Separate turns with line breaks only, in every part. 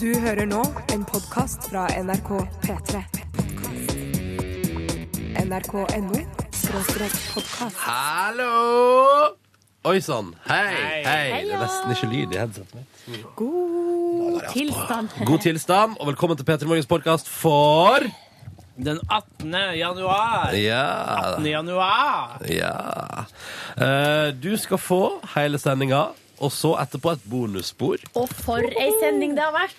Du hører nå en podkast fra NRK P3. NRK.no skråstrek podkast.
Hallo! Oi sann. Hei. Hei.
Hei.
Det er nesten ikke lyd i headsetet mitt.
God tilstand.
altså God tilstand, og velkommen til P3 Morgens podkast for
Den 18. januar.
Ja.
18. januar.
ja. Eh, du skal få hele sendinga, og så etterpå et bonusspor.
Og for ei sending det har vært.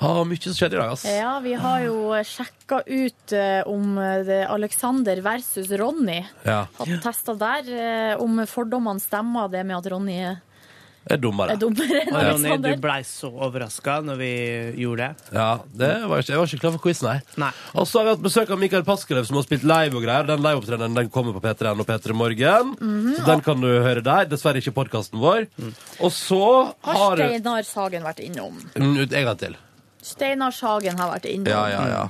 Ah, mye som skjedde i dag, ass.
Ja, vi har jo sjekka ut eh, om det Alexander versus Ronny.
Ja.
Hatt testa der eh, om fordommene stemmer, det med at Ronny er
Jeg er dummere.
dummere enn
Og Ronny, du
Alexander.
blei så overraska når vi gjorde det.
Ja, det var ikke, jeg var ikke klar for quiz, nei.
Nei.
Og så har vi hatt besøk av Mikael Paskelev, som har spilt live og greier. Den liveopptredenen den kommer på P3N og P3 Morgen. så den kan du høre der. Dessverre ikke podkasten vår. Og så
Har
Mm. har
Steinar Sagen vært innom?
Mm, ut- En gang til.
Steinar Sagen har vært innom.
Ja, ja, ja.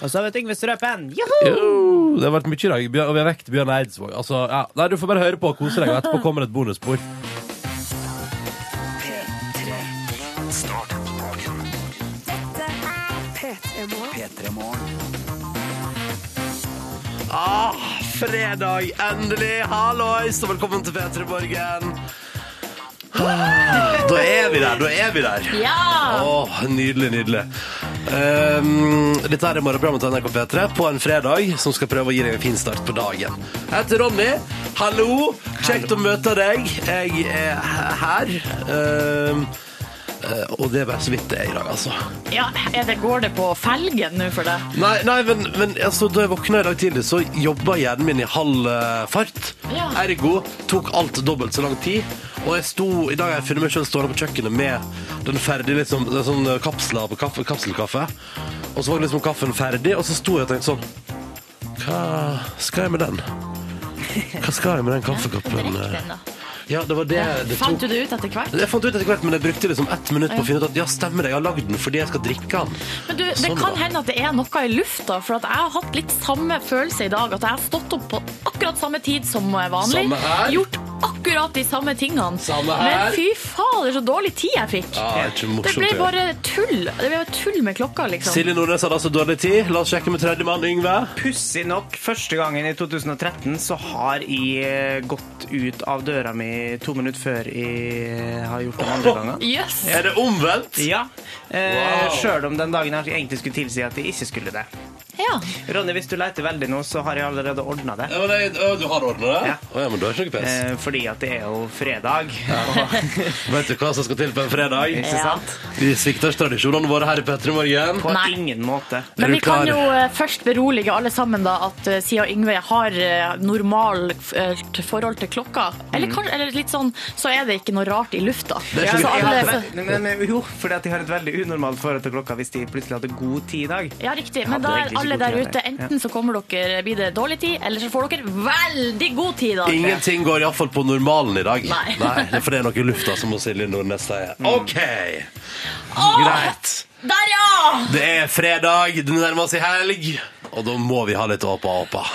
Og så har vi Trygve Strøpen. Joho!
Jo, det har vært mye i dag, Bjørn- og vi har vekt Bjørn Eidsvåg. Altså, ja. Nei, du får bare høre på og kose deg, og etterpå kommer et bonusspor.
P3 Morgen.
Ah, Fredag, endelig! Hallois, og velkommen til P3 Morgen. Ah, Da er vi der, da er vi der.
Ja!
Åh, nydelig, nydelig. Ehm, dette her er morgenprogrammet til NRK P3 på en fredag som skal prøve å gi deg en fin start på dagen. Jeg heter Ronny. Hallo. Kjekt å møte deg. Jeg er he- her. Ehm, eh, og det er bare så vidt det er i dag, altså.
ja er det, går det på felgen nå for deg?
Nei, nei men, men altså, da jeg våkna i dag tidlig, så jobba hjernen min i halv eh, fart.
Ja.
Ergo tok alt dobbelt så lang tid. Og jeg sto, I dag har jeg funnet meg selv stående på kjøkkenet med den ferdige liksom, den sånn eh, kapsla på kaffe, kapselkaffe. Og så var liksom kaffen ferdig, og så sto jeg og tenkte sånn Hva skal jeg med den? Hva skal jeg med den kaffekoppen?
Drikk den, da.
Ja, det var det
Eh,
det
Fant
tok.
du det ut etter hvert?
Jeg fant ut etter hvert, men jeg brukte liksom ett minutt på å finne ut at ja, stemmer det, jeg har lagd den fordi jeg skal drikke den.
Men du, Det
Sånn,
kan
da.
hende at det er noe i lufta, for at jeg har hatt litt samme følelse i dag. At jeg har stått opp på akkurat samme tid som eh, vanlig.
Samme her.
Gjort akkurat de samme tingene.
Samme her.
Men fy fader, så dårlig tid jeg fikk.
Ja, det er ikke
Det
morsomt
ble
å gjøre.
bare tull. Det ble bare tull med klokka, liksom.
Silje Nordnes hadde altså dårlig tid. La oss sjekke med tredjemann, Yngve.
Pussig nok, første gangen i 2013 så har jeg eh, gått ut av døra mi to minutter før jeg har gjort det andre gangen.
Yes.
Er det omvendt?
Ja. Eh,
Wow.
Sjøl om den dagen her egentlig skulle tilsi at jeg ikke skulle det.
Ja.
Ronny, hvis du leter veldig nå, så har jeg allerede ordna det.
Ja, men jeg, å, du har ordna det?
Ja.
Å, ja, men du har ikke noe pes.
Eh, fordi at det er jo fredag.
Vet du hva som skal til på en fredag?
Eh. Ikke sant?
Vi svikter ikke tradisjonene våre her i P3 Morgen.
På
Nei.
ingen måte.
Er
Men
du
vi kan
klar?
jo eh, først berolige alle sammen da at eh, siden Yngve har eh, normal eh, forhold til klokka, eller, kan, eller litt sånn, så er det ikke noe rart i lufta.
Mm. er
så
ikke noe
alle,
Men- men, men, jo, fordi at de har et veldig unormalt forhold til klokka hvis de plutselig hadde god tid i dag.
Ja, riktig.
Jeg
Men
hadde
da er
egentlig ikke
alle
god
der
tid
ute.
heller.
Enten så kommer dere, blir det dårlig tid, eller så får dere veldig god tid, da.
Ingenting går iallfall på normalen i dag.
Nei.
det er for det er noe i lufta, som Silje Nordnes sier.
Mm.
OK,
Åh,
greit.
Der, ja!
Det er fredag, det nærmer seg helg, og da må vi ha litt åpa-åpa.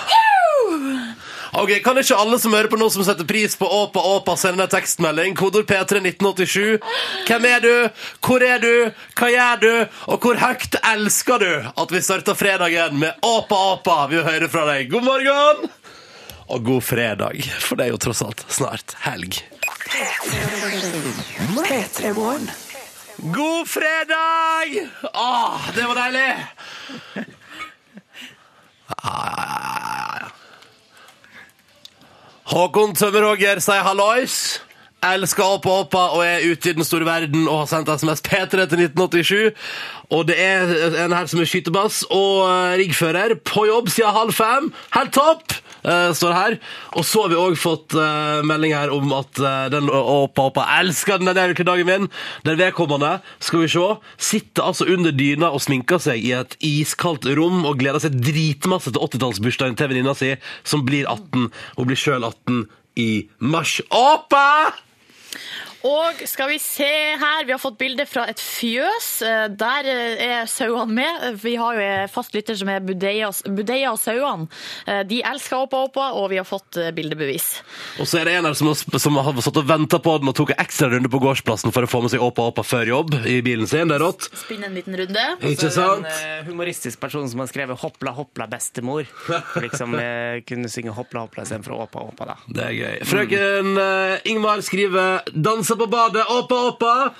Ok, Kan ikke alle som hører på nå som setter pris på åpa-åpa, sende en tekstmelding? Kodord P3 1987. Hvem er du? Hvor er du? Hva gjør du? Og hvor høyt elsker du at vi starter fredagen med åpa-åpa? Vi vil høre fra deg. God morgen! Og god fredag, for det er jo tross alt snart helg.
P3 Morgen.
God fredag! Åh, det var deilig! Ah. Håkon Tømmerhogger sier hallois. Elsker Åpa Åpa og er ute i den store verden og har sendt SMS P3 til 1987. Og det er en her som er skytebass og eh, riggfører på jobb siden halv fem. Helt topp! eh, står det her. Og så har vi òg fått eh, melding her om at eh, den Åpa Åpa elsker den, den er jo ikke dagen min. Den vedkommende, skal vi se, sitter altså under dyna og sminker seg i et iskaldt rom og gleder seg dritmasse til 80-tallsbursdagen til venninna si, som blir 18. Hun blir sjøl 18 i mars. Åpa!
Og skal vi se her, vi har fått bilde fra et fjøs. Eh, Der eh, er sauene med. Vi har jo en fast lytter som er Budeia Budeia og sauene. Eh, De elsker Åpa Åpa, og vi har fått eh, bildebevis.
Og så er det en her som har, som har satt og venta på den og tok en ekstra runde på gårdsplassen for å få med seg Åpa Åpa før jobb i bilen sin. Det er rått.
Spinn en liten runde.
Ikke
Så er det
sant?
En eh, humoristisk person som har skrevet 'Hopla, hopla, bestemor'. For liksom eh, kunne synge 'Hopla, hopla' istedenfor 'Åpa, åpa', da.
Det er gøy. Frøken eh, Ingmar skriver 'Danser på badet, Åpa Åpa'.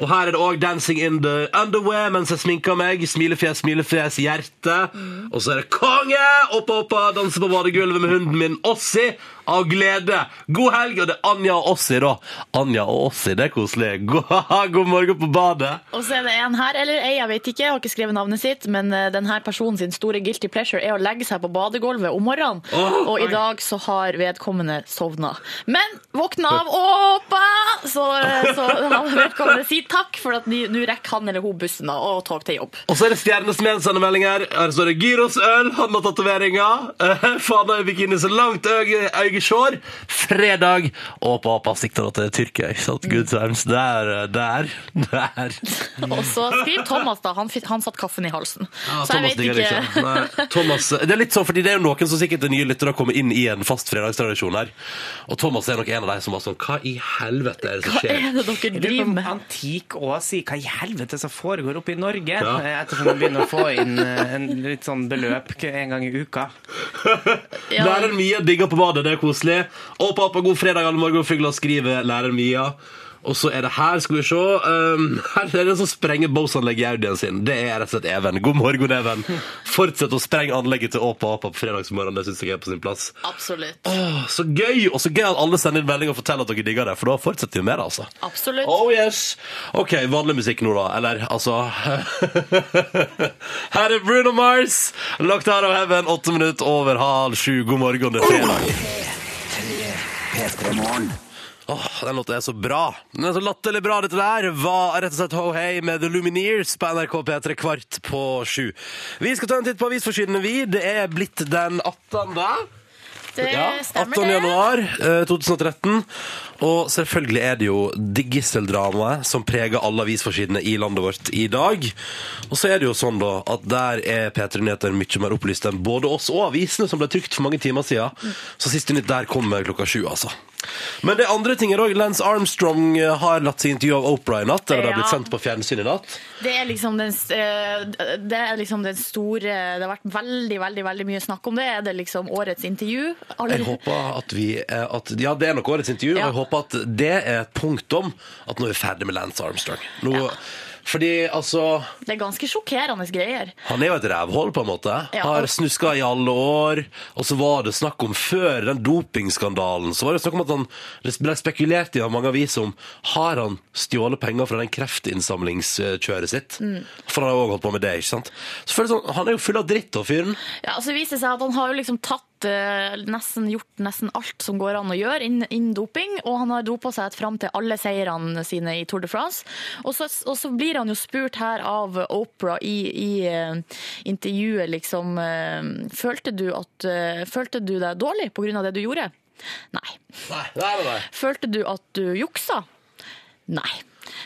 Og her er det òg 'Dancing in the underwear' mens jeg sminker meg. Smilefjes, smilefjes, hjerte. Og så er det 'Konge'! Åpa Åpa danser på badegulvet med hunden min Ossi av glede. God helg! Og det er Anja og Ossi, da. Anja og Ossi, det er koselig. God, God morgen på badet.
Og så er det en her, eller ei, jeg vet ikke, jeg har ikke skrevet navnet sitt, men eh, denne personen sin store guilty pleasure er å legge seg på badegulvet om morgenen,
Åh,
og i
oi.
dag så har vedkommende sovna. Men våkna av åpa! Så, eh, så han vedkommende sier takk, for at ni- nå rekker han eller hun bussen da, og tog til jobb.
Og så er det stjernesmedsende meldinger. Her står det Gyrosøl, han har tatoveringer. Fana i bikini så langt øyet øyet sjår. Fredag. Og på apa sikter da til Tyrkia, ikke sant? Good times. Der, eh, der, der. Mm.
Og så skriver Thomas da, han, fikk- han satt kaffen i halsen.
Ja, Ah,
så jeg
Thomas
vet
digger det
ikke.
ikke. Nei, Thomas, det er litt sånn, fordi det er jo noen som sikkert er nye lyttere og kommer inn i en fast fredagstradisjon her. Og Thomas er nok en av de som var sånn Hva i helvete er det som
Hva
skjer?
er det dere
Det er
driver
jo
med?
antik å si hva i helvete som foregår oppe i Norge,
Ja.
eh, ettersom man begynner å få inn eh, en litt sånn beløp k- en gang i uka.
Ja.
Læreren Mia digger på badet, det er koselig. Og på Appa god fredag, alle morgenfugler, skriver lærer Mia. Og så er det her, skal vi se um, Her er det en som sprenger Bose-anlegget i Audien sin. Det er rett og slett Even. God morgen, Even. Fortsett å sprenge anlegget til Åpa Åpa på fredagsmorgen. Det syns jeg er på sin plass.
Absolutt.
Åh, så gøy! Og så gøy at alle sender inn melding og forteller at dere digger det, for da fortsetter vi med det, altså.
Absolutt.
Oh yes! OK, vanlig musikk nå, da. Eller altså Her er Bruno Mars, 'Locked Out of Heaven', åtte minutter over halv sju. God morgen, det er fredag. Åh, den låta er så bra. Den er så latterlig bra, dette der. Var rett og slett Ho Hey med The Lumineers på NRK P3 kvart på sju. Vi skal ta en titt på avisforsidene, vi. Det er blitt den 18.
Det
Ja,
stemmer
18.
det.
januar eh, 2013. Og selvfølgelig er det jo det gisseldramaet som preger alle avisforsidene i landet vårt i dag. Og så er det jo sånn da at der er P3 Nyheter mye mer opplyst enn både oss og avisene, som ble trykt for mange timer siden. Så siste nytt der kommer klokka sju, altså. Men det er andre ting her òg. Lance Armstrong eh, har latt seg intervjue av Opera i natt. Eller det har blitt
Ja.
sendt på fjernsyn i natt.
Det er liksom den, eh, det er liksom den store Det har vært veldig veldig, veldig mye snakk om det. Er det liksom årets intervju? Alle-
Jeg håper at vi eh, at, Ja, det er nok årets intervju,
Ja.
og jeg håper at det er et punktum at nå er vi ferdig med Lance Armstrong. Nå, Fordi altså
Det er ganske sjokkerende greier.
Han er jo et rævhold, på en måte.
Ja.
Har snuska i alle år. Og så var det snakk om før den dopingskandalen Så var det snakk om at han Det ble spekulert i av mange aviser om Har han stjålet penger fra den kreftinnsamlingskjøret sitt.
Mm.
For han har jo også holdt på med det, ikke sant. Så føles det sånn, Han er jo full av dritt, da, fyren.
Ja, så viser det seg at han har jo liksom tatt eh, nesten gjort nesten alt som går an å gjøre innen innen doping, og han har dopa seg fram til alle seirene sine i Tour de France. Og så, og så blir han jo spurt her av Opera i, i eh, intervjuet liksom eh, Følte du at eh, Følte du deg dårlig pga. det du gjorde? Nei.
Nei, nei, nei, nei.
Følte du at du juksa? Nei.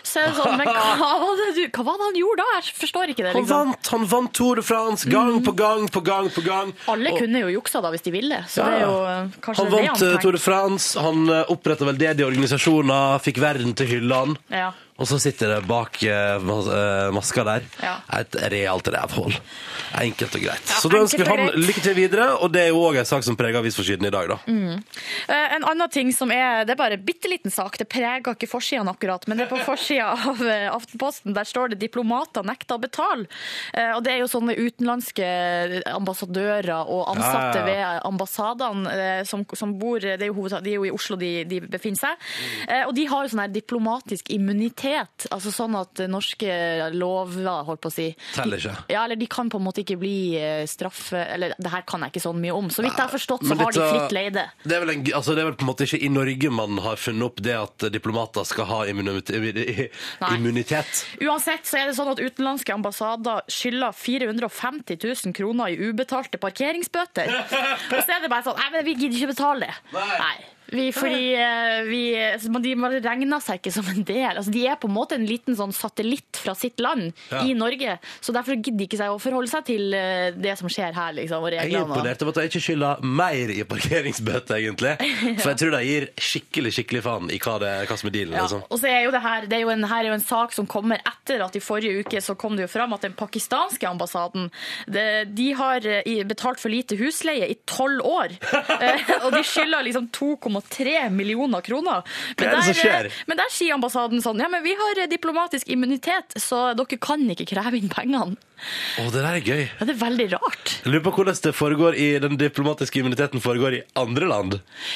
Så jeg er sånn, men hva var, det du, hva var det han gjorde da? Jeg forstår ikke det.
Han
Liksom.
vant, han vant Tour de France gang på gang på gang på gang.
Alle
Og-
kunne jo juksa da hvis de ville, så
Ja,
det er
ja.
jo eh, kanskje
Han
det
vant eh,
han
Tour
tenkte.
de France, han eh, oppretta veldedige organisasjoner, fikk verden til hyllene.
Ja.
Og så sitter det bak eh, mas- eh, maska der
Ja.
et realt rævhull. Enkelt og greit.
Ja,
så da
enkelt
ønsker vi
og
han
greit.
lykke til videre, og det er jo òg en sak som preger avisforsiden i dag, da.
Eh, En annen ting som er Det er bare en bitte liten sak, det preger ikke forsiden akkurat, men det er på forsida av eh, Aftenposten. Der står det 'diplomater nekta å betale'. Eh, Og det er jo sånne utenlandske ambassadører og
Ja,
ansatte
ja, ja.
ved ambassadene eh, som, som bor det er jo hovedsak, De er jo i Oslo de, de befinner seg. Eh, Og de har jo sånn her diplomatisk immunitet, altså sånn at eh, norske lover, holdt på å si
Teller ikke.
Ja, eller de kan på en måte ikke bli eh, straffe... Eller det her kan jeg ikke sånn mye om. Så vidt jeg har forstått, så
Men
har de
dette-
fritt leide.
Det er, vel en, altså det er vel på en måte ikke i Norge man har funnet opp det at diplomater skal ha immunitet.
Nei.
immunitet.
Uansett så er det sånn at utenlandske ambassader skylder 450 000 kroner i ubetalte parkeringsbøter. Og så er det bare sånn Nei, men vi gidder ikke betale det.
Nei.
Vi, fordi eh, vi, men de man regner seg ikke som en del. Altså, de er på en måte en liten sånn satellitt fra sitt land
Ja.
i Norge. Så derfor gidder de ikke seg å forholde seg til eh, det som skjer her, liksom, og
Jeg er
reglene.
imponert over at jeg ikke skylder mer i parkeringsbøter, egentlig. For jeg tror de gir skikkelig skikkelig faen i hva, det, hva som er dealen.
Ja,
Liksom.
og så er jo det her, det er jo en, her er jo en sak som kommer etter at i forrige uke så kom det jo fram at den pakistanske ambassaden det, de har eh, i- betalt for lite husleie i tolv år. Eh, og de skylder liksom 2,3 millioner kroner.
Hva er det som
der, eh,
skjer?
men der sier ambassaden sånn ja, men vi har eh, diplomatisk immunitet, så dere kan ikke kreve inn pengene.
Å, det der er gøy.
Ja, det er veldig rart.
Jeg lurer på hvordan det foregår i den diplomatiske immuniteten foregår i andre land.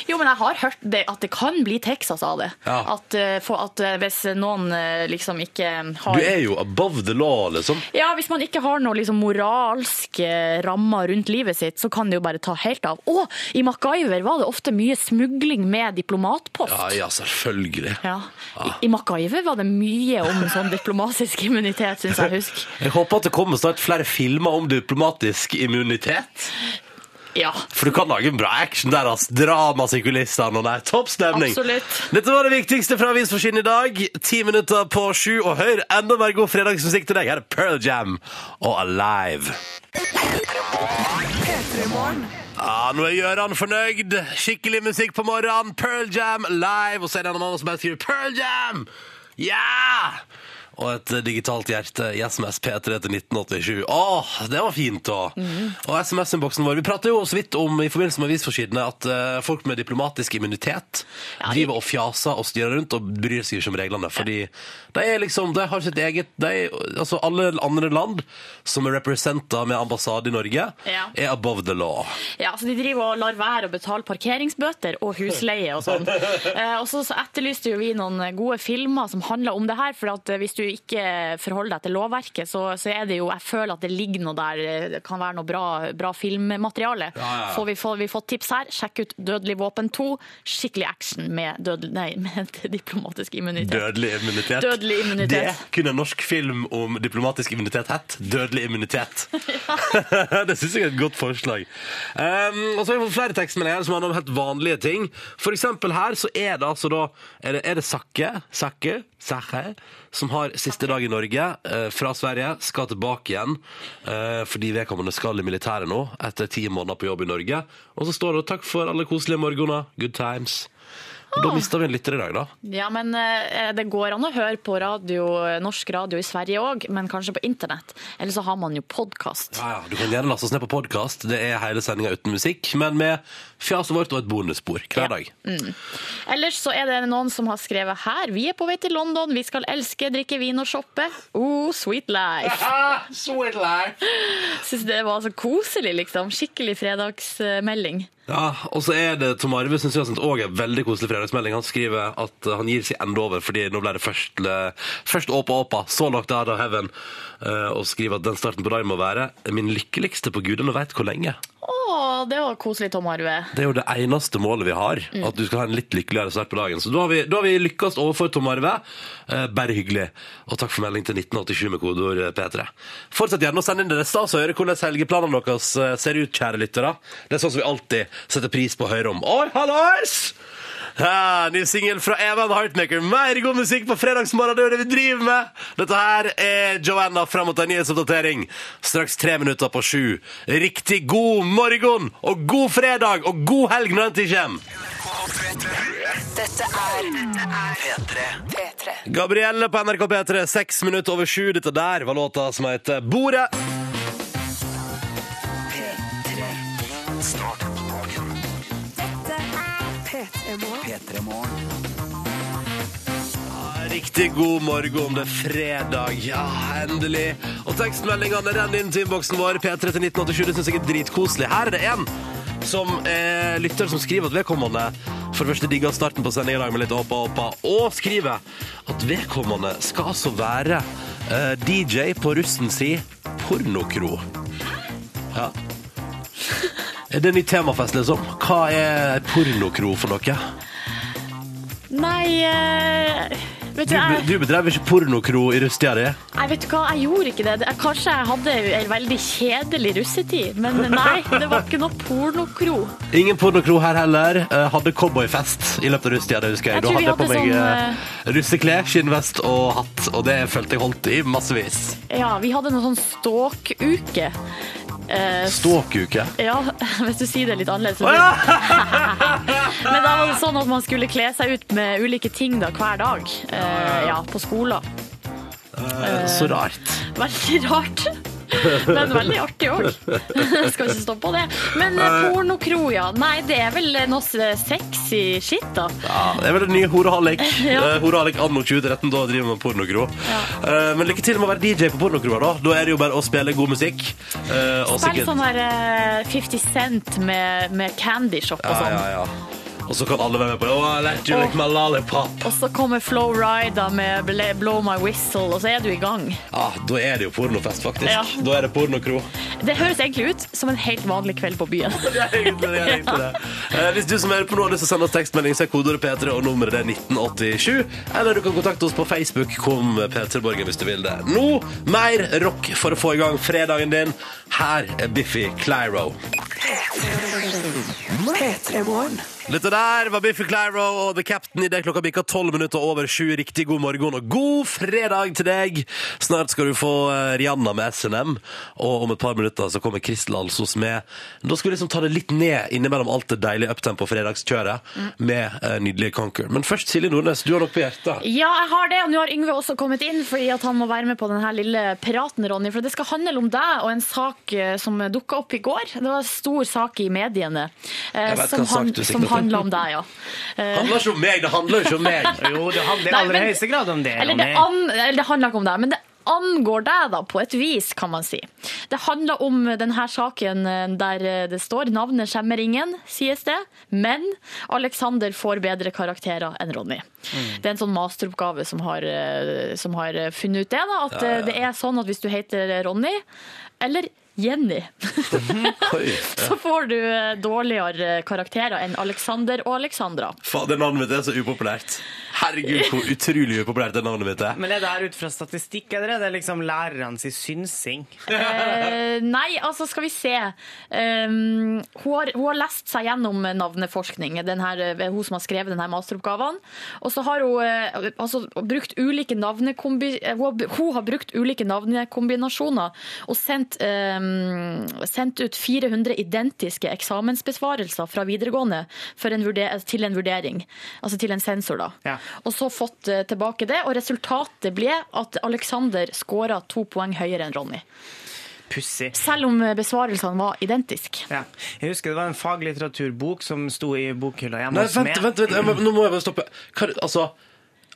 Jo, men jeg har hørt det, at det kan bli Texas av det.
Ja.
At, eh, for at eh, hvis noen eh, liksom ikke har
Du er jo above the law, liksom.
Ja, hvis man ikke har noen liksom, moralske rammer rundt livet sitt, så kan det jo bare ta helt av. Å, i MacGyver var det ofte mye smugling med diplomatpost.
Ja, ja, selvfølgelig.
Ja. I, I MacGyver var det mye om sånn diplomatisk immunitet, syns jeg husk.
Jeg håper at det kommer snart flere filmer om diplomatisk immunitet.
Ja.
For du kan lage en bra action der, ass. Dramas i kulissene, og det er topp stemning.
Absolutt.
Dette var det viktigste fra Avisforsiden i dag. Ti minutter på sju, og hør enda mer god fredagsmusikk til deg. Her er Pearl Jam og Alive. Ja, nå er Gjøran fornøyd. Skikkelig musikk på morgenen. Pearl Jam live. Og så er det en mann som bare skriver Pearl Jam! Ja! Og et eh, digitalt hjerte i SMS P3 til 1987. Åh, det var fint, da!
Mhm.
Og SMS-innboksen vår. Vi prater jo så vidt om i forbindelse med avisforsidene at eh, folk med diplomatisk immunitet
Ja, de-
driver og fjaser og styrer rundt og bryr seg ikke om reglene. Fordi de er liksom De har sitt eget de, Altså, alle andre land som er representa med ambassade i Norge,
Ja.
er above the law.
ja, så de driver og lar være å betale parkeringsbøter og husleie og sånn. Eh, og så, så etterlyste jo vi noen gode filmer som handler om det her, for at eh, hvis du ikke forholder deg til lovverket, så, så er det jo Jeg føler at det ligger noe der, eh, det kan være noe bra, bra filmmateriale.
Ja, ja, ja.
Får vi, får vi fått tips her? Sjekk ut 'Dødelig våpen 2'. Skikkelig action med, dødel- nei, med diplomatisk immunitet.
Dødelig immunitet.
Dødelig immunitet.
Det kunne en norsk film om diplomatisk immunitet hett. Dødelig immunitet. det syns jeg er et godt forslag. Um, og så har vi fått flere tekstmeldinger som handler om helt vanlige ting. For eksempel her så er det altså da Er det, er det Sakke, Sakke, Sakke som har siste dag i Norge eh, fra Sverige, skal tilbake igjen eh, fordi vedkommende skal i militæret nå etter ti måneder på jobb i Norge. Og så står det 'Takk for alle koselige morgener'. Good times. Og Da mista vi en lytter i dag, da.
Ja, men eh, Det går an å høre på radio, norsk radio i Sverige òg, men kanskje på internett. Eller så har man jo podkast.
Ja, ja. Du kan gjerne laste oss ned på podkast. Det er hele sendinga uten musikk, men med fjaset vårt og et bonusspor hver
Ja.
dag.
Ellers så er det noen som har skrevet her. Vi er på vei til London, vi skal elske, drikke vin og shoppe. Oh, sweet life. Syns det var så koselig, liksom. Skikkelig fredagsmelding.
Ja, og så er det Tom Arve synes jeg har sendt også en veldig koselig fredagsmelding. Han skriver at eh, han gir seg enda over, fordi nå ble det først, eh, først åpa åpa, så locked out of heaven, Eh, og skriver at den starten på dagen må være min lykkeligste på gudene veit hvor lenge.
Å, det var koselig, Tom Arve.
Det er jo det eneste målet vi har, at du skal ha en litt lykkeligere start på dagen. Så da har vi, da har vi lykkes overfor Tom Arve. Eh, bare hyggelig. Og takk for melding til 1987 med kodeord eh, P3. Fortsett gjerne å sende inn det. Det er stas å høre hvordan helgeplanene deres eh, ser ut, kjære lyttere. Det er sånn som vi alltid setter pris på å høre om. Oi, hallois! Ja, ny singel fra Evan Heartmaker. Mer god musikk på fredagsmorgen. Det er det vi driver med. Dette her er Joanna fram mot en nyhetsoppdatering. Straks tre minutter på sju. Riktig god morgen og god fredag og god helg når den tid kommer.
Dette er P3. P3.
Gabrielle på NRK P3, seks minutter over sju. Dette der var låta som heter Bordet.
P3. Start på dagen.
P3 Morgen.
P3 Morgen.
Riktig god morgen om det er fredag. Ja, endelig. Og tekstmeldingene renner inn til innboksen vår. P3 til 1987. Det syns jeg er dritkoselig. Her er det en som eh, lytter som skriver at vedkommende for det første digger starten på sendinga i dag med litt åpa åpa, og skriver at vedkommende skal altså være eh, DJ på russen si pornokro. Ja. Er det en ny temafest, liksom? Hva er pornokro for noe?
Nei eh,
Vet du,
Du,
jeg,
du bedrev ikke pornokro i rustia di?
Jeg vet du hva, jeg gjorde ikke det. Det- Jeg, kanskje jeg hadde ei veldig kjedelig russetid, men nei, det var ikke noe pornokro.
Ingen pornokro her heller. Eh, hadde cowboyfest i løpet av russetida. det husker jeg.
Jeg
Da
tror
hadde
vi
jeg på
hadde
meg
sånn,
eh, russeklær, skinnvest og hatt, og det følte jeg holdt i massevis.
Ja, vi hadde noe sånn ståkuke. Eh,
Ståkuke.
ja, hvis du sier det litt annerledes. så blir det- Men da var det sånn at man skulle kle seg ut med ulike ting da, hver dag. Eh, ja, på skolen.
Eh, Så rart.
Veldig rart. Men veldig artig òg. Skal ikke stå på det. Men eh, pornokro, ja. Nei, det er vel noe sexy shit, da.
Ja, det er vel den nye Horehalik.
Ja.
Eh, Horehalik anno 2013, da driver man med pornokro. Eh, Men lykke til med å være DJ på pornokroa, da. Da er det jo bare å spille god musikk. eh, Og
Spill
sikkert
sånn her eh, 50 Cent med, med candy shop og
Ja,
sånn.
ja, ja. Og så kan alle være med på Åh, I let you lick my lollipop.
Og så kommer Flow Rida med Bl- Blow My Whistle, og så er du i gang.
Ja, da er det jo pornofest, faktisk.
Ja.
Da er det pornokro.
Det høres egentlig ut som en helt vanlig kveld på byen.
Det er egentlig det, det er egentlig det. Eh, Hvis du som hører på nå har lyst til å sende oss tekstmelding, så er kodeordet P3 og nummeret det er 1987. Eller du kan kontakte oss på Facebook, kom P3 Borgen hvis du vil det. Nå mer rock for å få i gang fredagen din. Her er Biffy Clyro.
P3 Morgen.
Dette der var Biffy Clyro og The Captain i det klokka bikka tolv minutter over sju. Riktig god morgen og god fredag til deg! Snart skal du få eh, Rihanna med SNM, og om et par minutter så kommer Kristel Alsos med. Da skal vi liksom ta det litt ned innimellom alt det deilige uptempo fredagskjøret med eh, nydelige Conquer. Men først Silje Nordnes, du har nok på hjertet.
Ja, jeg har det, og nå har Yngve også kommet inn fordi at han må være med på denne lille praten, Ronny. For det skal handle om deg og en sak eh, som dukka opp i går. Det var en stor sak i mediene eh,
Jeg vet
som,
hva sak
han,
du sikter
som
til.
handla om deg, ja.
Det handler ikke om meg, det handler ikke om meg!
Jo, det handler i
Nei,
aller
men-
høyeste grad om det.
Eller det,
Ronny.
an, eller det handler ikke om deg, men det angår deg da, på et vis, kan man si. Det handler om denne saken eh, der det står navnet skjemmer ingen, sies det, men Alexander får bedre karakterer enn Ronny. Det er en sånn masteroppgave som har, eh, som har funnet ut det, da, at eh, det er sånn at hvis du heter Ronny, eller Jenny,
Oi.
så får du eh, dårligere karakterer enn Alexander og Alexandra.
Faen, det navnet mitt er så upopulært. Herregud, hvor utrolig upopulært det navnet mitt er.
Men er det her ut fra statistikk, eller er det liksom lærernes synsing?
Eh, nei, altså skal vi se. Um, hun, har, hun har lest seg gjennom navneforskning, den her, eh, hun som har skrevet denne masteroppgaven. Og så har hun, eh, altså, brukt ulike navnekombi... eh, Hun, har, br- hun har brukt ulike navnekombinasjoner og sendt, eh, sendt ut 400 identiske eksamensbesvarelser fra videregående for en vurder, til en vurdering. Altså til en sensor, da.
Ja.
Og så fått eh, tilbake det, og resultatet ble at Alexander skåra to poeng høyere enn Ronny.
Pussig.
Selv om besvarelsene var identiske.
Ja. Jeg husker det var en faglitteraturbok som sto i bokhylla hjemme
Nei,
hos
vent,
meg.
vent, vent, jeg må- nå må jeg bare stoppe. Hva, altså,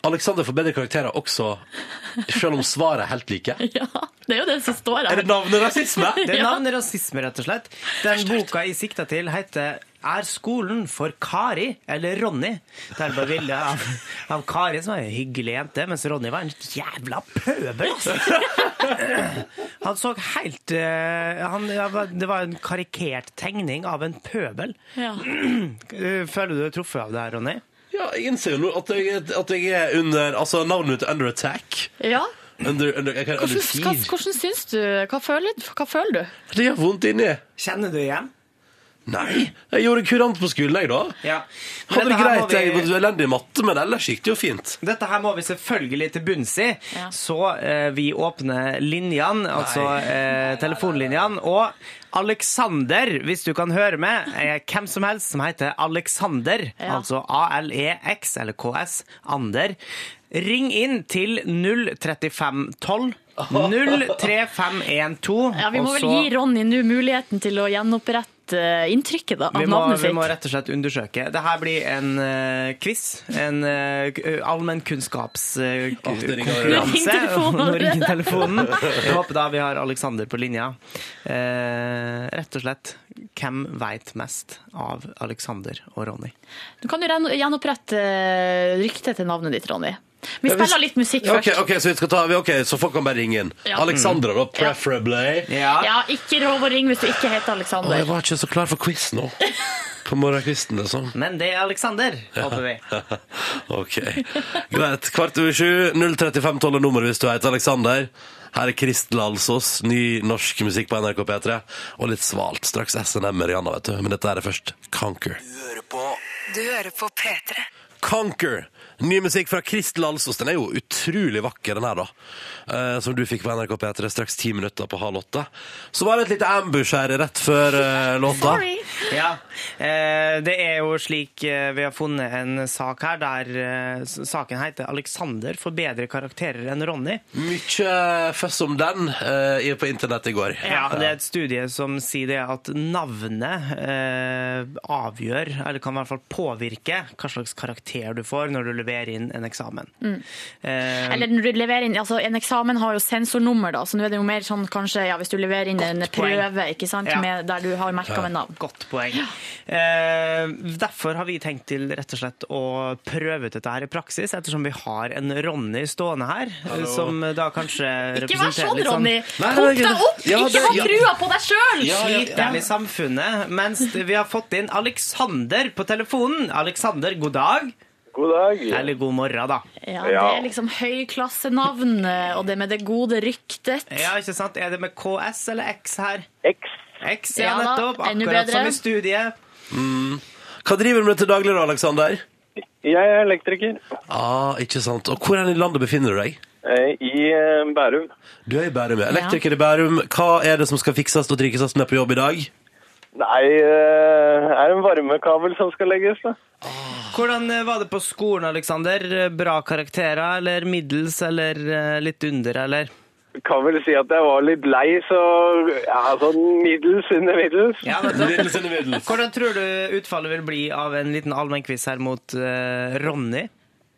Alexander får bedre karakterer også, selv om svaret er helt like.
Ja, det er jo det som står
Er det navnet rasisme?
Det er navnet rasisme, rett og slett. Den boka jeg sikta til, heter Er skolen for Kari eller Ronny? Der var bildet av, av Kari, som var ei hyggelig jente, mens Ronny var en jævla pøbel. ass. Han så helt eh, han, Det var en karikert tegning av en pøbel.
Ja.
Eh, Føler du deg truffet av det her, Ronny?
Ja, jeg innser jo nå at jeg, at jeg er under Altså, navnet mitt er under attack.
ja.
Under, under, jeg kan, under
Hvordan, hva,
siv.
hvordan syns du? Hva føler, hva føler du?
Det gjør vondt inni.
Kjenner du igjen?
Nei, jeg gjorde kurant på skolen, jeg, da.
Ja.
Hadde det
Dette her må
greit, jeg
vi-
var elendig i matte, men ellers gikk det jo fint.
Dette her må vi selvfølgelig til bunns i,
Ja.
så eh, vi åpner linjene, altså eh, telefonlinjene. Og Alexander, hvis du kan høre med, er hvem som helst som heter Alexander,
Ja.
altså A-L-E-X eller KS, Ander. Ring inn til 03512. 03512.
Ja, vi må
og
vel
Altså-
så-
gi Ronny nå muligheten til å gjenopprette eh, inntrykket da, av
vi må,
navnet
vi må
sitt.
rett og slett undersøke. Det her blir en eh, quiz. En uh, allmenn
Åh, det ringer
kunnskapskonkurranse.
allerede.
Nå ringer telefonen. Jeg håper da vi har Alexander på linja. Eh, rett og slett, hvem veit mest av Alexander og Ronny?
Du kan jo gjen- gjenopprette eh, ryktet til navnet ditt, Ronny. Vi
Ja, hvis-
spiller litt musikk
Ja,
først.
ok, ok, så, vi skal ta, vi- ok, så folk kan bare ringe inn.
Ja.
Alexandra, da, preferably.
Ja, ikke rov å ringe hvis du ikke heter
Å,
Alexander.
jeg var ikke så klar for quiz nå. På morgenkvisten, liksom.
Men det er Aleksander, håper vi.
ok. Greit. Kvart over sju, 03512 er nummeret hvis du heter Aleksander. Her er Kristel Alsås, ny norsk musikk på NRK P3. Og litt svalt. Straks SNM med Rihanna, vet du. Men dette her er først Conquer.
Du hører på P3.
Conquer. Ny musikk fra Kristel Alsås. Den er jo utrolig vakker, den her, da. Eh, som du fikk på NRK P3 straks ti minutter på halv åtte. Så var det et lite ambush her rett før eh, låta.
Sorry.
Ja, eh, det er jo slik eh, vi har funnet en sak her der eh, s- saken heter 'Alexander får bedre karakterer enn Ronny'.
Mye føss om den eh, i- på internett i går.
Ja, Det er et studie som sier det at navnet eh, avgjør, eller kan i hvert fall påvirke, hva slags karakter du får når du leverer inn en eksamen. Eh,
Mm. Eller når du leverer inn, altså En eksamen har jo sensornummer, da, så nå er det jo mer sånn kanskje ja, hvis du leverer inn en
poeng.
prøve ikke sant,
Ja.
med, der du har merka med navn.
Godt poeng. Eh, derfor har vi tenkt til rett og slett å prøve ut dette her i praksis, ettersom vi har en Ronny stående her, som da kanskje
Ikke vær
representerer
sånn,
litt
Ronny!
Nei,
Pump
nei,
deg opp!
ja, det-
ikke ha
ja.
trua på deg sjøl!
Ja, ja, ja.
Sliteren i samfunnet, mens vi har fått inn Alexander på telefonen. Alexander, god dag.
God dag.
Eller god morgen, da.
Ja, det er liksom høyklassenavn,
eh,
og det med det gode ryktet.
Ja, ikke sant? Er det med KS eller X her?
X.
X, ja,
Ja da,
nettopp.
enda
Akkurat
bedre.
som i studiet.
Hva driver du med til daglig, da, Aleksander?
Jeg er elektriker
Ah, ikke sant. Og hvor hen i landet befinner du deg?
eh, i eh, Bærum.
Du er i Bærum, ja. Elektriker i Bærum. Hva er det som skal fikses og trikses med på jobb i dag?
Nei, eh, er en varmekabel som skal legges, da.
Hvordan eh, var det på skolen, Alexander? Bra karakterer, eller middels, eller eh, litt under, eller?
Kan vel si at jeg var litt lei, så ja, sånn middels under middels.
Ja,
Middels under middels.
Hvordan tror du utfallet vil bli av en liten allmennquiz her mot eh, Ronny?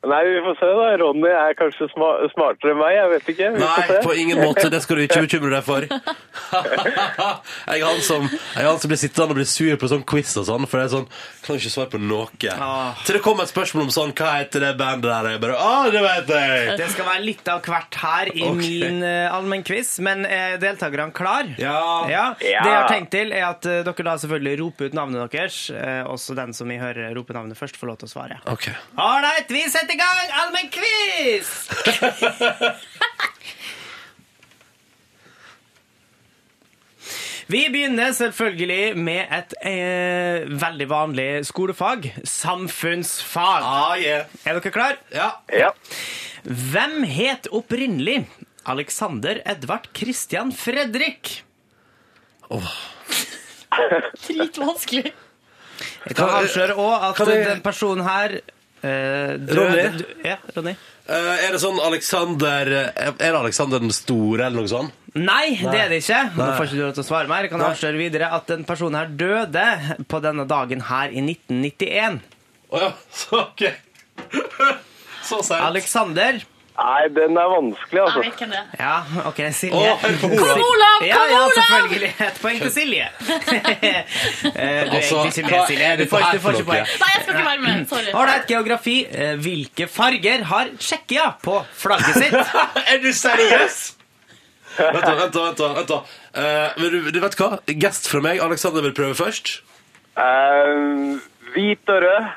Nei, vi får se da. Ronny er kanskje sma smartere enn meg, jeg vet ikke. Vi
Nei,
får se.
på ingen måte. Det skal du ikke bekymre deg for. jeg er han som, jeg er han som blir sittende og blir sur på sånn quiz og sånn, for det er sånn Kan ikke svare på noe.
Ah.
Til det kom et spørsmål om sånn Hva heter det bandet der? Og jeg bare Å, det vet jeg!
Det skal være litt av hvert her i
Ok.
min uh, allmennquiz, men er deltakerne klar?
Ja.
Ja. Det jeg har tenkt til, er at eh, dere da selvfølgelig roper ut navnet deres. eh, også den som vi hører rope navnet først, får lov til å svare.
OK.
Ålreit, vi setter i gang allmennquiz! Vi begynner selvfølgelig med et eh, veldig vanlig skolefag samfunnsfag.
Ah, yeah.
Er dere klar?
Ja. Eh,
Ja.
Hvem het opprinnelig Alexander Edvard Christian Fredrik?
Dritvanskelig.
Jeg kan avsløre òg at
eh, Kan jeg-
den personen her eh, døde
Ronny?
du- Ja, Ronny.
Eh, er det sånn Alexander Er det Alexander den store, eller noe sånn? sånt?
Nei, det er det ikke. Nå
Nei.
får ikke du lov til å svare mer. Jeg kan
Nei.
avsløre videre at den personen her døde på denne dagen her i 1991.
Å ja, så ok. så seint.
Alexander.
Nei, den er vanskelig,
Jeg
altså.
vet hvem det er.
Ja, OK, Silje.
Å, hør på Olav.
Kom, Olav!
Ja,
Kom,
ja,
Olav!
selvfølgelig. Et poeng til Silje. Eh, du er
Altså,
egentlig ikke med,
hva
Silje.
er
Du
det
får,
her
du får
for
ikke
noe?
poeng.
Nei, jeg skal ikke være med. Sorry.
Ålreit, geografi. Eh, Hvilke farger har Tsjekkia på flagget sitt?
er du seriøs? vent, da, vent, da, vent. da, vent da. Eh, men du, du vet hva? Gest fra meg. Alexander vil prøve først.
Eh, hvit og rød.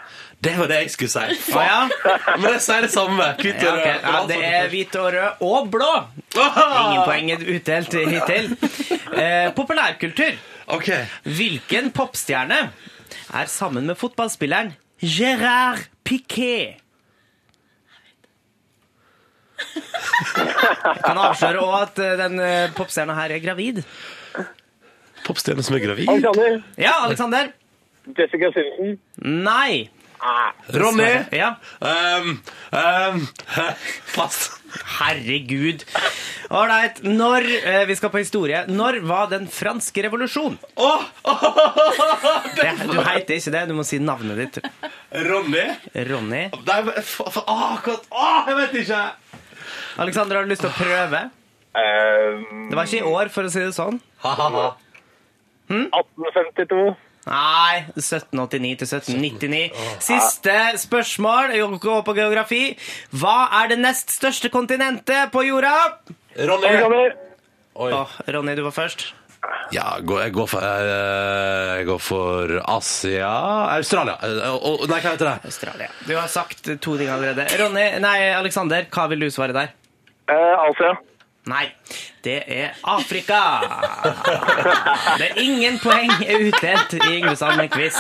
Det var det jeg skulle si.
Å,
Faen.
ja.
Men jeg sier det samme. Kvitt
Ja,
og
ok.
rød.
ja, det er hvit og rød og blå. Ingen poeng er utdelt hittil. Eh, populærkultur.
Ok.
Hvilken popstjerne er sammen med fotballspilleren Gérard Piquet? Jeg kan avsløre også at eh, den eh, popstjerna her er gravid.
Popstjerne som er gravid.
Alexander.
Ja, Alexander?
Jessica Simpson.
Nei.
Ronny.
Ja.
Um, um, pass.
Herregud. Ålreit. Når eh, Vi skal på historie. Når var den franske revolusjon?
Åh,
Det, du heter ikke det, du må si navnet ditt.
Ronny.
Ronny.
Nei, men fa- fa- Åh, hva- åh, jeg vet ikke.
Alexander, har du lyst til å prøve?
Eh,
Det var ikke i år, for å si det sånn.
Ha, ha, ha.
1852.
Nei, 1789 til 1799. Siste spørsmål jo, gå på geografi. Hva er det nest største kontinentet på jorda?
Ronny.
Alexander.
Oi.
Å, Ronny, du var først.
Ja, gå- jeg går for, eh, jeg går for Asia Australia. Eh, og- og- Nei, hva heter det?
Australia. Du har sagt to ting allerede. Ronny, nei, Alexander, hva vil du svare der?
Eh, Asia.
Nei, det er Afrika! Det er ingen poeng er utdelt i Yngvesand med quiz.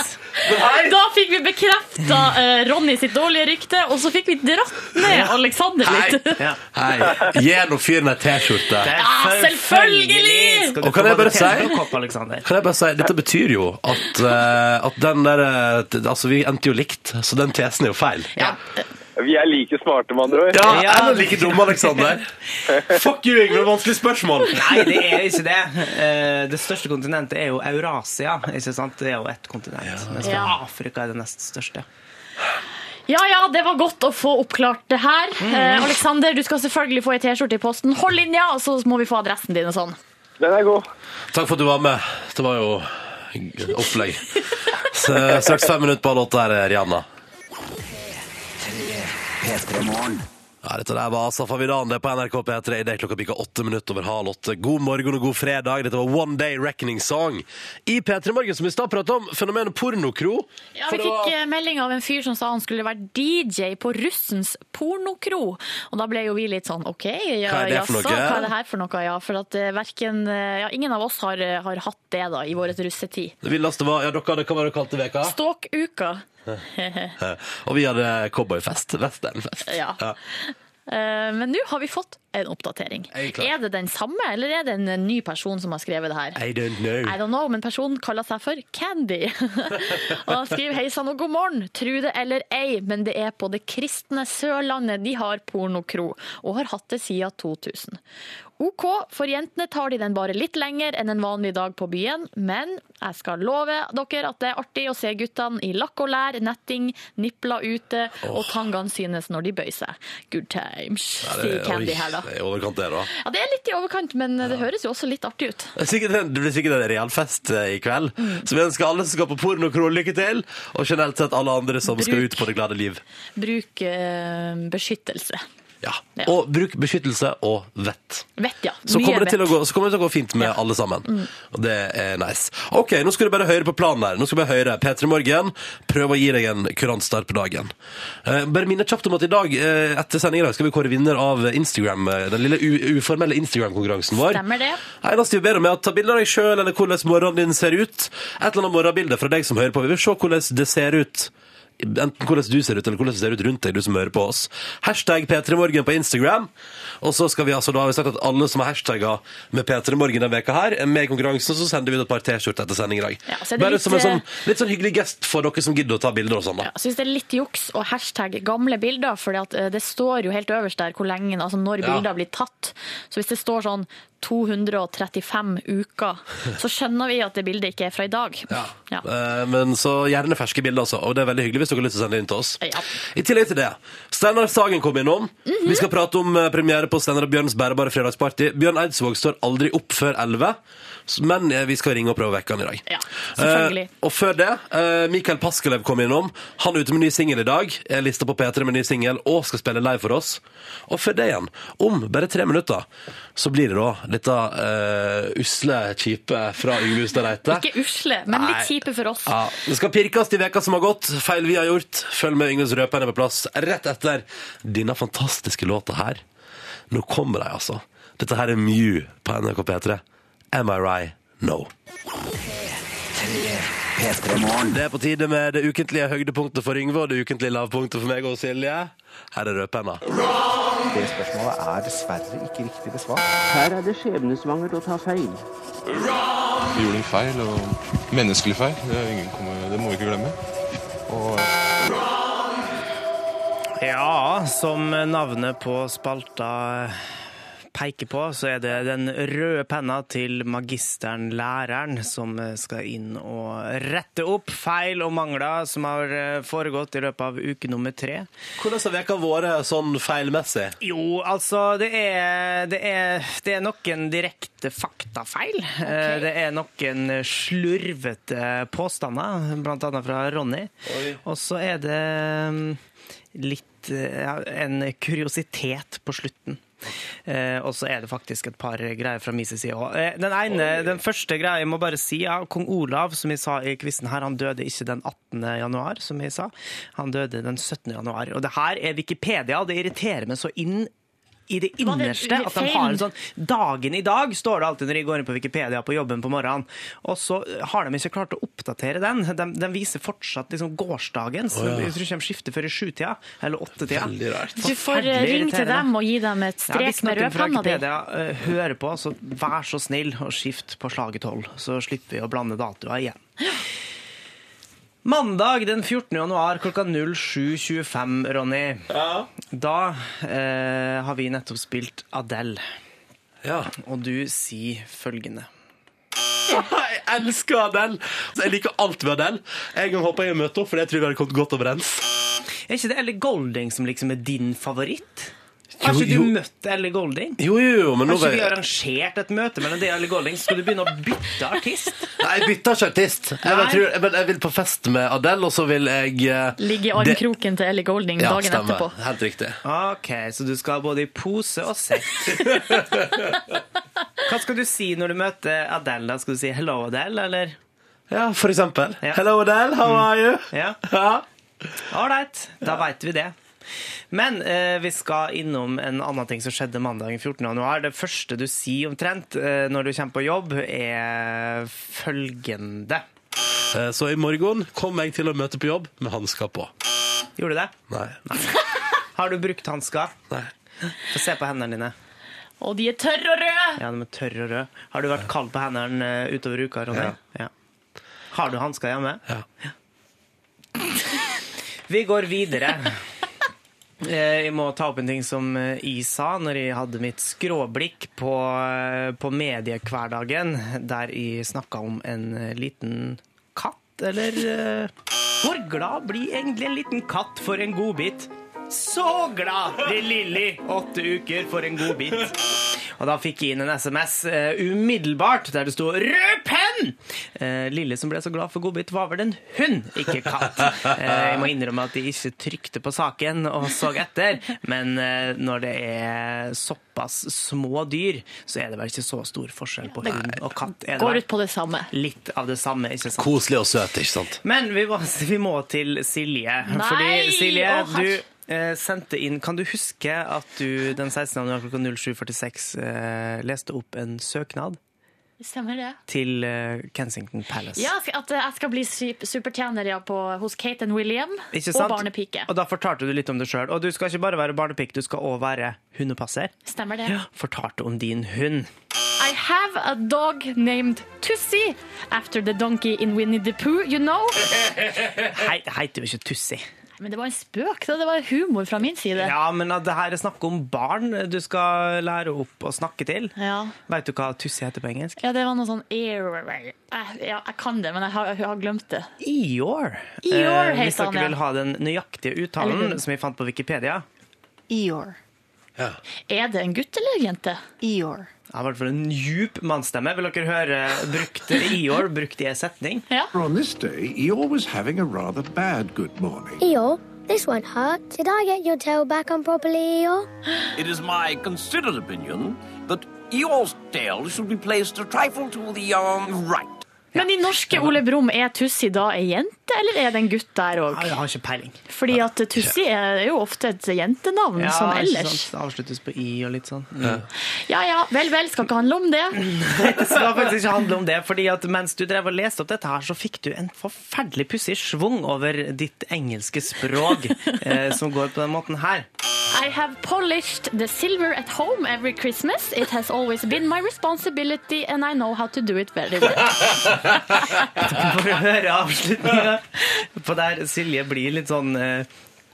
Da fikk vi bekrefta eh, Ronny sitt dårlige rykte, og så fikk vi dratt ned Alexander litt.
Hei,
Ja.
hei. Gi nå fyren ei
Det
T-skjorte.
er
Ja, selvfølgelig!
Skal du
Og kan jeg
få både
bare si-
tennene og kopp, Alexander?
Kan jeg bare si, Dette betyr jo at, eh, at den der eh, t- Altså, vi endte jo likt, så den tesen er jo feil.
Ja.
Vi er like smarte, med andre ord.
Ja,
Ja.
eller like dumme, Alexander. Fuck you, Yngve. Vanskelig spørsmål.
Nei, det er ikke det. Eh, Det største kontinentet er jo Eurasia. Ikke sant? Det er jo ett kontinent. Mens
Ja.
Afrika er det nest største.
ja ja, det var godt å få oppklart det her.
Mm.
Eh, Alexander, du skal selvfølgelig få ei T-skjorte i posten. Hold linja, og så må vi få adressen din og sånn.
Den er god.
Takk for at du var med. Det var jo opplegg. Så, straks fem minutter på låta her, eh, Rihanna. Ja, dette der var Safa Vidan, det er på NRK P3 i det er klokka pikka åtte minutter over halv åtte. God morgen og god fredag. Dette var One Day Reckoning Song. I P3 Morgen, som vi i stad pratet om, fenomenet pornokro.
Ja,
For
Vi
det
fikk
var-
eh, melding av en fyr som sa han skulle være DJ på russens pornokro. Og da ble jo vi litt sånn OK, ja,
Hva er det for
jaså,
noe?
hva er det her for noe? Ja, for at eh, hverken, eh, ja, ingen av oss har, eh, har hatt det da i vår russetid.
Det villeste var Ja, dere hadde hva var det dere kalte veka?
Ståkuka.
Eh, Og vi hadde cowboyfest. Westernfest.
Ja. Eh, Men nå har vi fått en oppdatering.
Er vi klar?
Er det den samme, eller er det en eh, ny person som har skrevet det her?
I don't know.
I don't know, men personen kaller seg for Candy. og han skriver hei sann og god morgen, tru det eller ei, men det er på det kristne Sørlandet de har pornokro, og har hatt det siden 2000. OK, for jentene tar de den bare litt lenger enn en vanlig dag på byen, men jeg skal love dere at det er artig å se guttene i lakk og lær, netting, nipler ute, og tangene synes når de bøyer seg. Good times, sier Candy her da.
Det er i overkant, det, da.
Ja, det er litt i overkant, men det høres jo også litt artig ut.
Det er sikkert en- det blir sikkert en real fest eh, i kveld.
Mm.
Så vi ønsker alle som skal på pornokro, lykke til. Og generelt sett alle andre som skal
Bruk.
ut på det glade liv.
Bruk eh, beskyttelse.
Ja.
Ja.
Og bruk beskyttelse og vett.
Vett, ja.
Så
Mye
kommer, det til å
vett. Mm.
gå, så kommer det til å gå fint med alle sammen. Og det er nice. Ok, nå skal du bare høre på planen her. Nå skal du bare høre P3 Morgen. Prøv å gi deg en kurant start på dagen. Eh, bare minne kjapt om at i dag, eh, etter sending i dag, skal vi kåre vinner av Instagram, eh, den lille u uformelle Instagram-konkurransen vår.
Stemmer det.
Eneste vi ber om er å ta bilder av deg sjøl, eller hvordan morgenen din ser ut. Et eller annet morgenbilde fra deg som hører på. Vi vil se hvordan det ser ut. Enten hvordan du ser ut, eller hvordan det ser ut rundt deg, du som hører på oss. Hashtag P3morgen på Instagram. Og så skal vi altså da, har vi sagt at alle som har hashtagga med P3morgen denne veka her, er med i konkurransen, så sender vi ut et par T-skjorter etter sending i dag.
Ja, så er det
Bare
litt,
som en sånn,
eh,
litt sånn hyggelig gest for dere som gidder å ta bilder og sånn, da.
Jeg syns det er litt juks å hashtag gamle bilder, for det står jo helt øverst der hvor lenge, altså når
Ja.
bilder blir tatt. Så hvis det står sånn 235 uker, så skjønner vi at det bildet ikke er fra i dag. Ja.
Eh, Men så gjerne ferske bilder, altså. Og det er veldig hyggelig hvis dere har lyst til å sende det inn til oss.
Ja. Mhm.
I tillegg til det, Steinar Sagen kom innom. Vi skal prate om eh, premiere på Steinar og Bjørns bærebare fredagsparty. Bjørn Eidsvåg står aldri opp før 11, s- men eh, vi skal ringe og prøve å vekke han i dag.
Ja, selvfølgelig.
Eh, og før det, eh, Mikael Paskelev kom innom. Han er ute med ny singel i dag. Er lista på P3 med ny singel og skal spille live for oss. Og før det igjen, om bare tre minutter, så blir det da dette eh, usle, kjipe fra Yngve Hustad Reite.
Ikke usle, men litt
Nei.
kjipe for oss.
Ja, det skal pirkes i veka som har gått. Feil vi har gjort. Følg med Yngves Røpen er på plass rett etter denne fantastiske låta her. Nå kommer de, altså. Dette her er Mew på NRK P3. Am I right? No. Det er på tide med det ukentlige høydepunktet for Yngve og det ukentlige lavpunktet for meg og Silje. Her er rødpenna.
Det spørsmålet er dessverre ikke riktig besvart.
Her er det skjebnesvangert å ta feil.
Vi gjorde en feil, og menneskelig feil. Det, er ingen kommer- det må vi ikke glemme. Og
Ja, som navnet på spalta eh, peker på, så er det den røde penna til magisteren læreren som eh, skal inn og rette opp feil og mangler som har eh, foregått i løpet av uke nummer tre.
Hvordan har veka vært sånn feilmessig?
Jo, altså det er, det er, det er noen direkte faktafeil. Eh, Det er noen slurvete påstander, blant annet fra Ronny. Og så er det mm, litt et, ja, en kuriositet på slutten. Eh, og så er det faktisk et par greier fra min side òg. Eh, den, ene- den første greia jeg må bare si, ja, kong Olav, som jeg sa i quizen her, han døde ikke den 18. januar, som jeg sa. Han døde den 17. januar. Og det her er Wikipedia, og det irriterer meg så inn i det
Var det
innerste at de har en sånn Dagen i dag står det alltid når jeg går inn på Wikipedia på jobben på morgenen. Og så har de ikke klart å oppdatere den. De, de viser fortsatt liksom gårsdagen. Så
Å, ja.
jeg tror ikke de skifter før i sjutida eller åttetida.
Veldig rart.
Du får eh,
Forferdelig
ringe til
irriterende.
dem og gi dem et
Ja,
strek
hvis
med
noen fra
rødpenna di.
Wikipedia eh, hører på, så vær så snill og skift på slaget 12, så slipper vi å blande datoer igjen. Mandag den 14. januar klokka 07.25, Ronny. Da eh, har vi nettopp spilt Adele,
Ja.
og du sier følgende.
Jeg elsker Adele! Jeg liker alt ved Adele. En gang håper jeg å møte henne, for det tror jeg vi hadde kommet godt overens.
Er ikke det Ellie Golding som liksom er din favoritt? Har ikke
jo.
du møtt Ellie Golding?
Jo, jo, jo, men nå
Har ikke vi arrangert et møte mellom deg og Ellie Golding? Skal du begynne å bytte artist?
Nei, jeg bytter ikke artist. Jeg, bare
Nei.
tror, jeg, bare- jeg vil på fest med Adele, og så vil jeg eh,
Ligge i
det-
armkroken til Ellie Golding
Ja,
dagen
stemmer.
etterpå.
Helt riktig.
Ok, så du skal både i pose og sekk. Hva skal du si når du møter Adele? da? Skal du si 'hello, Adele', eller?
Ja, for eksempel.
Ja.
Hello, Adele, how are you?
Ja,
Ja.
Ålreit, da veit vi det. Men eh, vi skal innom en annen ting som skjedde mandagen 14. januar. Det første du sier omtrent eh, når du kommer på jobb, er følgende.
Eh, Så i morgen kommer jeg til å møte på jobb med hansker på.
Gjorde du det?
Nei.
Har du brukt hansker?
Nei.
Få se på hendene dine.
Og de er tørre og røde!
Ja, de er tørre og røde. Har du vært kald på hendene eh, utover uka? Ronny? Ja. Har du hansker hjemme?
Ja.
Vi går videre. Eh, Jeg må ta opp en ting som eh, jeg sa når jeg hadde mitt skråblikk på, eh, på mediehverdagen, der jeg snakka om en eh, liten katt, eller eh, Hvor glad blir egentlig en liten katt for en godbit? Så glad blir Lilly åtte uker for en godbit. Og da fikk jeg inn en SMS eh, umiddelbart der det sto 'rød penn'! Eh, Lille som ble så glad for godbit, var vel en hund, ikke katt. Eh, jeg må innrømme at jeg ikke trykte på saken og så etter, men eh, når det er såpass små dyr, så er det vel ikke så stor forskjell på hund og katt. Er
Går
det
ut på det samme.
vel litt av det samme, ikke sant?
Koselig og søt, ikke sant?
Men vi må, vi må til Silje.
Nei!
Fordi Silje,
Å, herre.
du eh, sendte inn Kan du huske at du den 16. januar klokka 07.46 eh, leste opp en søknad
Stemmer det?
til eh, Kensington Palace?
Ja, sk- at eh, jeg skal bli sup- supertjener ja, på, hos Kate and William
Ikke
og
sant?
barnepike.
Og da fortalte du litt om det sjøl. Og du skal ikke bare være barnepike, du skal òg være hundepasser.
Stemmer det?
Fortalte om din hund.
I have a dog named Tussie after the donkey in Winnie the Pooh, you know.
Hei, det heter jo ikke Tussi.
Men det var en spøk, da. Det var humor fra min side.
Ja, men at det her er snakk om barn du skal lære opp å snakke til.
Ja.
Veit du hva Tussi heter på engelsk?
Ja, det var noe sånn Jeg, ja, jeg kan det, men jeg har, jeg har glemt det.
Eeyore.
Eeyore
Eh, Hvis
heter han,
dere
ja.
vil ha den nøyaktige
Eller
uttalen
hun.
som vi fant på Wikipedia.
Er det en gutt eller en jente?
Det er i hvert fall en djup mannsstemme. Vil dere høre brukt Eeyore brukt i en setning?
Ja.
On this day, Eeyore was having a rather bad good morning.
Eeyore, this won't hurt. Did I get your tail back on properly, Eeyore?
It is my considered opinion that Eeyore's tail should be placed a trifle to the um, right.
Men i norske Ole Brumm, er Tussi da ei jente, eller er det en gutt der òg?
Ja, Jeg har ikke peiling.
Fordi at Tussi er jo ofte et jentenavn,
Ja,
som
ikke
sånn ellers.
sant? Det avsluttes på i og litt sånn.
Ja ja, vel vel, skal ikke handle om det.
Det skal faktisk ikke handle om det, fordi at mens du drev og leste opp dette her, så fikk du en forferdelig pussig schwung over ditt engelske språk, eh, som går på den måten her.
I have polished the silver at home every Christmas. It has always been my responsibility, and I know how to do it very well.
For å høre avslutninga på der Silje blir litt sånn eh,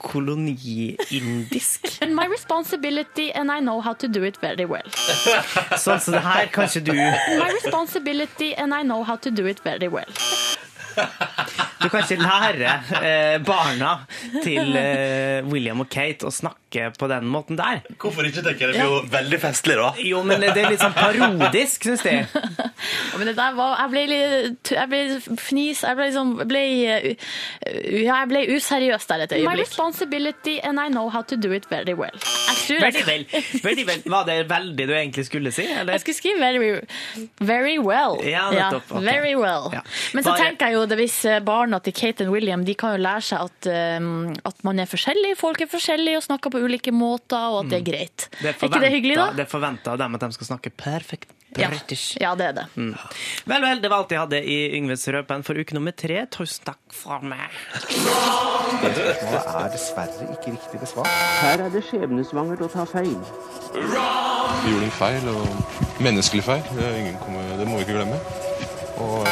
koloniindisk.
And my responsibility, and I know how to do it very well.
Sånn som det her, kanskje du
My responsibility, and I know how to do it very well.
Du kan ikke lære eh, barna til eh, William og Kate å snakke tenke på den måten der.
Hvorfor ikke tenker jeg? Det blir jo veldig festlig, da.
Jo, men det er litt sånn parodisk, syns jeg.
Ja, Men det der var Jeg ble litt Jeg ble fnis Jeg ble liksom ble, uh, Ja, jeg ble useriøs der et
My
øyeblikk.
responsibility and I know how to do it very well.
Jeg tror
Veldig vel. Veldig vel. Var det veldig du egentlig skulle si? Eller?
Jeg skulle skrive very, very well.
Ja, nettopp, ok.
very well.
Ja.
Men så
Bare-
tenker jeg jo det hvis eh, barna til Kate og William de kan jo lære seg at, um, at man er forskjellig, folk er forskjellige og snakker på ulike måter, og at det er greit. Er ikke det
forventet-
hyggelig, da?
Det er forventa av dem at de skal snakke perfekt
Ja.
british.
ja, det er det.
Mm. Vel, vel, det var alt jeg hadde i Yngves rødpenn for uke nummer tre. Tusen takk for meg.
Det spørsmålet er dessverre ikke riktig besvart.
Her er det skjebnesvangert å ta feil.
Vi gjorde en feil, og menneskelig feil. Det, er ingen kommer, det må vi ikke glemme. Og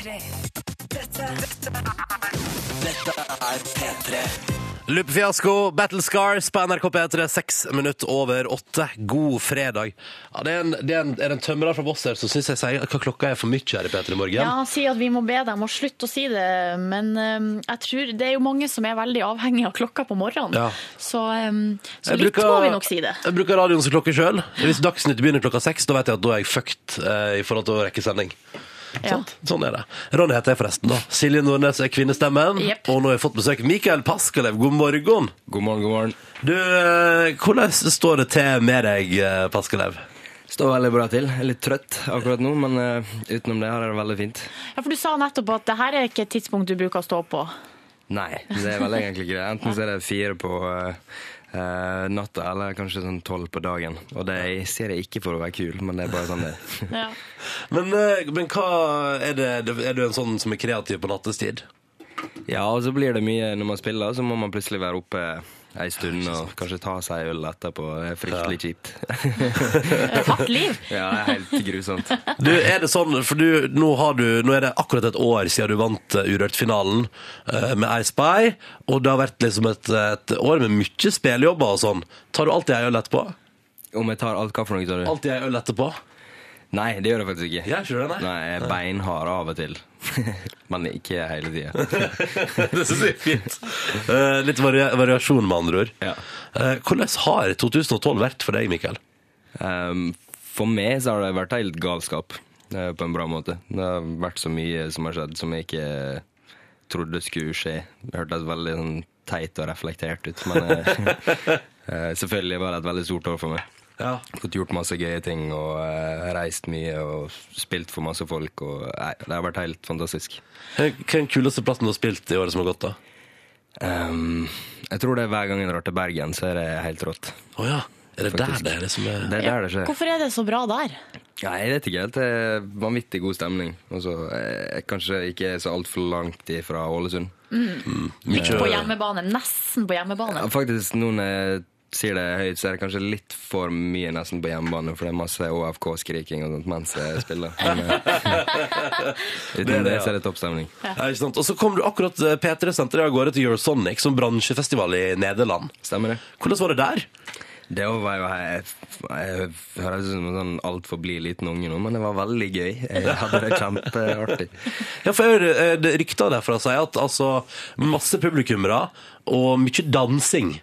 Tre. Dette, dette, dette er P3.
Lupfiasko, Battle Scars på NRK P3, seks minutter over åtte. God fredag. Ja, det er en, det er en, er det en tømrer fra Voss her som syns jeg sier hva klokka er for mye her i P3 Morgen.
Ja, han sier at vi må be dem å slutte å si det, men um, jeg tror det er jo mange som er veldig avhengige av klokka på morgenen.
Ja.
Så, um, så
Jeg
litt
bruker-
må vi nok si det.
Jeg bruker radioen som klokke sjøl. Hvis Dagsnytt begynner klokka seks, da vet jeg at da er jeg fucked eh, i forhold til å rekke sending.
Ja.
Sånn er det. Ronny heter jeg forresten, da. Silje Nordnes er kvinnestemmen.
Jepp.
Og nå har jeg fått besøk av Mikael Paskalev. God morgen.
God morgen, god morgen.
Du, eh, hvordan står det til med deg, eh, Paskalev?
Står veldig bra til. Jeg er litt trøtt akkurat nå, men eh, utenom det har jeg det veldig fint.
Ja, for du sa nettopp at det her er ikke et tidspunkt du bruker å stå på.
Nei, det er vel egentlig ikke det. Enten så er det fire på eh, eh, natta, eller kanskje sånn tolv på dagen. Og det sier jeg ikke for å være kul, men det er bare sånn det er.
Men, eh, men hva er, det, er du en sånn som er kreativ på nattestid?
Ja, og så blir det mye når man spiller, så må man plutselig være oppe ei stund og kanskje ta seg en øl etterpå. Det er fryktelig kjipt.
Hardt liv.
Ja, det er helt grusomt.
Du, er det sånn, for du, nå, har du, nå er det akkurat et år siden du vant eh, Urørt-finalen eh, med Ice Spy, og det har vært liksom et, et år med mye spillejobber og sånn. Tar du alltid ei øl etterpå?
Om jeg tar alt hva for noe, sa du?
Alltid ei øl etterpå?
Nei, det gjør jeg faktisk ikke.
Gjør ikke du det, nei?
Nei, jeg er beinhard av og til. Men ikke hele tida.
det syns jeg er fint. Eh, litt varia variasjon, med andre ord. Eh, hvordan har 2012 vært for deg, Mikael?
Um, for meg så har det vært helt galskap, eh, på en bra måte. Det har vært så mye som har skjedd som jeg ikke trodde skulle skje. Det hørtes veldig sånn teit og reflektert ut, men eh, eh, selvfølgelig var det et veldig stort år for meg.
Ja.
Fått gjort masse gøye ting og eh, reist mye og spilt for masse folk. Og, nei, det har vært helt fantastisk.
Hva er den kuleste plassen du har spilt i året som har gått, da?
Um, jeg tror det er hver gang jeg drar til Bergen, så er det helt rått.
Å ja. Er det der det er liksom, eh, det som er
Det er der det skjer.
Hvorfor er det så bra der?
Nei, jeg vet ikke helt. Det er vanvittig god stemning. Og så eh, kanskje ikke så altfor langt ifra Ålesund.
Mm. Litt på hjemmebane. Nesten på hjemmebane.
Ja, faktisk, noen eh, sier det høyt, så er det kanskje litt for mye nesten på hjemmebane, for det er masse OFK-skriking og sånt mens jeg spiller. Men, eh,
Det er
Utenom
det,
det
ja.
så er det toppstemning.
Ja. ikke sant? Og så kom du akkurat eh, P3 sendte deg av gårde til Eurosonic som bransjefestival i Nederland.
Stemmer det.
Hvordan var det der?
Det var jo Jeg, jeg høres ut som en sånn altfor blid liten unge nå, men det var veldig gøy. Jeg hadde det kjempeartig.
Ja, for jeg hører eh, det rykter derfra sier at altså, masse publikummere og mye dansing.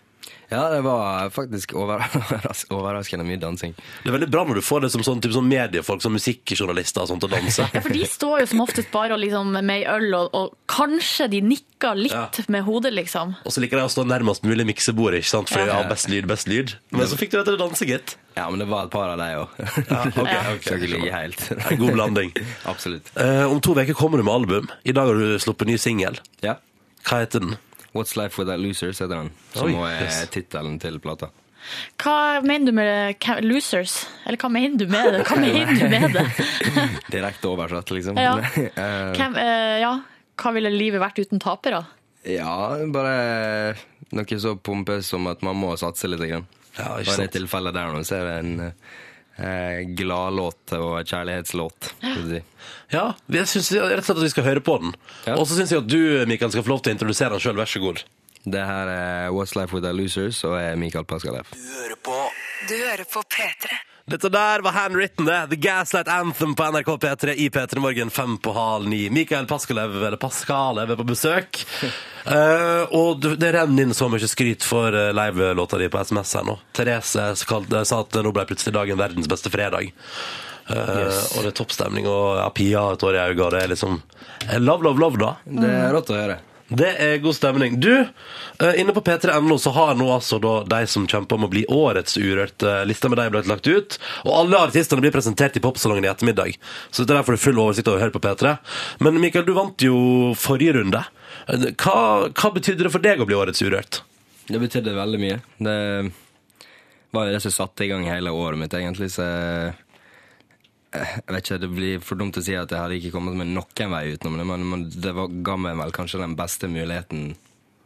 Ja, det var faktisk overras overraskende mye dansing.
Det er veldig bra når du får det som sånn, typ, sånn mediefolk, som musikkjournalister og sånt, til å danse.
Ja, for de står jo som oftest bare og liksom, med ei øl, og, og kanskje de nikker litt med hodet, liksom.
Og så liker de å stå nærmest mulig miksebordet, ikke sant? For
Ja.
ja. best lyd, best lyd. Men så fikk du deg til å danse, gitt.
Ja, men det var et par av deg òg. Skal ikke ligge helt.
En god blanding.
Absolutt.
Eh, om to uker kommer du med album. I dag har du sluppet ny singel.
Ja.
Hva heter den?
What's Life Without Losers heter den.
Oi,
Som også
yes.
er tittelen til plata.
Hva mener du med ca- losers? Eller hva mener du med det? Hva mener du med det?
Direkte oversatt, liksom.
Ja.
Eh,
Hvem, eh, ja, hva ville livet vært uten tapere?
Ja, bare noe så pompøst som at man må satse litt. Grann. Ja,
ikke
og i det
sant.
tilfellet der nå, så er det en eh, gladlåt og en kjærlighetslåt. vil jeg Si.
Ja, jeg synes rett og slett at vi skal høre på den. Og så syns jeg at du, Mikael, skal få lov til å introdusere den sjøl. Vær så god.
Det her er What's Life Without Losers og jeg er Mikael Paskalev.
Du hører på P3.
Dette der var handwritten, det. The Gaslight Anthem på NRK P3 i P3 Morgen fem på halv ni. Mikael Paskalev, eller Paskalev er på besøk. Eh, og du- det renner inn så mye skryt for eh, livelåta di på SMS her nå. Therese så kalt- eh, sa at nå ble plutselig dagen verdens beste fredag. Eh, Og det er toppstemning, og ja, Pia har et år i øynene, og det er liksom eh, Love, love, love, da.
Det er rått å høre.
Det er god stemning. Du, eh, inne på p3.no så har nå altså da de som kjemper om å bli årets urørt. eh, Lista med de ble lagt ut. Og alle artistene blir presentert i popsalongen i ettermiddag. Så det der får du full oversikt over. Hør på P3. Men Mikael, du vant jo forrige runde. Eh, Hva, hva betydde det for deg å bli årets urørt?
Det betydde veldig mye. Det var jo det som satte i gang hele året mitt, egentlig. Så jeg, jeg vet ikke, det blir for dumt å si at jeg hadde ikke kommet meg noen vei utenom det, men, men det var, ga meg vel kanskje den beste muligheten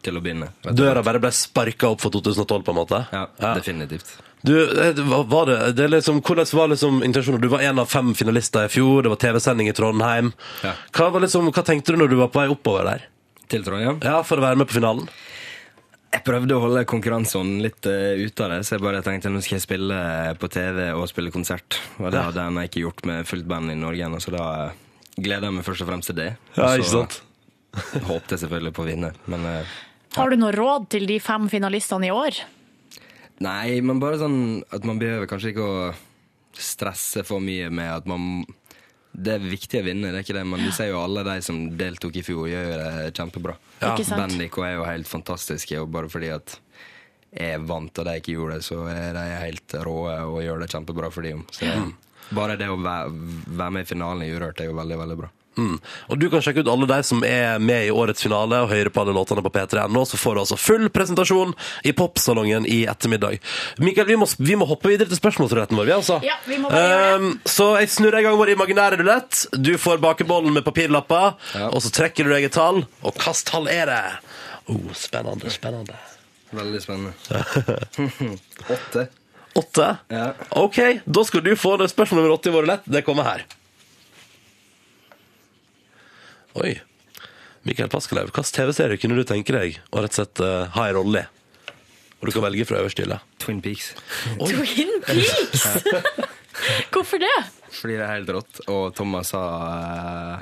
til å begynne. rett og
Døra
slett.
bare ble sparka opp for 2012, på en måte?
Ja, definitivt.
Du, eh, det var var det, det er liksom, Hvordan var liksom intensjonen? Du var en av fem finalister i fjor, det var TV-sending i Trondheim. Hva, var liksom, hva tenkte du når du var på vei oppover der?
Til Trondheim?
Ja, For å være med på finalen?
Jeg prøvde å holde konkurranseånden litt eh, ute av det, så jeg bare tenkte nå skal jeg spille på TV og spille konsert. Og det
Ja.
hadde jeg ikke gjort med fullt band i Norge ennå, så da eh, gleder jeg meg først og fremst til det.
Ja,
Og så
ikke sant?
håpte jeg selvfølgelig på å vinne, men eh,
Har du noe råd til de fem finalistene i år?
Nei, men bare sånn at man behøver kanskje ikke å stresse for mye med at man Det er viktig å vinne, det er ikke det, men du ser jo alle de som deltok i fjor, gjør jo det kjempebra.
Ja. Ikke sant?
Bandic og er jo helt fantastiske, og bare fordi at jeg vant og de ikke gjorde det, så er de helt rå og gjør det kjempebra for de om. Så bare det å være, være med i finalen i Urørt er jo veldig, veldig bra.
Mm. Og Du kan sjekke ut alle de som er med i årets finale, og høre på alle låtene på p3.no. Så får du altså full presentasjon i popsalongen i ettermiddag. Mikael, vi må, vi må hoppe videre til spørsmålsretten vår. Vi, altså.
Ja, vi må bare gjøre
Ehm, så jeg snurrer i gang vår imaginære rulett. Du får bakebollen med papirlapper, og så trekker du deg et tall. Og hvilket tall er det? Oh, spennende, spennende.
Veldig spennende. Åtte.
Åtte? OK, da skal du få det spørsmål nummer åtte i vår rulett. Det kommer her. Oi. Mikael Paskelev, hvilken TV-serie kunne du tenke deg å rett og slett eh, ha en rolle i? Og du kan velge fra øverste hylle.
Twin Peaks.
Twin Peaks! Hvorfor det?
Fordi det er helt rått. Og Thomas sa eh,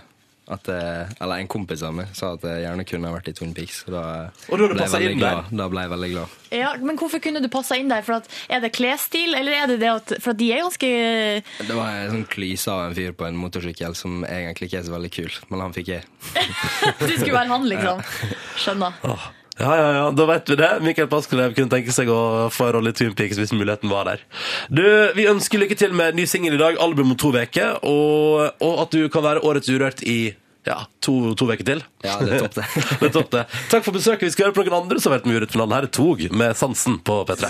at eh, Eller en kompis av meg sa at jeg gjerne kunne ha vært i Twin Peaks. og Da,
Og da hadde
ble jeg
passet
veldig
inn der.
glad. da ble jeg veldig glad.
Ja, men hvorfor kunne du passa inn der? For at, er det klesstil, eller er det det at For at de er ganske
Det var en sånn klyse av en fyr på en motorsykkel som egentlig ikke er så veldig kul, men han fikk jeg.
Du skulle være han, liksom. Skjønner.
Ja, ja, ja, da vet vi det. Mikael Paskelev kunne tenke seg å få en rolle i Twin Peaks hvis muligheten var der. Du, Vi ønsker lykke til med ny singel i dag, album om to uker, og, og at du kan være Årets Urørt i ja, to to uker til.
Ja, det er topp, det.
det er topp det. Takk for besøket. Vi skal høre på noen andre som har vært med i Urørt-finalen. Her er Tog med Sansen på P3.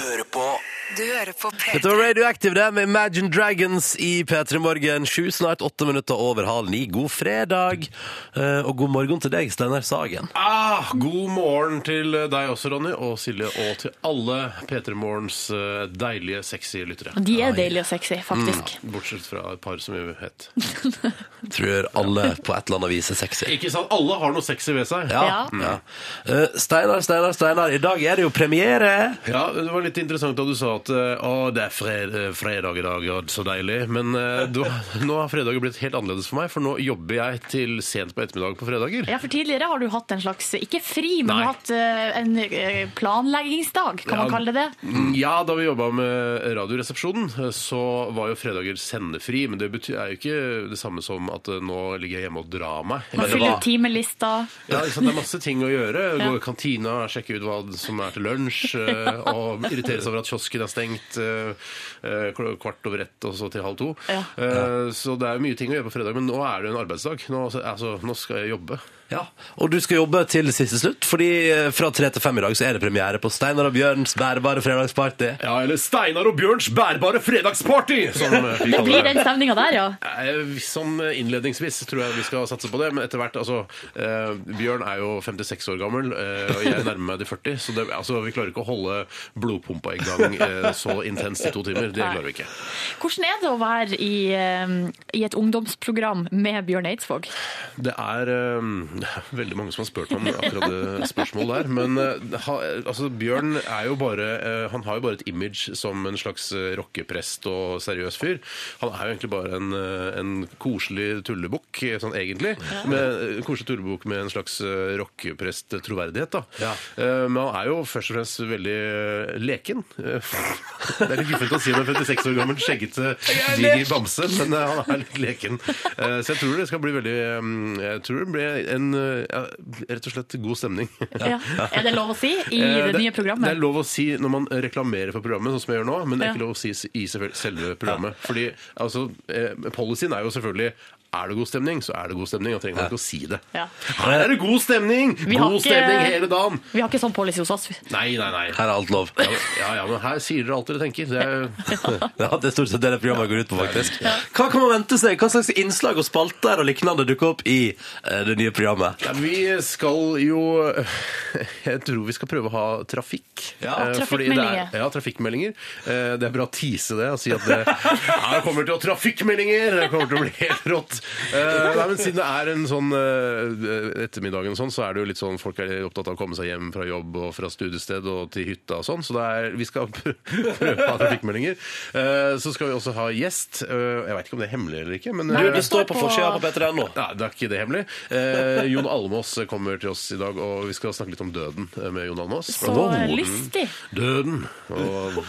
Du hører på P3.
Dette var Radioactive det, med Imagine Dragons i P3 Morgen. Sju, snart åtte minutter over halv ni. God fredag, eh, og god morgen til deg, Steinar Sagen.
Ah, god morgen til deg også, Ronny, og Silje, og til alle P3 Morgens eh, deilige, sexy lyttere.
Og de er deilige og sexy, faktisk.
Mm, bortsett fra et par som vi vet.
Tror alle på et eller annet vis er sexy.
Ikke sant? Alle har noe sexy ved seg.
Ja.
Mm.
ja. Eh, Steinar, Steinar, Steinar. I dag er det jo premiere.
Ja, Det var litt interessant da du sa at eh, å, det er fred eh, fredag i dag, ja, så deilig. Men eh, da, nå har fredager blitt helt annerledes for meg, for nå jobber jeg til sent på ettermiddag på fredager.
Ja, for Tidligere har du hatt en slags ikke fri, men
Nei.
du har hatt eh, en eh, planleggingsdag, kan man
Ja.
kalle det det?
Mm, Ja, da vi jobba med Radioresepsjonen, eh, så var jo fredager sendefri. Men det betyr, er jo ikke det samme som at eh, nå ligger jeg hjemme og drar meg.
Man
Men det
fyller
var-
ut timelista.
Ja, ikke sant? Det er masse ting å gjøre.
Ja.
Gå i kantina, sjekke ut hva som er til lunsj, eh, og irritere seg over at kiosken er stengt eh, eh, kl- kvart over ett og så til halv to.
Ja.
Eh, Så det er jo mye ting å gjøre på fredag, men nå er det jo en arbeidsdag. Nå, altså, nå skal jeg jobbe.
Og du skal jobbe til siste slutt, fordi eh, fra tre til fem i dag så er det premiere på Steinar og Bjørns bærbare fredagsparty.
Ja, eller Steinar og Bjørns bærbare fredagsparty! Som eh, vi
Det blir
kaller
den
det.
stemninga der, ja.
Eh, Som innledningsvis tror jeg vi skal satse på det, men etter hvert altså, eh, Bjørn er jo 56 år gammel, eh, og jeg nærmer meg de 40, så det, altså, vi klarer ikke å holde blodpumpa i gang eh, så intenst i to timer. Det klarer vi ikke.
Hvordan er det å være i, eh, i et ungdomsprogram med Bjørn Eidsvåg?
Det er, eh, Det er veldig mange som har spurt meg om akkurat det spørsmålet der. Men eh, ha, altså, Bjørn er jo bare eh, Han har jo bare et image som en slags eh, rockeprest og seriøs fyr. Han er jo egentlig bare en, eh, en koselig tullebukk, eh, sånn egentlig. Med, en koselig tullebukk med en slags eh, rockeprest-troverdighet, da. Eh, Men han er jo først og fremst veldig eh, leken. Eh, Det er litt guffent å si om en 56 år gammel skjeggete, diger bamse, men eh, han er litt leken. Eh, Så jeg tror det skal bli veldig eh, Jeg tror det blir en eh, ja, rett og slett god stemning.
Ja. Er det lov å si i
Eh,
det nye
Det
programmet?
er lov å si når man reklamerer for programmet, sånn som jeg gjør nå, men det er ikke
Ja.
lov å si i selvfø- selve programmet. Fordi altså, eh, policyen er jo selvfølgelig er det god stemning, så er det god stemning. Da trenger man ikke å si det.
Ja.
Her er det god stemning!
Vi har
God
ikke-
stemning hele dagen!
Vi har ikke sånn policy hos oss.
Nei, nei, nei.
Her er alt lov.
Ja, ja, ja, men her sier dere alt dere tenker. Det er,
Ja, Det er stort sett det det programmet går ut på, faktisk. Hva kan man vente seg? Hva slags innslag og spalter og liknande dukker opp i eh, det nye programmet?
Ja, vi skal jo Jeg tror vi skal prøve å ha trafikk.
Ja,
Eh, fordi det er-
trafikkmeldinger.
Ja, trafikkmeldinger. Eh, Det er bra å tease det og si at det her kommer til å trafikkmeldinger! Det kommer til å bli helt rått. Eh, Nei, men Siden det er en sånn eh, ettermiddag, og sånn, så er det jo litt sånn folk er opptatt av å komme seg hjem fra jobb og fra studiested og til hytta og sånn, så det er, vi skal pr- prøve å ha trafikkmeldinger. Eh, Så skal vi også ha gjest. Eh, Jeg veit ikke om det er hemmelig eller ikke, men eh,
Nei, det står på forsida på P3 nå.
Nei, det er ikke det hemmelig. Eh, Jon Almås kommer til oss i dag, og vi skal snakke litt om døden eh, med Jon Almås.
Så
Døden.
lystig.
Døden. Og,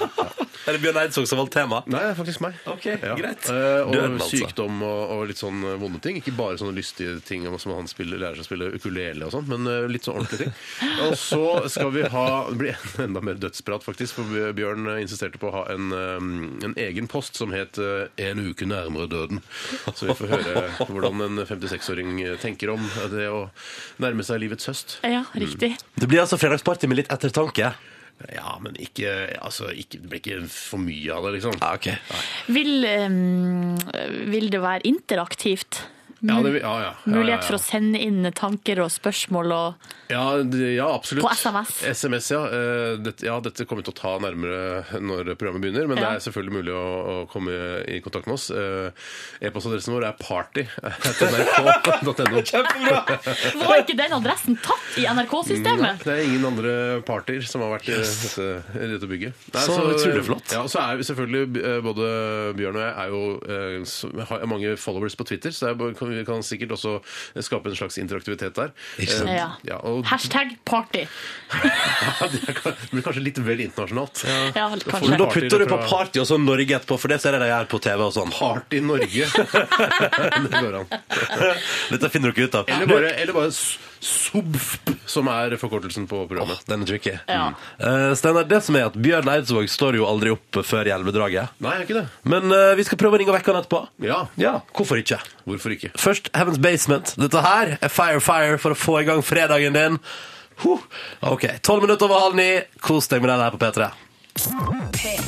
Er det Bjørn Eidsvåg som valgte tema?
Nei, det er faktisk meg.
Ok,
ja.
greit.
Eh, og
Døden, altså.
sykdom og, og litt sånn eh, vonde ting. Ikke bare sånne lystige ting om- som han spiller, lærer seg å spille ukulele og sånn, men eh, litt sånn ordentlige ting. Og så skal vi ha Det blir enda mer dødsprat, faktisk, for Bjørn eh, insisterte på å ha en, eh, en egen post som het eh, En uke nærmere døden. Så vi får høre hvordan en 56-åring tenker om det å nærme seg livets høst.
Ja, riktig.
Det blir altså fredagsparty med litt ettertanke.
Ja, men ikke, altså, ikke Det blir ikke for mye av det, liksom. Nei.
Vil, eh, vil det være interaktivt?
Ja, det, vil- ja, ja. ja, ja,
Mulighet
ja.
for å sende inn tanker og spørsmål og
Ja, det- ja absolutt.
På SMS.
SMS, ja. Eh, Dette, ja. Dette kommer vi til å ta nærmere når programmet begynner, men
Ja.
det er selvfølgelig mulig å, å komme i kontakt med oss. Eh, E-postadressen vår er party.nrk.no.
Var ikke den adressen tatt i NRK-systemet?
Mm. Det er ingen andre partier som har vært i dette, i dette bygget.
Så utrolig flott.
Ja, og så er vi selvfølgelig eh, både Bjørn og jeg er jo, eh, så- har mange followers på Twitter, så det er, bare- kan, vi kan sikkert også skape en slags interaktivitet der. Eh,
Ja.
Ja, og
Hashtag party.
det blir kanskje litt vel internasjonalt.
Ja, vel, kanskje.
Men da putter du på
party.
party og sånn Norge etterpå, for det ser jeg de gjør på TV og sånn.
Party Norge. det går an.
Dette finner dere ut av.
Eller bare, eller bare s- SOBFP, som er forkortelsen på programmet.
den er tricky.
Ja.
Eh, Steinar, det som er at Bjørn Eidsvåg står jo aldri opp før i elvedraget.
Nei, jeg er ikke det.
Men eh, vi skal prøve å ringe og vekke han etterpå.
Ja.
Hvorfor ikke?
Hvorfor ikke?
Først Heaven's Basement. Dette her er Fire Fire for å få i gang fredagen din. Huh. Ok, Tolv minutter over halv ni. Kos deg med den her på P3.
P3.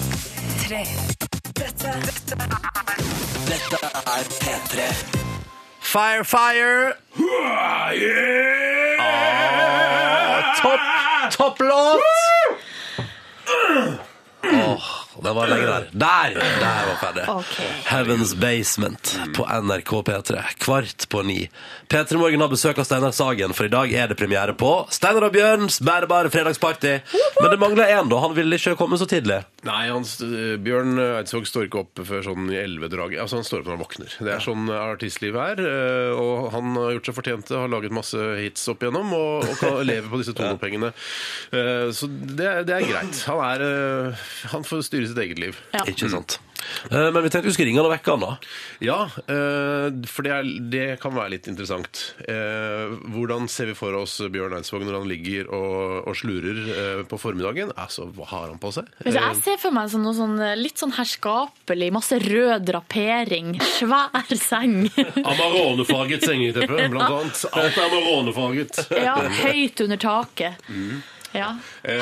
Dette, dette er
Dette er P3. Fire Fire. Ah, Topp topp låt! Åh, den var lenge der. Der! Der var ferdig. Heaven's Basement på NRK P3. Kvart på ni. P3 Morgen har besøk av Steinar Sagen, for i dag er det premiere på Steinar og Bjørns bærebare fredagsparty. Men det mangler én, da. Han ville ikke komme så tidlig.
Nei, han, st- Bjørn Eidsvåg står ikke opp før sånn i elvedraget. Altså, han står opp når han våkner. Det er sånn artistlivet er. eh, Og han har gjort seg fortjent til, har laget masse hits opp igjennom, og, og kan leve på disse tonopengene. Eh, Så det, er- det er greit. Han, er, eh, han får styre sitt eget liv.
Ja.
Ikke sant. Eh, Men vi tenkte vi skulle ringe han og vekke han, da.
Ja, eh, for det, er, det kan være litt interessant. Eh, hvordan ser vi for oss Bjørn Eidsvåg når han ligger og, og slurer eh, på formiddagen? Altså, hva har han på seg? Eh,
Men så Jeg ser for meg sånn, noe sånn, litt sånn herskapelig, masse rød drapering, svær seng.
Amaronefarget sengeteppe, blant annet. Alt er amaronefarget.
Ja,
Mm. Eh.
høyt under taket. Ja.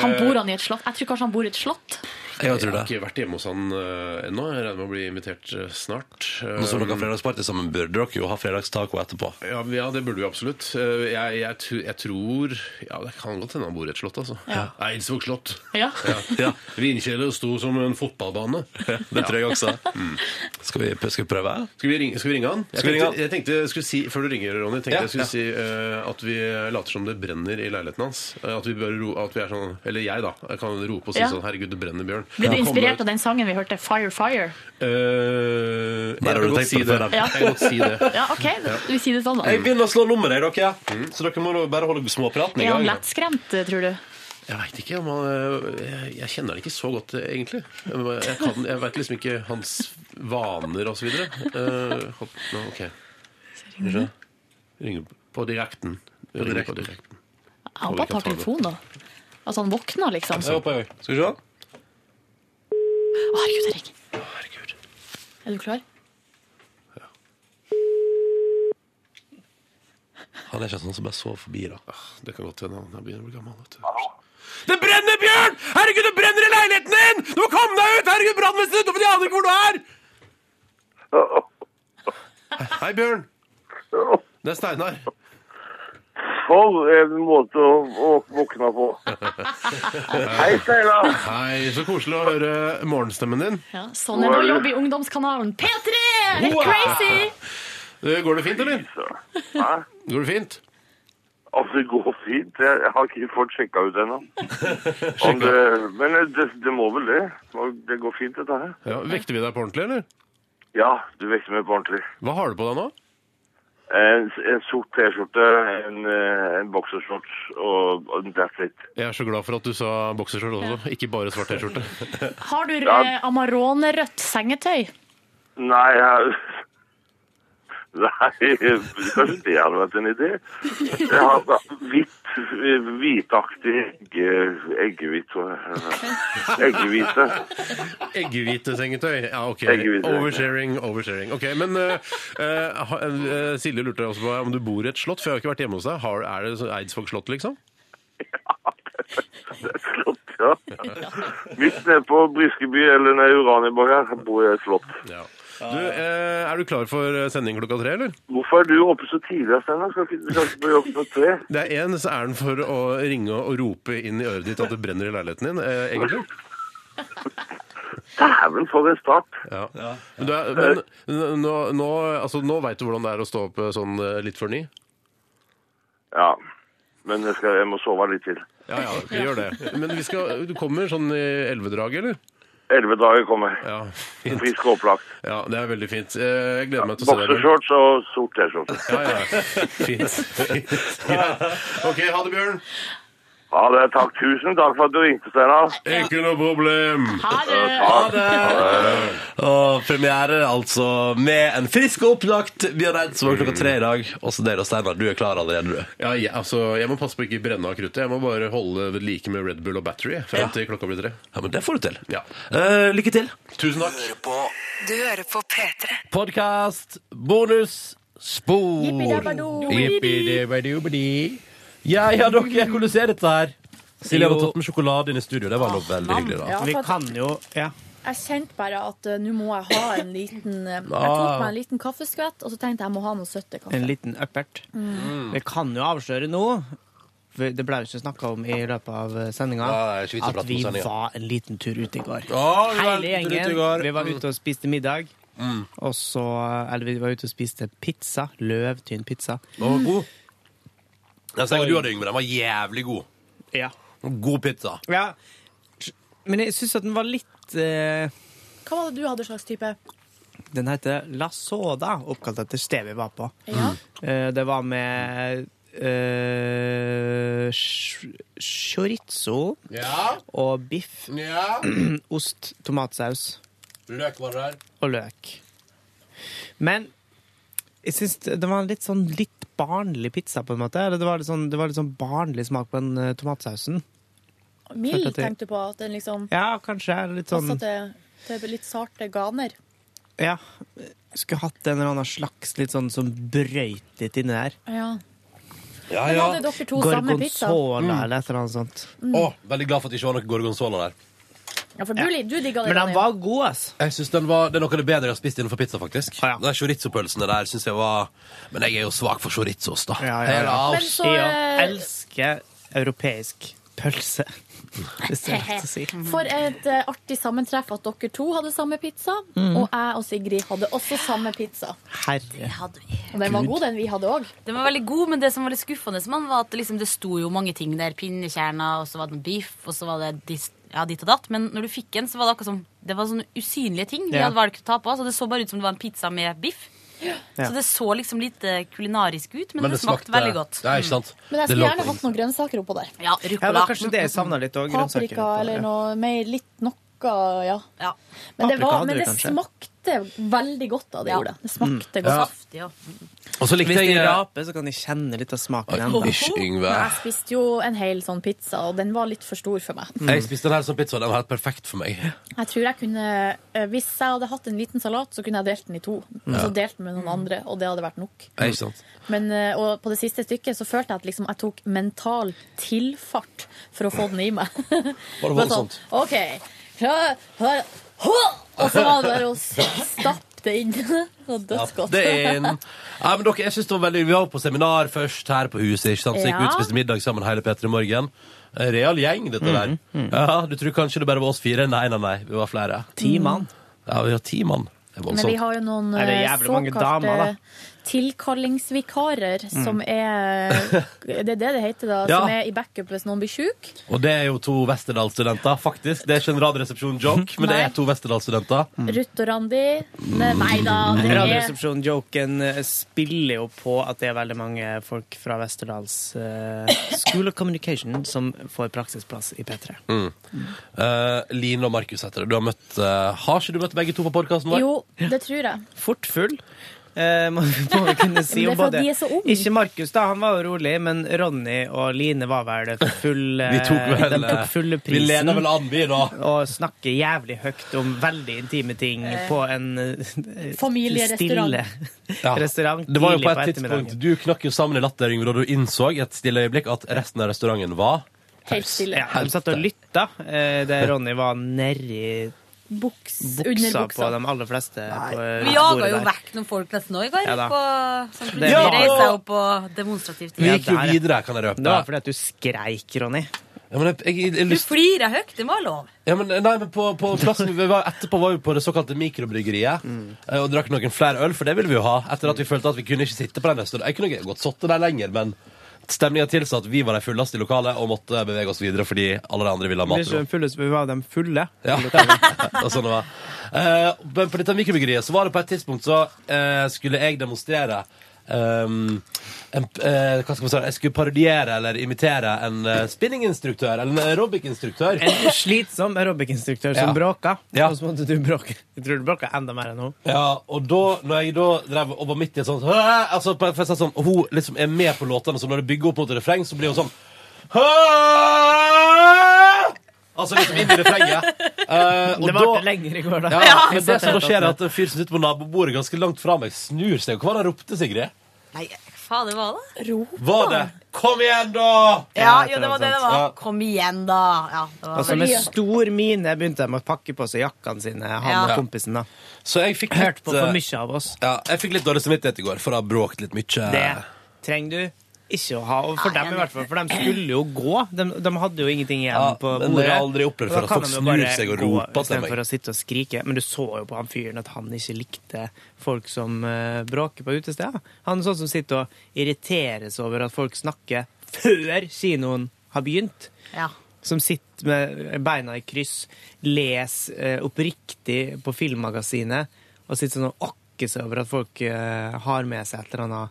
Han bor han i et slott? Jeg tror kanskje han bor i et slott.
Jeg tror det.
har ikke vært hjemme hos han eh, ennå. Jeg regner med å bli invitert eh, snart.
Nå som
Um,
dere har fredagsparty sammen, burde dere jo ha fredagstaco etterpå.
Eh, Ja, ja, det burde vi absolutt. Eh, Jeg, jeg, tr- jeg tror Ja, det kan godt hende han bor i et slott, altså.
Ja.
Nei, Eidsvåg slott.
Ja.
ja. Vinkjeller sto som en fotballbane.
det tror jeg også.
Mm.
Skal vi, skal vi prøve?
Skal vi ringe, skal vi ringe han? Jeg
Skal vi ringe
tenkte, jeg tenkte jeg skulle si, Før du ringer, Ronny, tenkte
Ja,
jeg skulle
ja.
si eh, at vi later som det brenner i leiligheten hans. Eh, at, vi bør ro, at vi er sånn Eller jeg, da. Jeg kan rope og si
Ja.
sånn Herregud, det brenner, Bjørn.
Blir du
Kom
inspirert
ut.
av den sangen vi hørte, Fire Fire?
Eh, jeg
Der har
kan
du
godt
tenkt
si
på det før, da.
Ja.
Jeg kan godt si det. Mm,
Ja, OK,
Ja.
vi sier det sånn,
Jeg
da.
begynner å slå nummeret, dere. Så dere må bare holde småpraten i
Er han
gang.
lettskremt, tror du?
Jeg veit ikke om han eh, jeg, jeg kjenner han ikke så godt, eh, egentlig. Jeg, jeg, kan- jeg veit liksom ikke hans vaner og så videre. Eh, hopp, nå, ok. Ringer på direkten.
På
Ringer
direkten.
direkten.
Han bare tar telefonen, da. Altså, han våkner, liksom.
Jeg håper jeg òg. Skal vi se.
Å, herregud, jeg ringer. Er du klar?
Han er ikke sånn som bare sover forbi, da.
Ah, Det kan godt hende han han begynner å bli gammel. Vet du.
Det brenner, Bjørn! Herregud, det brenner i leiligheten din! Du må komme deg ut! Herregud, brannvesenet utenfor, de aner ikke hvor du er!
Hei, Bjørn. Det er Steinar.
For en måte å, å våkne på. Hei, Steinar.
Hei, så koselig å høre morgenstemmen din.
Ja, sånn er det å jobbe i ungdomskanalen. P3! Helt
Wow!
crazy!
Eh, Går det fint, eller? Går det fint?
Altså, det går fint. Jeg jeg har ikke fått sjekka ut ennå. Om det- Men det, det må vel det. Det går fint, dette her.
Ja, Vekter vi deg på ordentlig, eller?
Ja, du vekker meg på ordentlig.
Hva har du på deg nå?
En, en sort T-skjorte, en, eh, en boksershorts og og that's it.
Jeg er så glad for at du sa bokserskjørt også, ikke bare svart T-skjorte.
Har du eh, amaronerødt sengetøy?
Nei, jeg... Nei, kanskje det hadde vært en idé. Jeg har hvitt, hvitaktig egge, eggehvitt. tror jeg. Eggehvite.
Eggehvite sengetøy. Ja, ok.
Eggehvite sengetøy.
Oversharing, oversharing. Ok, Men eh, eh, ha- eh, Silje lurte også på om du bor i et slott, for jeg har ikke vært hjemme hos deg. Har, er det så- Eidsvåg slott, liksom?
Slott, ja. Midt nede på Briskeby eller nede i Uranienborg her bor jeg i et slott.
Du, eh, er du klar for sending klokka tre, eller?
Hvorfor er du oppe så tidlig, Steinar? Skal ikke du skal ikke på jobb på tre?
Det er én så er den for å ringe og rope inn i øret ditt at det brenner i leiligheten din, eh, egentlig.
Dæven, for en start.
Ja. Men, du er, men n- nå, nå, altså, nå veit du hvordan det er å stå opp eh, sånn eh, litt før ni?
Ja, men jeg, skal, jeg må sove litt til.
Ja, ja, vi gjør det. Men vi skal, du kommer sånn i elvedraget, eller?
Elleve dager kommer.
Ja,
Frisk og opplagt.
Ja, det er veldig fint. Eh, Jeg gleder meg til å se deg. Bjørn.
Boksershorts og sort T-skjorte.
Ja, ja. Fint. fint. Ja. OK, ha det, Bjørn.
Ja, det er takk. Tusen takk for at du ringte, Steinar.
Ikke noe problem.
Ha det!
Og premiere altså med en frisk og opplagt Bjørn Eidsvåg klokka tre i dag. Også deg da, Steinar. Du er klar allerede, du.
Ja, jeg, altså, jeg må passe på å ikke brenne av kruttet. Jeg må bare holde ved like med Red Bull og Battery eh, frem til klokka blir tre.
Ja, men det får du til.
Ja.
Eh, lykke til.
Tusen takk.
Du hører på P3.
Podkast, bonus, spor.
Yippidabado.
Yippidabadobadi. Ja, ja, dere, hvordan ser dette her? Silje har tatt med sjokolade inn i studio. Det var noe veldig
nam.
hyggelig, da.
Ja, Vi for at- kan
jo Ja.
Jeg kjente bare at eh, nå må jeg ha en liten eh, Jeg tok
Ah.
meg en liten kaffeskvett, og så tenkte jeg jeg må ha noe søtt til kaffe.
En liten øppert.
Mm.
Vi kan jo avsløre nå, for det ble jo ikke snakka om i løpet av sendinga,
Ja, det er ikke vits å
at
prate om
vi
sendinga.
var en liten tur ute i går.
Ja, vi var en tur ute
Hele
i
gjengen.
går.
Vi var
Mm.
ute og spiste middag. Og så, eh, eller vi var ute og spiste pizza. Løvtynn pizza.
Den var god. Jeg ser hva du hadde, Yngve. Den var jævlig god.
Ja.
God pizza.
ja. Men jeg syns at den var litt eh,
Hva var det du hadde slags type?
Den heter La Soda, oppkalt etter stedet vi var på. Eh, det var med eh, sh- chorizo
Ja.
og biff,
Ja.
ost, tomatsaus
Løk var det der.
og løk. Men jeg syns det var en litt sånn litt barnlig pizza, på en måte. Eller det var litt sånn, det var litt sånn barnlig smak på den eh, tomatsausen.
Mild,
Følte at jeg-
tenkte du på? At den liksom
Ja, kanskje. eller Litt sånn
passet til, til litt sarte ganer?
Ja. Skulle hatt en eller annen slags litt sånn som brøyt litt inni der.
Ja.
Ja,
Men
ja.
hadde dere to samme pizza?
Gorgonzola
Mm.
eller et eller annet sånt.
Å, veldig glad for at det ikke var noe gorgonzola der.
Ja, for du, li- du digga det,
Men han
Ronny.
var god, ass.
Jeg synes den var, Det er noe av det bedre jeg har spist innenfor pizza, faktisk. Ah, ja. Chorizo-pølsene der synes jeg var Men jeg er jo svak for chorizost, da. Jeg er av-
Men så,
Jeg
eh,
elsker europeisk pølse. Hvis det er lett å si.
For et eh, artig sammentreff at dere to hadde samme pizza,
Mm.
og jeg og Sigrid hadde også samme pizza.
Herre.
Og den var
Gud.
god, den vi hadde òg.
Den var veldig god, men det som var litt skuffende, man, var at liksom, det sto jo mange ting der. Pinnekjerner, og så var det beef, og så var det dis- ja, ditt og datt. Men når du fikk den, så var det akkurat som Det var sånne usynlige ting vi
Ja.
hadde valgt å ta på oss. Og det så bare ut som det var en pizza med biff. Så det så liksom lite kulinarisk ut, men, det smakte veldig godt.
Ja, ikke sant?
Men jeg
Det
skulle
lå
gjerne
på
hatt noen grønnsaker oppå der.
Ja,
Ja, det var kanskje det jeg savna litt òg.
Paprika eller noe mer, litt noe, ja. Men det,
Paprika
var,
hadde
men
vi
det
kanskje.
smakte veldig godt da det gjorde. Det smakte
Mm.
godt.
Ja.
Saftig, ja.
Og så likte
Hvis
jeg-
de raper, så kan de kjenne litt av smaken ennå.
Hysj, Yngve.
Men jeg spiste jo en hel sånn pizza, og den var litt for stor for meg.
Jeg spiste den her som pizza, og den var helt perfekt for meg.
Jeg tror jeg kunne, eh, Hvis jeg hadde hatt en liten salat, så kunne jeg delt den i to. Og
Ja.
så delt den med noen andre, og det hadde vært nok.
Ja, Ikke sant?
Men, eh, og på det siste stykket så følte jeg at liksom, jeg tok mental tilfart for å få den i meg.
Var det
Bare
voldsomt?
OK. Klar, klar, hå! Og så var det bare å stappe det inn. Så dødsgodt.
Det er en... Nei, men dere, jeg synes det var veldig... Vi var på seminar først her på huset, ikke sant? Så gikk vi
Ja.
ut og spiste middag sammen hele Petter i morgen. En real gjeng,
Mm.
dette
Mm,
der. Ja, du tror kanskje det bare var oss fire? Nei, nei, nei. Vi var flere.
Ti mann.
Ja, vi var ti mann. Det er
Men vi
voldsomt.
har jo noen
Er det
eh,
jævlig mange
såkalte
damer, da?
tilkallingsvikarer,
Mm.
som er Det er det det heter, da.
Ja.
Som er i backup hvis noen blir sjuk.
Og det er jo to Westerdal-studenter, faktisk. Det er ikke en radioresepsjon-joke, men det
Nei.
er to Westerdal-studenter.
Mm.
Ruth og Randi Ne- Nei da, det er
Radioresepsjonen-joken eh, spiller jo på at det er veldig mange folk fra Westerdals eh, School of Communication som får praksisplass i P3.
Mm. Eh, Line og Markus heter det. Du har møtt eh, Har ikke du møtt begge to på podkasten vår?
Jo, det tror jeg.
Fort full. eh, må, må vi kunne si
Ja, men det
om både
er fordi de er så unge.
Ikke Markus, da, han var jo rolig, men Ronny og Line var vel for full eh,
Vi tok vel,
De tok
eh,
fulle
vi
prisen.
leder vel an, vi, da.
Og snakker jævlig høyt om veldig intime ting
Eh,
på en eh,
familierestaurant.
stille
Ja.
restaurant
Det var jo
tidlig
på et
ettermiddagen.
tidspunkt Du knakk jo sammen i latter, Yngve, da du innså i et stille øyeblikk at resten av restauranten var
helt stille.
Ja, de satt og lytta eh, der Ronny var nedi
Buks,
buksa
under buksa.
på de aller fleste. På eh,
Vi jaga
bordet
jo
der.
vekk noen folk nesten òg i går.
Ja da.
på, som plutselig
Ja!
reiste seg opp og demonstrativt.
Vi gikk jo
der, ja.
videre, kan jeg røpe.
Det var fordi at du skreik, Ronny.
Ja, men jeg, jeg, jeg,
Du
lyst-
flirer høyt, det må være lov.
Ja, men, nei, men på, på plassen vi var etterpå var vi på det såkalte mikrobryggeriet eh, og drakk noen flere øl, for det ville vi jo ha. Etter at vi følte at vi kunne ikke sitte på den restauranten. Jeg kunne ikke godt sittet der lenger, men stemninga tilsa at vi var de fulleste i lokalet og måtte bevege oss videre fordi alle de andre ville ha
Vi er
mat.
ikke de fulle, så vi var de fulle.
Ja. Det var sånn det var. Eh, men på dette mikrobryggeriet så var det på et tidspunkt så eh, skulle jeg demonstrere ehm, en, eh, hva skal man si, Jeg skulle parodiere eller imitere en eh, spinninginstruktør eller en aerobic-instruktør.
En slitsom aerobic-instruktør som
Ja.
bråka. Og så måtte du bråke. Jeg tror du bråka enda mer enn hun.
Ja, og da, når jeg da drev og var midt i et sånt «Hæ?» altså, på, for jeg sa sånn, og Hun liksom er med på låtene, så når det bygger opp mot refreng, så blir hun sånn «Hæ?» Altså liksom inn i refrenget. Eh, og
Det
da-
varte lenger i går, da.
Ja, men det
Jeg satt
som da
helt
skjer, er at
oppe.
en fyr som sitter på nabobordet ganske langt fra meg, snur seg. Hva var det han ropte, Sigrid?
Nei, hva faen det var det?
Var det 'Kom igjen, da'?
Ja, jo, det var det det var.
Ja.
Kom igjen, da. Ja, det var
Altså Med stor mine begynte de å pakke på seg jakkene sine, han
Ja.
og kompisen. da
Så jeg fikk
Hørte på
litt, eh,
for mye av oss.
Ja, jeg fikk litt dårlig samvittighet i går, for å ha bråkt litt mye.
Det trenger du ikke å ha. Og for dem i hvert fall, for de skulle jo gå. De, de hadde jo ingenting igjen
Ja,
på
men
bordet.
jeg har aldri opplevd før
Og da
at
kan
folk
de jo bare
snur seg og
gå
roper til meg.
Istedenfor å sitte og skrike. Men du så jo på han fyren at han ikke likte folk som eh, bråker på utesteder. Han er sånn som sitter og irriteres over at folk snakker før kinoen har begynt.
Ja.
Som sitter med beina i kryss, leser eh, oppriktig på Filmmagasinet og sitter sånn og okker seg over at folk eh, har med seg et eller annet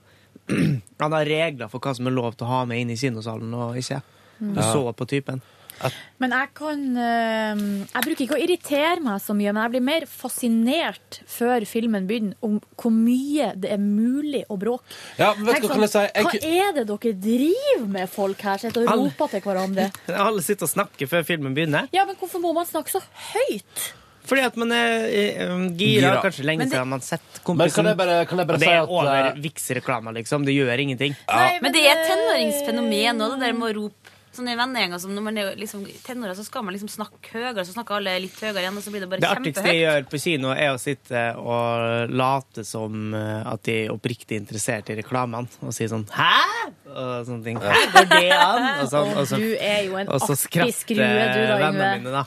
Han har regler for hva som er lov til å ha med inn i kinosalen og ikke.
Mm.
Du så på typen.
Men jeg kan eh, Jeg bruker ikke å irritere meg så mye, men jeg blir mer fascinert før filmen begynner om hvor mye det er mulig å bråke. sånn,
Ja, men vet du hva kan jeg si? Jeg
hva er det dere driver med, folk her? Sitter og
Alle-
roper til hverandre.
Alle sitter og snakker før filmen begynner.
Ja, men hvorfor må man snakke så høyt?
Fordi at man er eh, um, gira,
Gira.
kanskje lenge
Men det-
siden man har sett
Men kan
kompisen.
jeg bare, kan jeg bare
Og det
si
er
at
over
eh,
Vix-reklama, liksom. Det gjør ingenting.
eh,
Men det er et tenåringsfenomen òg, det der med å rope Sånn i vennegjenger som når man er jo liksom, tenårer, så skal man liksom snakke høyere, så snakker alle litt høyere igjen, og så blir det bare
Det artigste jeg
kjempehøyt.
gjør på kino, er å sitte og late som eh, at de er oppriktig interessert i reklamene, og si sånn 'hæ?' og sånne ting. Hæ, går det an? Og, sånn, og så,
Du er jo en
og så
artig skrue, du da,
vennene
Yngve.
mine, da.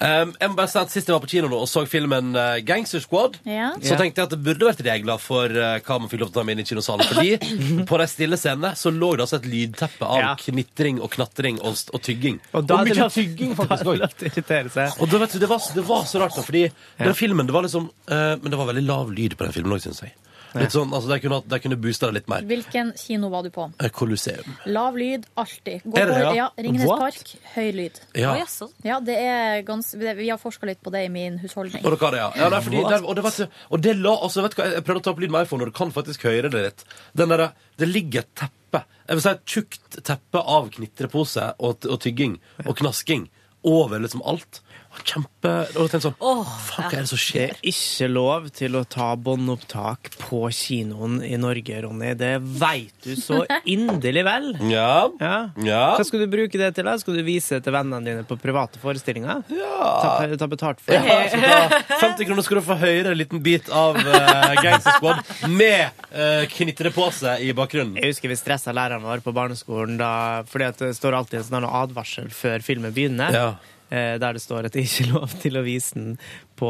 Ja.
Um, jeg må bare si at Sist jeg var på kino nå og så filmen eh, Gangster Squad,
Ja.
så
Ja.
tenkte jeg at det burde vært regler for eh, hva man fikk lov til å ta med inn i kinosalen. Fordi på de stille scenene så lå det altså et lydteppe av knitring og knatring og, og tygging.
Og da er det
mye
lov-
tygging,
da er
faktisk
det
òg.
lov til å irritere seg.
Og da vet du, det var, det var så rart, da, fordi den filmen det var liksom eh, Men det var veldig lav lyd på den filmen òg, syns jeg. Litt sånn, altså, De kunne, hatt- de kunne boosta det litt mer.
Hvilken kino var du på?
Eh, Colosseum.
Lav lyd, alltid. Gå
Er det
på,
det, ja?
ja, Ringenes
What?
Park, høy lyd.
Ja. Å,
Ja, det er gans, det- vi har forska litt på det i min husholdning.
Og, dere, ja. Ja, nei, fordi, der, og, det var, så- og det la altså, vet du hva, Jeg prøvde å ta opp lyd med iPhone, og du kan faktisk høre det litt. Den der, det ligger et teppe. Jeg vil si et tjukt teppe av knitrepose og, og tygging og knasking over liksom alt. Og kjempe Og jeg tenkte sånn Fuck, hva er det som
Det
skjer?
er ikke lov til å ta båndopptak på kinoen i Norge, Ronny. Det veit du så inderlig vel.
Ja. Ja.
Hva skal du bruke det til? da? Skal du vise det til vennene dine på private forestillinger?
Ja.
Ta, ta betalt for
Ja,
det?
så da, 50 kroner skal du få høre en liten bit av eh, Gangster Squad med uh, knitrepose i bakgrunnen.
Jeg husker vi stressa læreren vår på barneskolen da, fordi at det står alltid en sånn advarsel før filmen begynner. eh, Der det står at det ikke er lov til å vise den på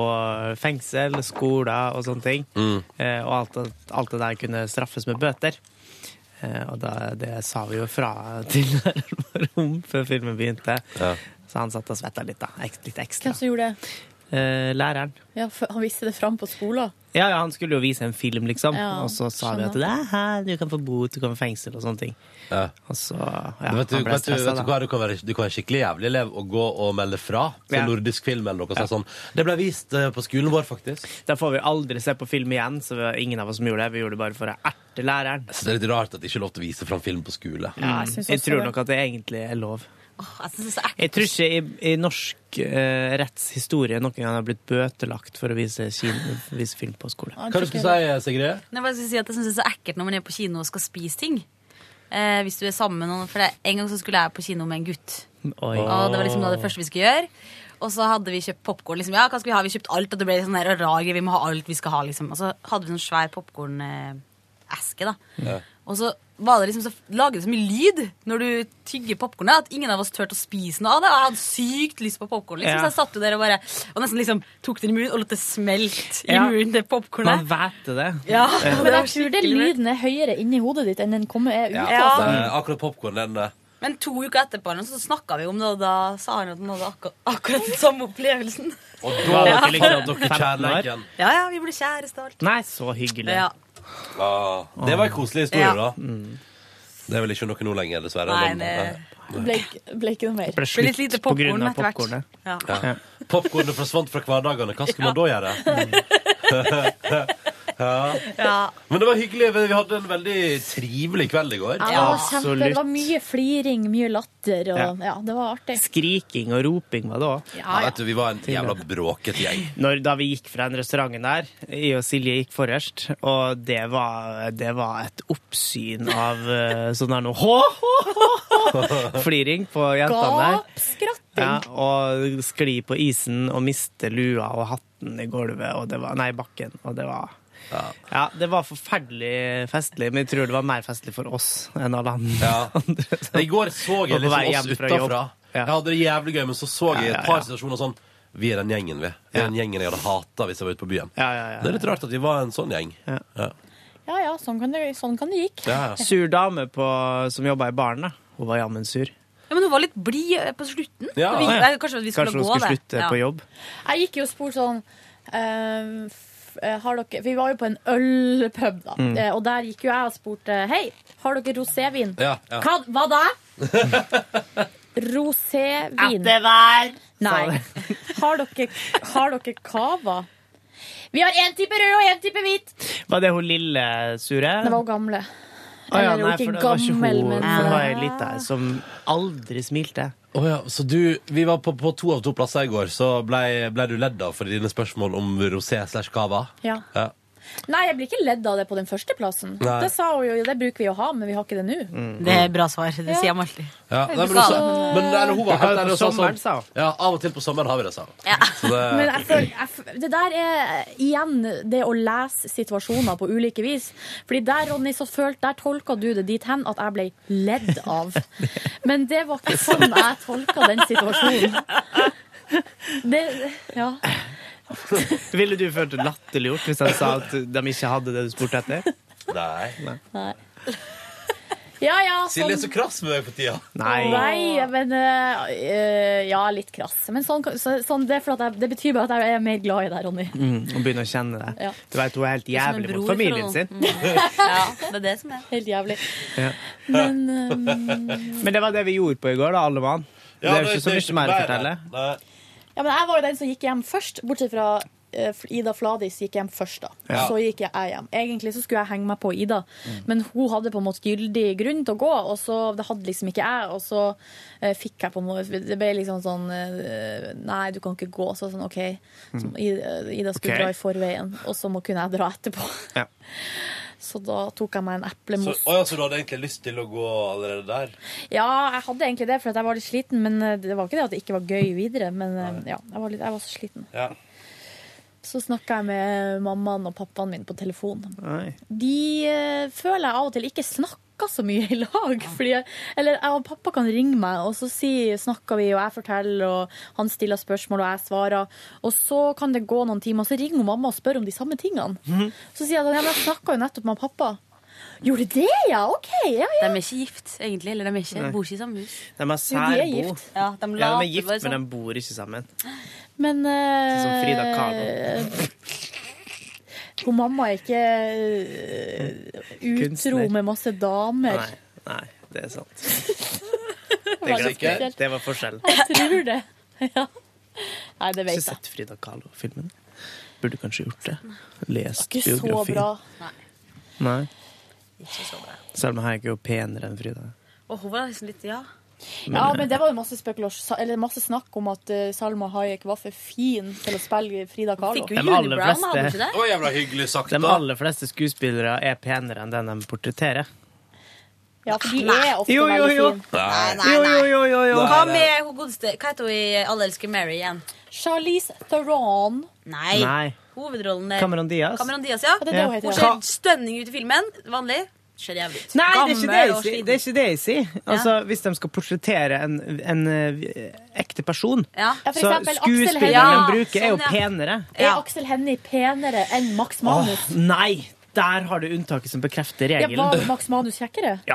fengsel, skoler og sånne ting.
Mm.
Eh, Og alt, det- alt det der kunne straffes med bøter. Eh, Og da, det sa vi jo fra til læreren vår om før filmen begynte. Så han satt og svetta litt, da. Ek- Litt ekstra.
Hvem som gjorde det?
Eh, Læreren.
Ja, for han viste det fram på skolen.
Ja, ja, han skulle jo vise en film, liksom.
Ja,
og så sa vi at
skjønner.
det er her, du kan få bot, du kan få fengsel og sånne ting. Og så, ja,
vet du,
han ble
vet du,
stresset,
vet du,
da.
hva, du, kan være, du kan være skikkelig jævlig elev og gå og melde fra til
Ja.
nordisk film eller noe. og si Sånn. Det ble vist eh, på skolen vår, faktisk.
Da får vi aldri se på film igjen, så vi- ingen av oss som gjorde det. Vi gjorde det bare for å erte læreren.
Så det er litt rart at det ikke er lov til å vise fram film på skole.
Ja, jeg,
synes også
tror
det.
nok at det egentlig er lov.
Jeg synes det er så ekkelt.
Jeg tror ikke i, i norsk eh, rettshistorie noen gang har blitt bøtelagt for å vise, kino, vise film på skole.
Hva du
eh,
skulle
si, Sigrid?
Nei, bare skal si at jeg synes det er så ekkelt når man er på kino og skal spise ting. Eh, hvis du er sammen med noen. For det, en gang så skulle jeg på kino med en gutt.
Oi.
Og det var liksom da det første vi skulle gjøre. Og så hadde vi kjøpt popkorn. Liksom. Ja, hva skal vi ha? Vi kjøpte alt, og det ble sånn der rar greie. Vi må ha alt vi skal ha, liksom. Og så hadde vi sånn svær popkorneske, da. Og så var det liksom så lager det så mye lyd når du tygger popkornet, at ingen av oss turte å spise noe av det. Og jeg hadde sykt lyst på popkorn, liksom.
Ja.
Så jeg satt jo der og bare Og nesten liksom tok den i munnen og lot det smelte i
Ja.
munnen, det popkornet.
Man vet det.
Ja,
Eh,
Men jeg tror det lyden er høyere inni hodet ditt enn den kommer er ute.
Ja,
Ja.
det er Akkurat popkorn, den eh,
Men to uker etterpå eller noe, så snakka vi om det, og da sa han at han hadde akkur akkurat den samme opplevelsen.
Og
da var dere
liksom
liksom
dere
15 år.
kjærleiken.
Ja, ja, vi ble kjærester og alt.
Nei, så hyggelig.
Ja.
Ah, det var en koselig historie,
Ja.
da.
Mm.
Det er vel ikke noe nå lenger, dessverre.
Nei,
men,
det-
eh,
Ble, ble ikke noe mer.
Ble slutt Ble litt lite på grunn av popcorn etter hvert. popcornet.
Ja.
Ja. Popkornet forsvant fra hverdagene. Hva skulle man da gjøre? ja.
Ja.
Men det var hyggelig. Vi hadde en veldig trivelig kveld i går.
Ja, det, var kjempe, det var mye fliring, mye latter, og ja, det var artig.
Skriking og roping var det òg.
Ja, ja.
vet du, vi var en jævla bråkete gjeng.
Når, da vi gikk fra den restauranten der, jeg og Silje gikk forrest, og det var, det var et oppsyn av eh, sånn der noe hå, hå, hå, hå, fliring på jentene der.
Gap, skratting.
Ja, og skli på isen og miste lua og hatten i gulvet, og det var, nei, bakken. Og det var
ja.
det var forferdelig festlig, men jeg tror det var mer festlig for oss enn alle andre.
I går så jeg
Og på vei
liksom
hjem
oss
fra jobb.
utafra. Jeg hadde det jævlig gøy, men så så jeg i
Ja,
et
ja,
par
ja.
situasjoner sånn Vi er den gjengen, vi. Vi er den gjengen jeg hadde hata hvis jeg var ute på byen. Det er litt rart at vi var en sånn gjeng. Ja.
Ja ja, sånn kan det, sånn kan det gikk.
Sur dame på, som jobba i baren, da. Hun var jammen sur.
Ja, men hun var litt blid eh, på slutten.
Ja.
Vi,
Ja.
nei, kanskje vi skulle
Kanskje hun
gå,
skulle
det.
slutte på jobb.
Jeg gikk jo og spurte sånn ehm, f- eh, har dere, Vi var jo på en ølpub, da.
Mm.
eh, Og der gikk jo jeg og spurte Hei, har dere rosévin?
Ja, ja.
Hva, hva da? rosévin.
At det var
Nei. Har dere, har dere cava? Vi har én type rød og én type hvit.
Var det hun lille sure?
Det var hun gamle.
Å ja,
Eller hun
nei,
er ikke
for det var ikke
gammel,
hun.
men-
Det var ei lita som aldri smilte.
Å ja, så du, vi var på, på to av to plasser i går, så ble, ble du ledd av for dine spørsmål om rosé slash cava?
Ja.
Ja.
Nei, jeg blir ikke ledd av det på den første plassen.
Nei.
Det sa hun jo, det bruker vi å ha, men vi har ikke det nå.
Mm.
Det er bra svar. Det sier jeg meg alltid.
Ja, nei, men, du sa, men nei, hun var
Det er
helt ærlig og sa
på sommeren,
sånn Ja, av og til på sommeren har vi det, sa hun. Så det-
Men
Eh,
jeg føler, jeg, føl- det der er igjen det å lese situasjoner på ulike vis. Fordi der, Ronny, så følte, der tolka du det dit hen at jeg ble ledd av. Men det var ikke sånn jeg tolka den situasjonen. Det, ja.
Ville du følt det latterliggjort hvis han sa at de ikke hadde det du spurte etter?
Nei.
Nei. Ja, ja,
Silje er så
sånn.
krass med deg for tida.
Nei, men eh, eh, Ja, litt krass. Men sånn, så, sånn, det, er for at jeg, det betyr bare at jeg er mer glad i deg, Ronny.
Mm, og begynne å kjenne det.
Ja.
Du vet, hun er helt
er som en
jævlig mot
bror for
familien
noen.
sin.
Mm.
ja, det er det som er Helt jævlig.
Ja.
Men, eh, ehm,
Men det var det vi gjorde på i går, da, alle mann.
Ja,
det er
det-
jo ikke så
det er
mye mer å
ikke
fortelle.
Ja, men jeg var jo den som gikk hjem først, bortsett fra eh, Ida Fladis gikk hjem først, da.
Ja.
Så gikk jeg hjem. Egentlig så skulle jeg henge meg på Ida, men hun hadde på en måte gyldig grunn til å gå, og så det hadde liksom ikke jeg, og så eh, fikk jeg på en måte Det ble liksom sånn eh, Nei, du kan ikke gå. Så sånn, OK. Så
Mm.
Ida, Ida skulle
Ok.
dra i forveien, og så må kunne jeg dra etterpå.
Ja.
Så da tok jeg meg en
Så,
eplemos.
å ja, så du hadde egentlig lyst til å gå allerede der?
Ja, jeg hadde egentlig det, for at jeg var litt sliten. Men eh, det var ikke det at det ikke var gøy videre. Men eh, ja, jeg var, litt, jeg var så sliten.
Ja.
Så snakka jeg med mammaen og pappaen min på telefon.
Nei.
De eh, føler jeg av og til ikke snakker så mye i lag. Fordi jeg, eller jeg og pappa kan ringe meg, og så si, snakker vi, og jeg forteller, og han stiller spørsmål, og jeg svarer. Og så kan det gå noen timer, og så ringer mamma og spør om de samme tingene.
Mhm.
Så sier jeg at ja, men jeg snakka jo nettopp med pappa. Gjorde det, ja? OK. Ja, ja.
De er ikke gift, egentlig. Eller de er ikke, bor ikke i samme hus.
De er
Jo, de er
særbo.
gift.
Ja, de
Ja, de
later
er gift,
bare sånn.
men de bor ikke sammen.
Men
Sånn som Frida
eh, Hun mamma er ikke eh, utro
Kunstner.
med masse damer.
Nei, nei, det er sant. Det,
Var det
er greit.
spesielt?
det var forskjellen.
Jeg tror det. Ja. Nei, det
Ikke
vet jeg.
sett Frida Kahlo-filmen. Burde kanskje gjort det. Lest
Ikke så
biografien.
bra.
Nei. Selv om jeg er ikke jo penere enn Frida.
Og hun var liksom litt ja.
Ja,
eh,
men det var jo masse, spekulasjon- eller masse snakk om at eh, Salma Hayek var for fin til å spille Frida Kahlo.
Fikk jo De aller julebrown, fleste- hadde hun ikke det?
Å, jævla hyggelig sagt,
De
da.
aller fleste skuespillere er penere enn den de portretterer.
Ja, for de er ofte
Jo, jo,
veldig
jo.
fine.
Nei, nei,
Jo,
nei.
jo, jo, jo.
Hva med hun godeste Hva heter hun i Alle elsker Mary igjen?
Charlize Theron.
Nei.
Nei.
Hovedrollen der.
Cameron Diaz.
Cameron Diaz, ja.
det er det hun heter,
Hun
ja.
ser stønning ut i filmen. Vanlig. Ser jævlig ut.
Nei, det er ikke det
Gammel
jeg
og
sier.
sliten.
Det er ikke det jeg sier. Altså, hvis de skal portrettere en, en eh, ekte person,
Ja. Ja, for
så
eksempel Aksel
skuespilleren
Hennie.
de bruker, er jo
Sånn, ja.
penere.
Er Aksel Hennie penere enn Max Manus?
Åh, nei! Der har du unntaket som bekrefter
Ja,
regelen.
var Max Manus kjekkere?
Ja.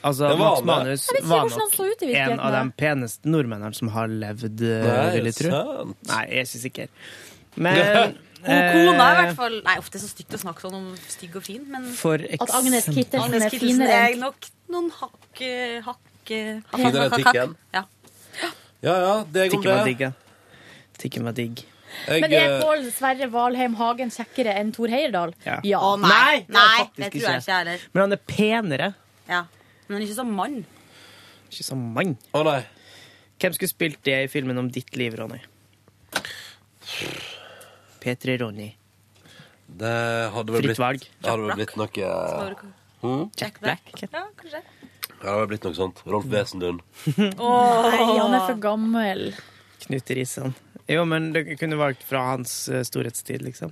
Altså,
Det var
Max
det.
Manus
Jeg vet ikke
var
hvordan han
nok
så ut i
en
virkeligheten,
av de
nei.
peneste nordmennene som har levd, eh,
Nei,
vil jeg tro.
sant.
Nei, jeg er ikke sikker. Men
Hun kona i
eh,
hvert fall Nei, uff, det er så stygt å snakke sånn om stygg og fin, men
For At Agnes eksempel- Kittelsen
Agnes
er
Kittelsen
finere
er
enn-
nok noen hakk eh, Hakk eh, hakk-
Finere enn
hakk- hakk-
Tikken?
Ja.
Ja ja, det går
Tikken
bra.
var digg, ja. Tikken var digg.
Men er Pål Sverre Valheim Hagen kjekkere enn Thor Heyerdahl?
Ja.
Å,
nei, det er
Nei,
faktisk
det tror jeg ikke jeg heller.
Men han er penere.
Ja. Men han er ikke som mann.
Ikke som mann.
Å nei.
Hvem skulle spilt det i filmen om ditt liv, Ronny? P3 Ronny.
Det hadde vel
Fritt
blitt,
valg.
det hadde vel blitt noe Hm?
Jack Black. Ja, kanskje.
Ja, det hadde blitt noe sånt.
Mm.
Rolf Wesenlund.
Nei, han er for gammel.
Knut Risan. Jo, men dere kunne valgt fra hans eh, storhetstid, liksom.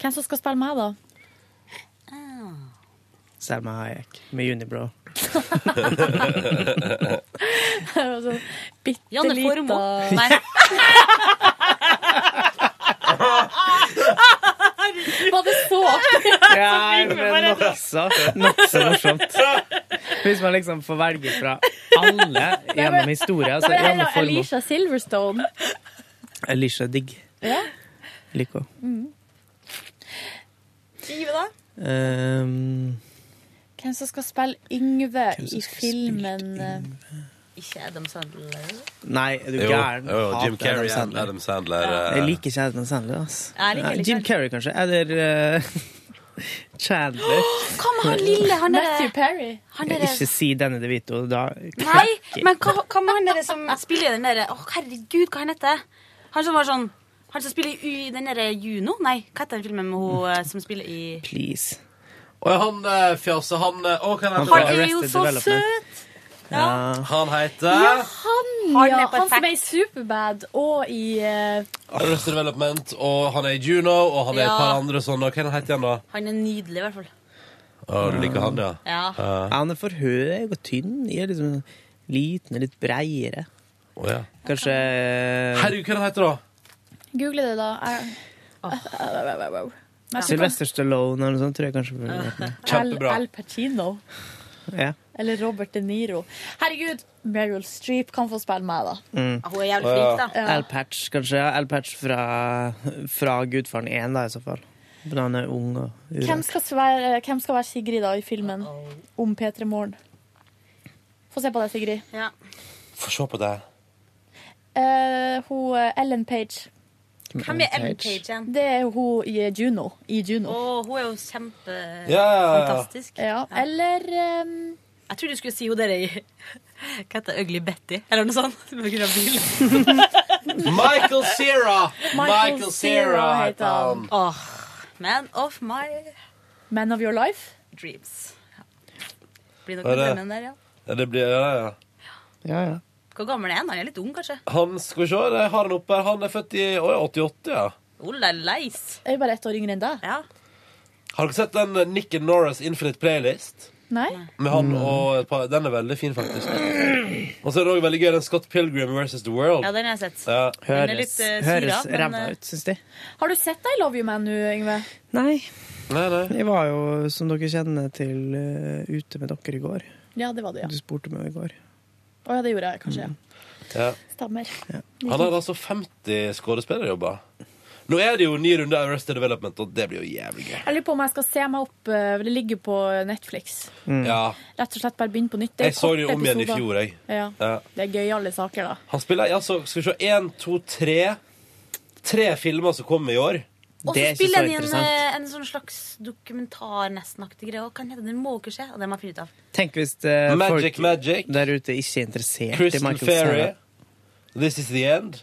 Hvem som skal spille meg, da?
Selma Hayek med Unibrow.
sånn bitte
Janne
lita
Formoe. Nei.
Var det så?
Ja, men nokså nokså morsomt. Hvis man liksom får velge fra alle gjennom historien, så
Nei, men
Altså, Janne
heller
Formoe.
Alicia Silverstone.
Alicia Digg.
Ja.
Liker henne.
Mm. Yngve, da?
Ehm,
Hvem som skal spille Yngve
Hvem som
i
skal
filmen eh,
Ikke Adam Sandler.
nei, er du
Jo,
gæren?
jo,
Hater
Jim Carrey,
Adam Sandler.
Adam Sandler. eh,
Jeg liker ikke Adam Sandler. ass.
Jeg liker
Ja,
litt
Jim Carrey, kanskje. Eller eh, Chandler.
Hva med han lille? Han er
Matthew Perry.
Han er
Ikke si denne De Vito. Da
altså- Nei, men hva, hva med han der som spiller den derre Å, herregud, hva han heter han? som var sånn Han som spiller i den derre Juno? Nei, hva heter den filmen med hun eh, som spiller i
Please.
Og han eh, fjase, han eh, Å, hva
Han
heter han?
er jo så
Han
søt!
heter
Ah,
Ja, Ah, han,
Han er
ja. Han
perfekt.
som er i Superbad og i eh,
Arrested Development, og han er i Juno, og han er i et
Ja.
par andre sånne. Og Hva heter han da?
Han er nydelig, i hvert fall.
Å, du liker han, ja?
Ja.
Han er for høy og tynn. Jeg er liksom liten og litt breiere. Kanskje eh,
Herregud, hva heter han
Google det, da. Ah, Jeg-
Ah.
Jeg- jeg-
Sylvester Stallone eller noe sånt, tror jeg kanskje.
Ah.
ville vært med.
Al, Al Pacino.
Ja.
Eller Robert De Niro. Herregud, Meryl Streep kan få spille meg, da.
Mm.
Hun er jævlig flink, da. Ja.
Al Patch, kanskje. Ja, Al Patch fra, fra Gudfaren 1, da, i så fall. Men han er ung og uredd.
Hvem skal, være, hvem skal være Sigrid da i filmen om P3 Morgen? Få se på det, Sigrid.
Få se på det.
Eh, hun eh, Ellen Page.
Hvem er Ellen Page igjen?
Det er hun i Juno. I Juno.
Å, hun er jo kjempe... Fantastisk.
Ja, Eller ehm,
Jeg trodde du skulle si hun dere i Hva heter det? Ugly Betty? Eller noe sånt? På grunn av bilen.
Michael Cera!
Michael
Michael Cera
Cera
heter han.
Åh, Man of my
Man of your life?
dreams. Ja. Blir nok
Hva er
med
det?
drømmen der, ja.
Ja, det blir Ja, ja.
Ja, ja.
Hvor gammel er han? Han er litt ung, kanskje?
Han, skal vi se, jeg har han oppe her. Han er født i å, ja, 88, ja.
Oh, la leis.
Er jo bare ett år yngre enn deg.
Ja.
Har dere sett den eh, Nick and Norris Infinite Playlist?
Nei?
Med han
Mm.
og et par Den er veldig fin, faktisk. Og så er det også veldig gøy den Scott Pilgrim versus The World.
Ja, den har jeg sett.
Ja.
Den er litt, eh, Høres- syra, men,
ræva ut, syns de.
Har du sett deg i Love You Man nå, Yngve?
Nei.
Nei, nei.
Jeg var jo, som dere kjenner til, eh, ute med dere i går.
Ja, det var du, ja.
Du spurte meg i går.
Å ja, det gjorde jeg kanskje. ja.
Ja.
Stemmer.
Han har altså 50 skuespillerjobber. Nå er det jo ny runde av Arrested Development, og det blir jo jævlig gøy.
Jeg lurer på om jeg skal se meg opp eh, Det ligger på Netflix.
Ja.
Rett og slett bare begynne på nytt. er
Jeg så det jo
korte
om igjen i
episoder.
fjor, jeg.
Ja.
Ja.
Det er gøyale saker, da.
Han spiller altså, Skal vi se, én, to, tre Tre filmer som kommer i år.
Og så spiller han i en, eh, en sånn slags dokumentar nestenaktig greie. Og Hva heter den? Den må ikke skje. Og det må jeg finne ut av.
Tenk hvis eh,
Magic,
folk der ute ikke er interessert i
Kristen
Michael Ferry.
Ferry. This is the end.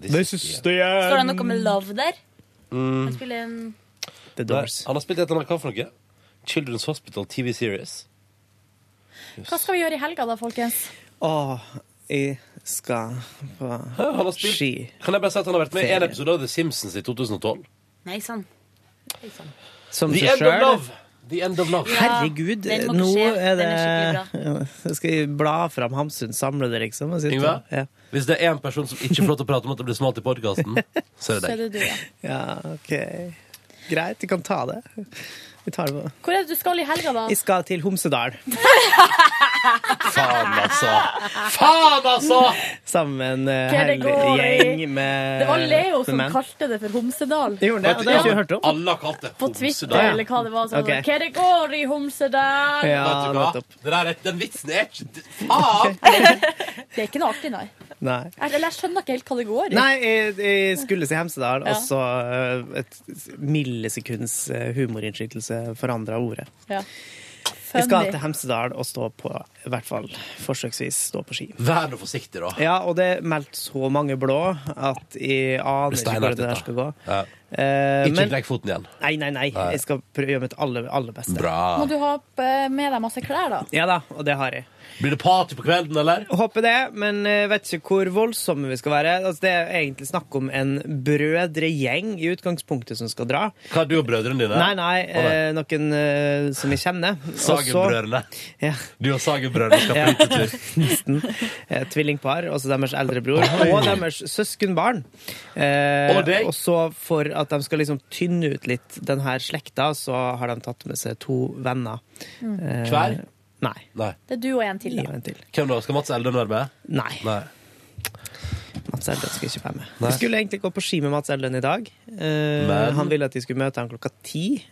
This, is the
Står det noe med love der?
Mm.
Han spiller en
The
Doors. Han har spilt et eller annet hva for noe? Children's Hospital TV Series.
Hva skal vi gjøre i helga, da, folkens?
Åh, jeg skal på
Han har spilt,
ski.
kan jeg bare si at han har vært med i en
Ferie.
episode av The Simpsons i 2012?
Nei sånn. sann.
Som
The
seg
End of
selv.
Love! The End of Love.
Ja,
Herregud, eh,
den må ikke
nå
skje.
er
Den
det
er
Jeg skal jeg bla fram Hamsun, samle det, liksom. Og sitte-
Yngve,
Ja.
hvis det er en person som ikke får lov til å prate om at det blir smalt i podkasten, så er det deg.
du, ja.
Ja, OK. Greit, vi kan ta det. Vi tar det på.
Hvor er det du skal i helga, da?
Jeg skal til Homsedal.
Faen, altså! Faen, altså!
Sammen med en eh,
Hva det
hel
går i?
gjeng med
Det var Leo
med
som
menn.
kalte det for Homsedal.
Gjorde det, og det har jeg ikke hørt om.
Alle har kalt det
På Twitter,
Homsedal.
eller hva det var. Sånn,
Ok.
Hva det går i Homsedal?
Ja, nettopp.
Det der, er- den vitsen er ikke Faen!
Det er ikke noe artig, nei.
Nei.
Eller jeg skjønner ikke helt hva det går i.
Nei, jeg, jeg skulle si Hemsedal,
Ja.
og så eh, et millisekunds eh, humorinnskytelse forandra ordet.
Ja.
Jeg skal til
Funny.
Hemsedal og stå på, i hvert fall forsøksvis, stå på ski.
Vær nå forsiktig, da.
Ja, og det er meldt så mange blå at jeg aner ikke hvor det der skal gå. Eh,
Ikke
men-
knekk foten igjen.
Nei, nei, nei.
Nei.
Jeg skal prøve å gjøre mitt aller, aller beste.
Må du ha eh, med deg masse klær, da?
Ja da, og det har jeg.
Blir det party på kvelden, eller?
Håper det, men eh, vet ikke hvor voldsomme vi skal være. Altså, det er egentlig snakk om en brødregjeng i utgangspunktet som skal dra.
Hva er du og brødrene dine?
Nei, nei,
Å, nei.
eh, noen eh, som jeg kjenner. Og så-
Sagenbrødrene.
Ja.
Du og Sagenbrødrene skal på hyttetur.
Nesten. Eh, Tvillingpar, også deres eldre bror, og deres søskenbarn. Eh,
Og deg.
og så for at de skal liksom tynne ut litt den her slekta, så har de tatt med seg to venner.
Mm.
Eh,
Hver?
Nei.
Nei.
Det er du og en til, da.
Ja, en til.
Hvem da? Skal Mats Eldon være med?
Nei. Mats Eldøen skal ikke være med. Jeg skulle egentlig gå på ski med Mats Eldøen i dag. Eh,
Men-
Han ville at de skulle møte ham klokka ti.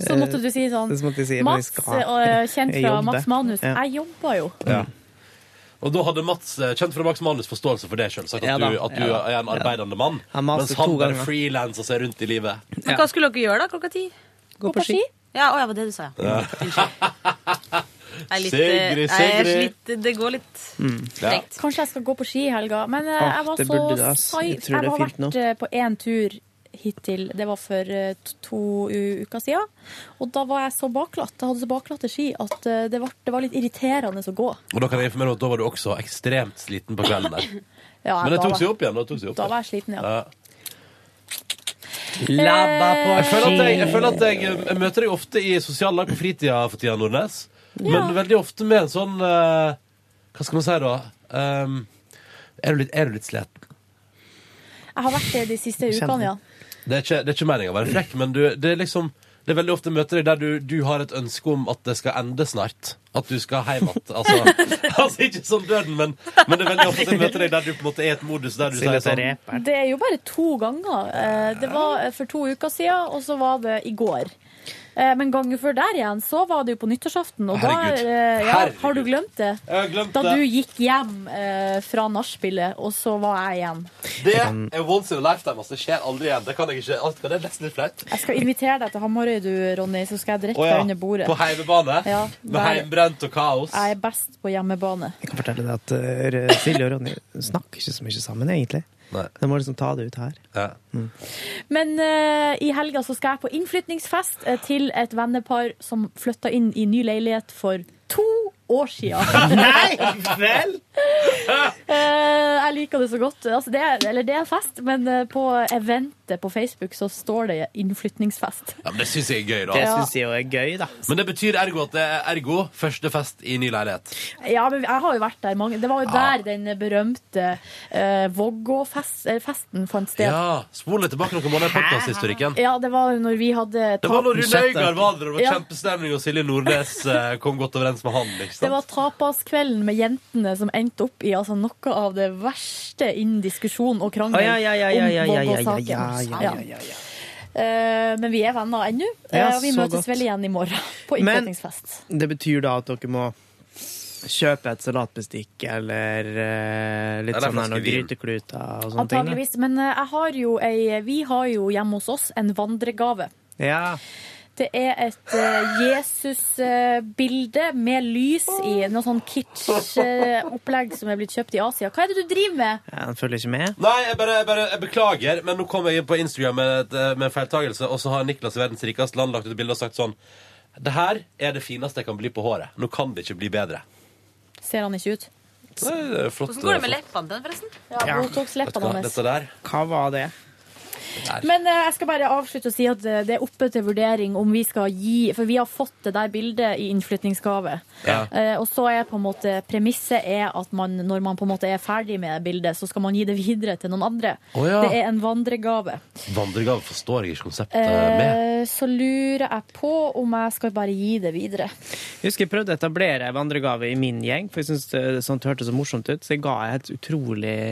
Så måtte du si sånn
Eh, så måtte jeg si, men jeg
Mats,
skal-
eh, kjent
jeg
fra
jobber.
Mats Manus,
Ja.
jeg jobber jo.
Ja. Og da hadde Mats, eh, kjent fra Max Manus, forståelse for det sjøl. At,
Ja da,
du- at du
ja da,
er en
ja da.
arbeidende mann.
Han maser
mens han
to
bare
ganger.
frilanser seg rundt i livet.
Men hva skulle dere gjøre da klokka ti?
Gå på ski.
Ja, å, ja, var det du sa, ja.
Ja.
Jeg er litt,
Sigrid,
eh, jeg er
Sigrid.
slitt- det går litt
Ja.
tregt.
Kanskje jeg skal gå på ski i helga. Men eh,
Åh,
jeg var
Ah, det
så
burde du, ass.
sai-
Jeg tror det
Jeg
er
har
fint
vært
nå.
eh, på én tur hittil. Det var for eh, to- to u- uker siden. Og da var jeg så baklatt. Jeg hadde så baklatte ski at eh, det var, det var litt irriterende å gå.
Og da kan jeg informere om at da var du også ekstremt sliten på kvelden der.
Ja,
Men det
da
tok
var-
seg opp igjen. Det tok seg opp
Da
igjen.
var jeg sliten, ja.
Ja.
Labba på
jeg føler, at jeg, jeg
ski.
føler at jeg, jeg møter deg ofte i sosiale lag på fritida for tida, Nordnes.
Ja.
Men veldig ofte med en sånn eh, Hva skal man si da? Ehm, er, du litt, er du litt sliten?
Jeg har vært det de siste
Kjenner.
ukene, ja.
Det er ikke, det er ikke meningen å være frekk, men du, det er liksom det er veldig ofte jeg møter deg der du, du har et ønske om at det skal ende snart. At du skal hjem igjen. Altså, altså ikke som døden, men, men det er veldig ofte jeg møter deg der du på en måte er i et modus der du
Silje
sier sånn
Det er jo bare to ganger. Eh, Det var eh, for to uker siden, og så var det i går. Eh, Men gangen før der igjen, så var det jo på nyttårsaften. Og da
Herregud.
eh, ja,
Herregud.
Har du glemt det?
Jeg har glemt
Da
det.
du gikk hjem eh, fra nachspielet, og så var jeg igjen.
Det er once in a lifetime. Altså. Det skjer aldri igjen. Det kan jeg ikke. Altså, det er nesten litt flaut.
Jeg skal invitere deg til Hamarøy, du, Ronny, så skal jeg drikke
Å ja,
deg under bordet.
På heimebane?
Ja,
med
der-
heimbrent og kaos?
Jeg er best på hjemmebane.
Jeg kan fortelle deg at eh, R- Silje og Ronny snakker ikke så mye sammen, egentlig. De må liksom ta det ut her. Mm.
Men eh, i helga så skal jeg på innflytningsfest eh, til et vennepar som flytta inn i ny leilighet for to år siden.
Nei vel!
Eh, jeg liker det så godt. Altså, det er, eller det er fest, men eh, på eventet på Facebook så står det innflytningsfest.
Ja, men det syns jeg er gøy, da.
Det synes
jeg er gøy, da.
Men det betyr ergo at det er ergo første fest i ny leilighet.
Ja, men jeg har jo vært der mange Det var jo der den berømte uh, Vågå-festen fant sted.
Ja, Ah, Spol litt tilbake noen måneder i podkasthistorikken.
Ja, det var jo når vi hadde
Det var når Rune
Budsjettet.
Øygard var der, og det var
Ja.
kjempestemning, og Silje Nordnes eh, kom godt overens med han. ikke
Det
sant?
var tapaskvelden med jentene som endte opp i altså, noe av det verste innen diskusjon og krangel
Å, ja, ja, ja, ja, ja,
om
ja, ja, ja,
Vågå-saken.
ja, ja, ja, ja,
Eh, men vi er venner ennå,
Ja,
eh, og vi
så
møtes
godt.
vel igjen i morgen på
Men-
innflytningsfest.
Det betyr da at dere må kjøpe et salatbestikk eller eh, litt
Eller en
sånn her
flaske
noen
vin.
grytekluter og sånne ting. da.
Antageligvis. Men eh, jeg har jo ei, vi har jo hjemme hos oss en vandregave.
Ja.
Det er et eh, Jesus-bilde med lys i noe sånn kitsch-opplegg som er blitt kjøpt i Asia. Hva er det du driver med?
Han følger ikke med.
Nei, jeg bare, jeg bare jeg beklager, men nå kom jeg inn på Instagram med, et, eh, med en feiltagelse, og så har Niklas i verdens rikeste land lagt ut et bilde og sagt sånn Det her er det fineste jeg kan bli på håret. Nå kan det ikke bli bedre.
Ser han ikke ut?
Nei, det er flott.
Hvordan går det med
flott.
leppene til den, forresten?
Ja, Botox-leppene hans.
Dette der.
Hva var det?
Men eh, jeg skal bare avslutte og si at eh, det er oppe til vurdering om vi skal gi For vi har fått det der bildet i innflytningsgave.
Ja.
Eh, og så er på en måte premisset er at man, når man på en måte er ferdig med bildet, så skal man gi det videre til noen andre.
Å ja.
Det er en vandregave.
Vandregave forstår jeg ikke konseptet med.
Eh, så lurer jeg på om jeg skal bare gi det videre.
Jeg husker jeg prøvde å etablere en vandregave i min gjeng, for jeg syntes det- sånt hørtes så morsomt ut. Så jeg ga jeg et utrolig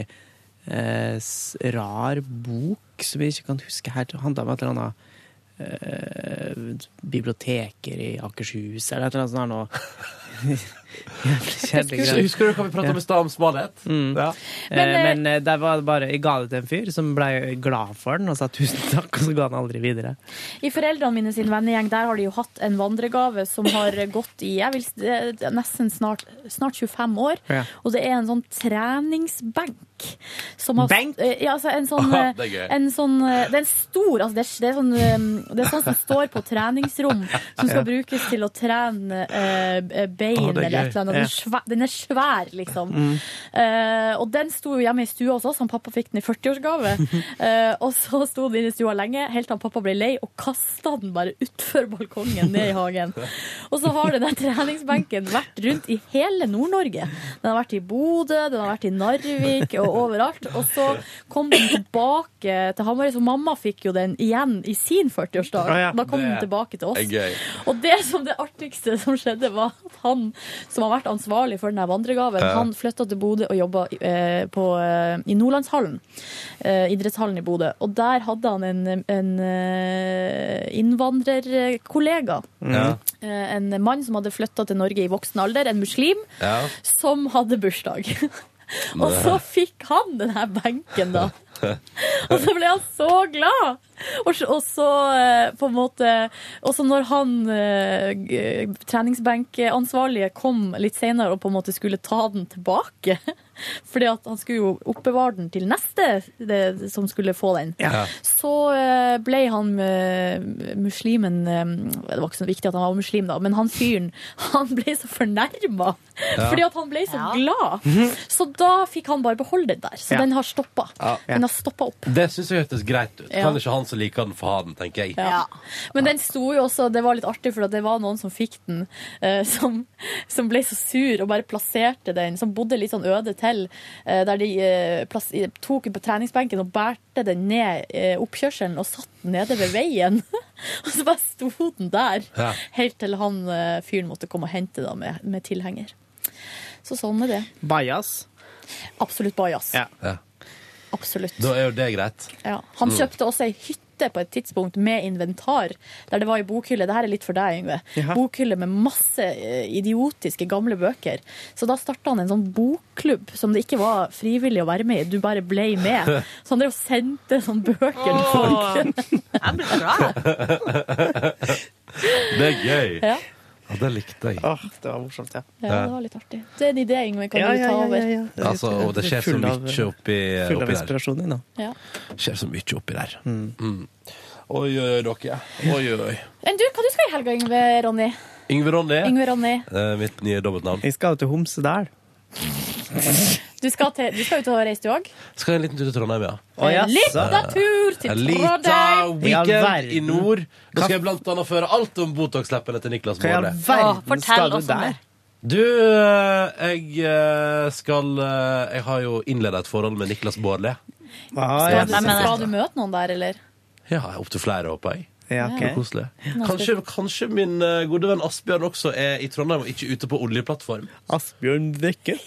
eh, s- rar bok som jeg ikke kan huske her. Det handla om et eller annet eh, biblioteker i Akershus, eller et eller annet sånt her nå. Jævlig
Husker,
kjedelig greie.
husker du hva vi prata om i stad, om smalhet? Ja.
Men, eh, men eh, der var det bare, jeg ga det til en fyr som ble glad for den og sa tusen takk, og så ga han aldri videre.
I foreldrene mine sin vennegjeng der har de jo hatt en vandregave som har gått i jeg vil, s- det er nesten snart, snart 25 år.
Ja.
Og det er en sånn treningsbenk. Som har,
Benk?
Eh, Ja, altså en sånn,
Ah, det er gøy.
eh, en sånn eh, Det er en stor altså det, er, det, er sånn, eh, det er sånn som står på treningsrom, som skal
Ja.
brukes til å trene eh, eh, bein
Ah, det er
eller et
gøy.
eller annet. Den
Ja.
er svær, den er svær liksom.
Mm.
Eh, og den sto jo hjemme i stua hos oss. Han pappa fikk den i 40-årsgave. Eh, og så sto den inne i stua lenge, helt til han pappa ble lei og kasta den bare utfor balkongen ned i hagen. Og så har den der treningsbenken vært rundt i hele Nord-Norge. Den har vært i Bodø, den har vært i Narvik og overalt. Og så kom den tilbake til Hamarøy, så mamma fikk jo den igjen i sin 40-årsdag.
Å ja,
Da kom den
det
tilbake til
er
oss.
gøy.
Og det som det artigste som skjedde, var at han som har vært ansvarlig for denne vandregaven,
Ja.
han flytta til Bodø og jobba i, eh, på, eh, i Nordlandshallen. Eh, idrettshallen i Bodø. Og der hadde han en, en eh, innvandrerkollega.
Ja.
Eh, En mann som hadde flytta til Norge i voksen alder, en muslim, som hadde bursdag. Og så fikk han denne benken, da. Og så ble han så glad! Og så, og så eh, på en måte Og så når han eh, g- treningsbenkansvarlige kom litt senere og på en måte skulle ta den tilbake Fordi at han skulle jo oppbevare den til neste det, som skulle få den.
Ja.
Så eh, ble han eh, muslimen eh, Det var ikke så viktig at han var muslim, da, men han fyren han ble så fornærma
Ja. Mhm.
fordi at han ble så glad. Så da fikk han bare beholde den der. Så
Ja.
den har stoppa.
Ja.
Den har stoppa opp.
Det syns jeg hørtes greit ut.
Ja.
Kan ikke han som liker den, få ha den, tenker jeg.
Ja. Men den sto jo også, det var litt artig, for at det var noen som fikk den, eh, som, som ble så sur og bare plasserte den, som bodde litt sånn øde til, eh, der de eh, plass, eh, tok den på treningsbenken og bærte den ned eh, oppkjørselen og satt den nede ved veien. og så bare sto den der,
Ja.
helt til han eh, fyren måtte komme og hente den med, med tilhenger. Så sånn er det.
Bajas.
Absolutt bajas.
Ja.
Absolutt.
Da er jo det greit.
Ja. Han
Mm.
kjøpte også ei hytte på et tidspunkt med inventar, der det var ei bokhylle. Dette er litt for deg, Yngve.
Ja.
Bokhylle med masse eh, idiotiske gamle bøker. Så da starta han en sånn bokklubb som det ikke var frivillig å være med i, du bare ble med. Så han drev og sendte sånn bøker til folk. Jeg ble glad.
Det er gøy.
Ja.
Ja, det likte jeg.
det var morsomt, ja.
Ja, det var litt artig. Det er en idé, Yngve. Kan
Ja,
du
ja,
ta
ja,
over?
ja, ja.
Altså, og det skjer så
Full av-
mye oppi,
Full av
oppi der.
inspirasjon din, da.
Ja.
Skjer så mye oppi der. Mm. Oi, oi, oi, dere. Oi, oi, oi.
Men du, hva du skal i helga, Yngve Ronny?
Yngve Ronny.
Yngve Ronny.
Eh, mitt nye dobbeltnavn.
Jeg skal jo til Homsedal.
Du skal, til, du skal ut og reise, du òg?
Skal en liten tur til Trondheim, ja.
En liten tur til
En
Trondheim.
liten
I all
weekend
verden.
i nord. Da skal jeg blant annet føre alt om Botox-leppene til Niklas
Hva i all
Baarli.
verden Å, fortell skal du oss om der? det.
Du, eh, jeg eh, skal eh, Jeg har jo innleda et forhold med Niklas Baarli.
Skal, skal du møte noen der, eller?
Ja, opptil flere, håper jeg.
Ja,
Det blir koselig. Kanskje, kanskje min eh, gode venn Asbjørn også er i Trondheim og ikke ute på oljeplattform.
Asbjørn Eh, Dekke.